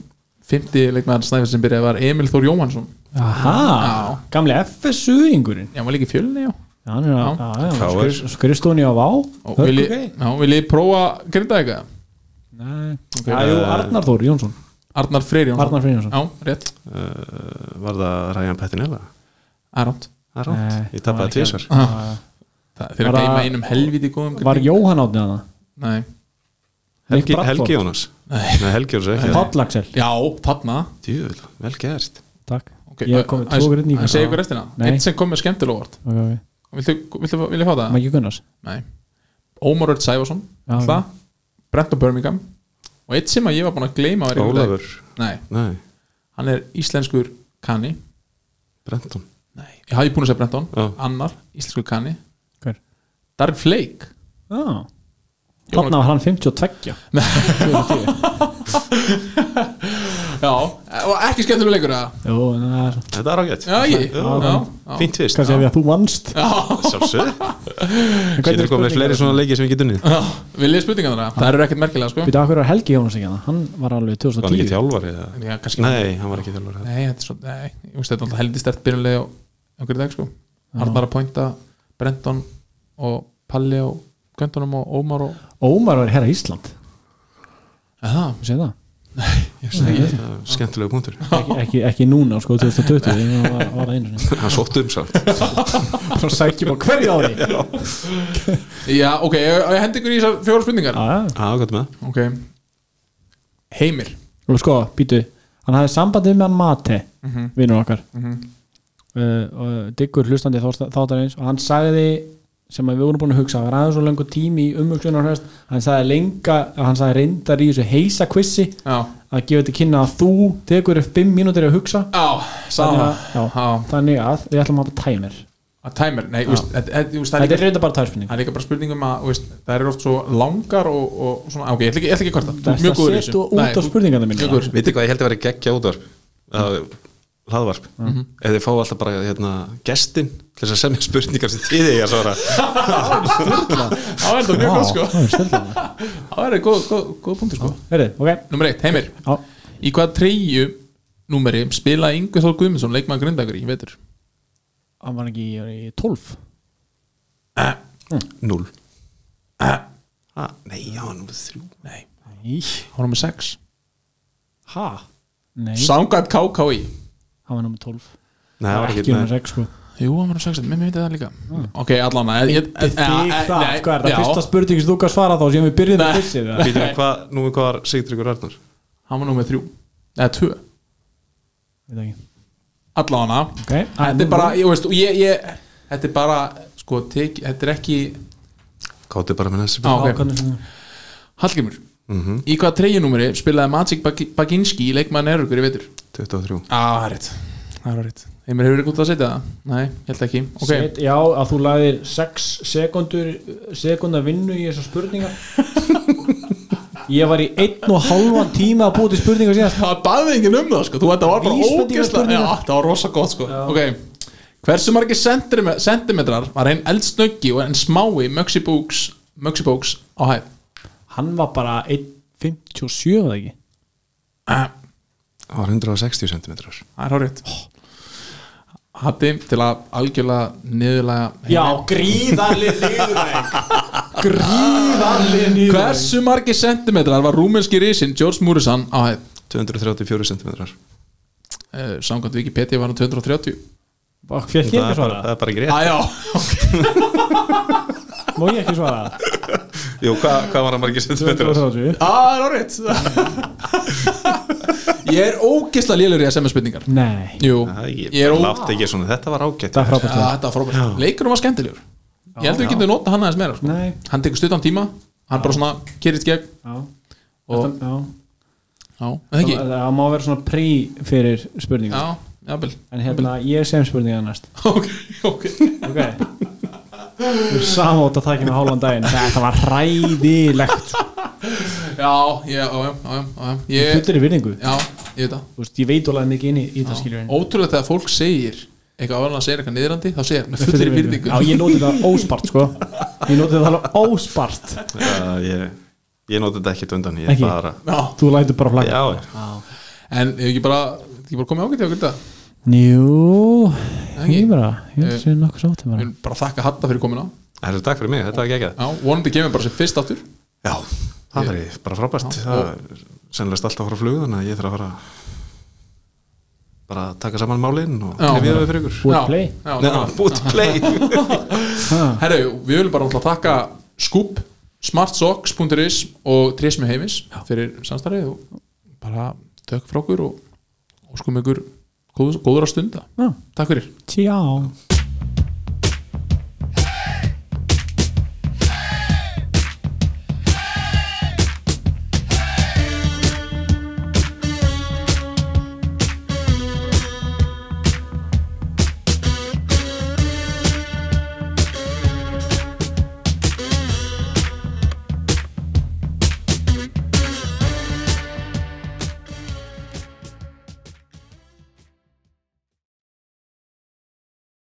Speaker 2: 50 leikmenn snæfend sem byrjaði var Emil Þór Jóhansson
Speaker 1: Aha,
Speaker 2: Já.
Speaker 1: gamli FSU-ingurinn
Speaker 2: Já, hann var líka í fjölni, já
Speaker 1: Já, hann er
Speaker 2: Já.
Speaker 1: að- já,
Speaker 4: KR.
Speaker 1: já, skrifstóni á Vá
Speaker 2: Og
Speaker 1: Hörg,
Speaker 2: viljið
Speaker 1: ok
Speaker 2: vilji prófa grinda eitthvað?
Speaker 1: Nei.
Speaker 2: Ok.
Speaker 1: Já, jú, Arnar Þór Jónsson
Speaker 2: Arnar Freyr Jónsson
Speaker 1: Arnar Freyr Jónsson.
Speaker 2: Já, rétt,
Speaker 4: Var það Ryan Pettinella?
Speaker 2: aðrátt
Speaker 4: Það er rátt Ég tapaði tvisar
Speaker 2: Það þeir eru
Speaker 1: Bara-
Speaker 2: að geima einum helviti góðum
Speaker 1: Var Jóhann átnið hana?
Speaker 2: Nei
Speaker 1: Nick
Speaker 4: Helgi,
Speaker 1: Bradford.
Speaker 4: Helgi Jónas Nei, Helgi Jónas er ekki
Speaker 1: Páll Axel
Speaker 2: Já, þarna
Speaker 4: Djúvel, vel gert
Speaker 1: Takk
Speaker 2: Ok,
Speaker 1: Ég kom með tvo grinn í
Speaker 2: Það segir ykkur restina
Speaker 1: Nei.
Speaker 2: Eitt sem kom með skemmtilegvort
Speaker 1: Ok, ok
Speaker 2: Viltu, viltu, viltu fá það?
Speaker 1: Maggi Gunnars
Speaker 2: Nei Ómar Örd Sæfarsson
Speaker 1: Já,
Speaker 2: Það Brenton Birmingham Og eitt sem að ég var búin að gleyma var í einhvern
Speaker 4: Ólafur
Speaker 2: dag. Nei,
Speaker 4: Nei,
Speaker 2: hann er íslenskur kanni
Speaker 4: Brenton
Speaker 2: Nei Ég hafði búin að segja Brenton
Speaker 4: Já.
Speaker 2: Annar, íslenskur kanni
Speaker 1: Hver?
Speaker 2: Darren Flake
Speaker 1: Já Þarna var hann 52
Speaker 2: Já Og ekki skemmtilegur leikur eða?
Speaker 1: Jú, en það er
Speaker 4: Þetta er ágætt
Speaker 2: Já, ég
Speaker 4: Já,
Speaker 2: Já, já.
Speaker 4: Fínt tvist
Speaker 1: Kannski ef ég að þú vannst
Speaker 4: Sjálfsög Sér
Speaker 1: Hvernig
Speaker 4: er komið fleiri svona leiki sem við getum niður
Speaker 2: Já, Vil ég spurninga þarna? Það eru ekkert merkilega sko
Speaker 1: Býta, hvað er Helgi Jónas ekki hana? Hann var alveg
Speaker 4: Var hann ekki
Speaker 1: 2010
Speaker 4: þjálfari? eða?
Speaker 2: Já, kannski
Speaker 4: Nei, hann var ekki þjálfari
Speaker 2: Nei, þetta er svo, nei, ég veist þetta er alltaf heldig stert byrjunlega á einhverju dag sko Arnar að pointa, Brenton og Palli og Göntunum og Ómar og
Speaker 1: Ómar var herra Ísland
Speaker 2: Aha,
Speaker 1: Ég segi það
Speaker 4: Það er Skemmtilegu punktur
Speaker 1: ekki, ekki, ekki núna sko 2020 þegar var, var það einu sinni
Speaker 4: Hann sótt um
Speaker 2: [LAUGHS]
Speaker 4: samt
Speaker 1: Svo sækjum á hverju ári Já,
Speaker 2: Já, ok, ég, ég hendi ykkur í þessar fjóra spurningar
Speaker 1: já
Speaker 4: Já, gott með
Speaker 2: Ok Heimir
Speaker 1: Og sko, býtu Hann hafði sambandið með hann Mate mm Vinnur okkar mm
Speaker 2: Mhm.
Speaker 1: og Diggur hlustandi þósta- þáttarins og hann sagði sem að við vorum búin að hugsa hann aðeins svo lengur tími í umhugsunarhest hann sagði lenga, hann sagði reyndar í þessu heisa kvissi
Speaker 2: Já,
Speaker 1: að gefa þetta kynna að þú tekur upp 5 mínútur í að hugsa
Speaker 2: á,
Speaker 1: þannig
Speaker 2: sama
Speaker 1: að, já,
Speaker 2: Já,
Speaker 1: þannig að við ætlum að hafa timer
Speaker 2: að timer, nei, þú veist, þetta- þetta- þú veist, það er
Speaker 1: þetta
Speaker 2: líka
Speaker 1: er reynda bara tæmspurning
Speaker 2: Það er líka bara spurningum að, þú veist, það eru oft svo langar og, og svona, ok, ég ætla ekki, ég ætla ekki að kvarta Þú ert
Speaker 1: það
Speaker 2: mjög góður í
Speaker 1: setu
Speaker 2: þessu. Nei,
Speaker 1: út á
Speaker 2: þú-
Speaker 1: spurningarna mínu
Speaker 2: mjög góður.
Speaker 4: Vitið hvað, ég held að vera geggja útvarp Það- Hlaðvarp
Speaker 2: Mhm.
Speaker 4: Ef þið fá alltaf bara hérna, gestin til þess að semja spurningar sem þið eigi að svara
Speaker 2: Það er þetta mjög góð, sko [LAUGHS] Það er góð, góð, góð punktur, sko
Speaker 1: Heyrðu, ok,
Speaker 2: Númer eitt, Heimir
Speaker 1: já,
Speaker 2: Í hvað treyju númeri spilaði Ingu Þór Guðmundsson leikmann Grindagur í vetur?
Speaker 1: hann var ekki í, í 12
Speaker 4: Núl ah, Nei, já, nú þrjú
Speaker 2: Nei, hann
Speaker 1: Nei,
Speaker 2: var nummer 6
Speaker 1: ha? Nei,
Speaker 2: Sangat KKI
Speaker 1: hann var nummer 12
Speaker 4: Nei, það var
Speaker 1: ekki
Speaker 4: ekki
Speaker 1: nummer
Speaker 4: nei.
Speaker 1: 6 sko
Speaker 2: Jú, hann var nummer 6, mér veit það líka Mm. Ok, allan að eh, Þið
Speaker 1: Þig það, sko, er það fyrsta spurning sem þú kannst svara þá sem við byrjum
Speaker 2: Nei.
Speaker 1: með fyrstið
Speaker 4: Býtum við hvað, nú við hvað var Sigtryggur Arnar
Speaker 2: Hann var nummer 3, eða 2
Speaker 1: Ok,
Speaker 2: Allan að Þetta er bara, ég veist, og ég, ég Þetta er bara, sko, tek, þetta er ekki
Speaker 4: Káttu bara með þessi
Speaker 2: Á,
Speaker 1: Ok,
Speaker 2: ok, Hallgrimur Í hvað treyju númeri spilaði Magic Bag- Baginski leikmann Erugur í vetur?
Speaker 4: 23
Speaker 2: Á, það er rétt Það er rétt Heimir hefur ekki út að setja það? Nei, ég held ekki Ok,
Speaker 1: Set, já, að þú lagðir 6 sekundur sekundar vinnu í þessar spurningar
Speaker 2: [LAUGHS]
Speaker 1: ég var í einn og halvan tíma að búið til spurningar síðast
Speaker 2: það baði enginn um það sko Þú þetta var bara
Speaker 1: Vísbendingar,
Speaker 2: ógeðslega Já,
Speaker 1: spurningar.
Speaker 2: það var rosa gott sko Ok, hversu margir sentime- sentimetrar var einn eldsnöggi og einn smái Möxibóks Möxibóks á hæð
Speaker 1: hann var bara 1.57 eða ekki
Speaker 4: það var 160 cm
Speaker 2: það er hárið Hatti til að algjörlega niðurlega
Speaker 1: Já, gríðarlið [LAUGHS] nýðurveg Gríðarlið nýðurveg
Speaker 2: Hversu margi sentimetrar var rúmenski risin George Muresan á hæð?
Speaker 4: 234 cm
Speaker 2: Uh, samkvæmt Wikipedia var hann 230
Speaker 1: Fekk ég ekki
Speaker 4: það, er bara-
Speaker 1: svara?
Speaker 4: það er bara ekki rétt
Speaker 2: [LAUGHS] Æjá,
Speaker 1: Má ég ekki
Speaker 4: [LAUGHS]
Speaker 1: svara?
Speaker 4: Jú, hvað, hvað var það margir centimetrar?
Speaker 1: 230
Speaker 2: það er orðið [LAUGHS] Ég er ógeðslega lélur í SMS spurningar
Speaker 1: Nei,
Speaker 2: Jú,
Speaker 4: Það
Speaker 2: ég
Speaker 4: er
Speaker 2: er
Speaker 4: ekki,
Speaker 2: ó...
Speaker 4: látt ekki svona, þetta var ágætt
Speaker 1: það er
Speaker 2: Já,
Speaker 1: frábært
Speaker 2: Þetta var frábært Leikurum var skemmtilegur Ég held við getum nota hann aðeins meira sko.
Speaker 1: Nei,
Speaker 2: Hann tekur stuttan tíma, hann bara svona kerist gegn
Speaker 1: já
Speaker 2: og,
Speaker 1: Þetta- Já,
Speaker 2: já, það ekki
Speaker 1: það það má vera svona prí fyrir spurningar
Speaker 2: Já, jafnvel [LAUGHS]
Speaker 1: En hérna, ég sem spurningar næst
Speaker 2: Ok, ok
Speaker 1: Ok Þú er samátt að taka með hálfan daginn Þetta var hræðilegt sko.
Speaker 2: Já, ég, já, já, já, já Ég,
Speaker 1: Fullir í virðingu
Speaker 2: já, ég veit það
Speaker 1: Þú veist, ég veit alveg mikið inn í, í það skiljum
Speaker 2: Ótrúlega þegar fólk segir eitthvað áður en að segja eitthvað niðrandi þá segir hann með fullri virðingu
Speaker 1: Já, ég nóti það óspart sko Ég nóti það alveg óspart
Speaker 4: uh, Ég, ég noti þetta ekkert undan Ég
Speaker 1: Ekki?
Speaker 4: bara
Speaker 2: [LAUGHS] Já,
Speaker 1: Þú lætur bara flagga
Speaker 4: Já,
Speaker 2: en ef ekki bara ekki bara komið ágætt í okkur þetta
Speaker 1: Jú,
Speaker 2: Ekki?
Speaker 1: ég bara Ég held að sé nokkuð sáttum
Speaker 2: Ég
Speaker 1: bara
Speaker 2: vil bara þakka Hatta fyrir komin á
Speaker 4: það er takk fyrir mig, þetta var ekki
Speaker 2: Já, vonandi kemur bara sem fyrst aftur
Speaker 4: Já, það var ég bara frábært Það er sennilegst alltaf að fara á flug þannig að ég þarf að fara bara að taka saman málin og
Speaker 2: Já.
Speaker 4: við það fyrir ykkur
Speaker 1: Búið
Speaker 2: Já,
Speaker 1: play.
Speaker 2: Já,
Speaker 4: Nei,
Speaker 2: já.
Speaker 4: búið til play
Speaker 2: Herru, við viljum bara náttúrulega þakka Scoop, smartsocks.is og Trismi Heimis fyrir samstarfið og bara tök frá okkur og, og sko mjögur góður að stunda
Speaker 1: Já.
Speaker 2: Takk fyrir
Speaker 1: Tjá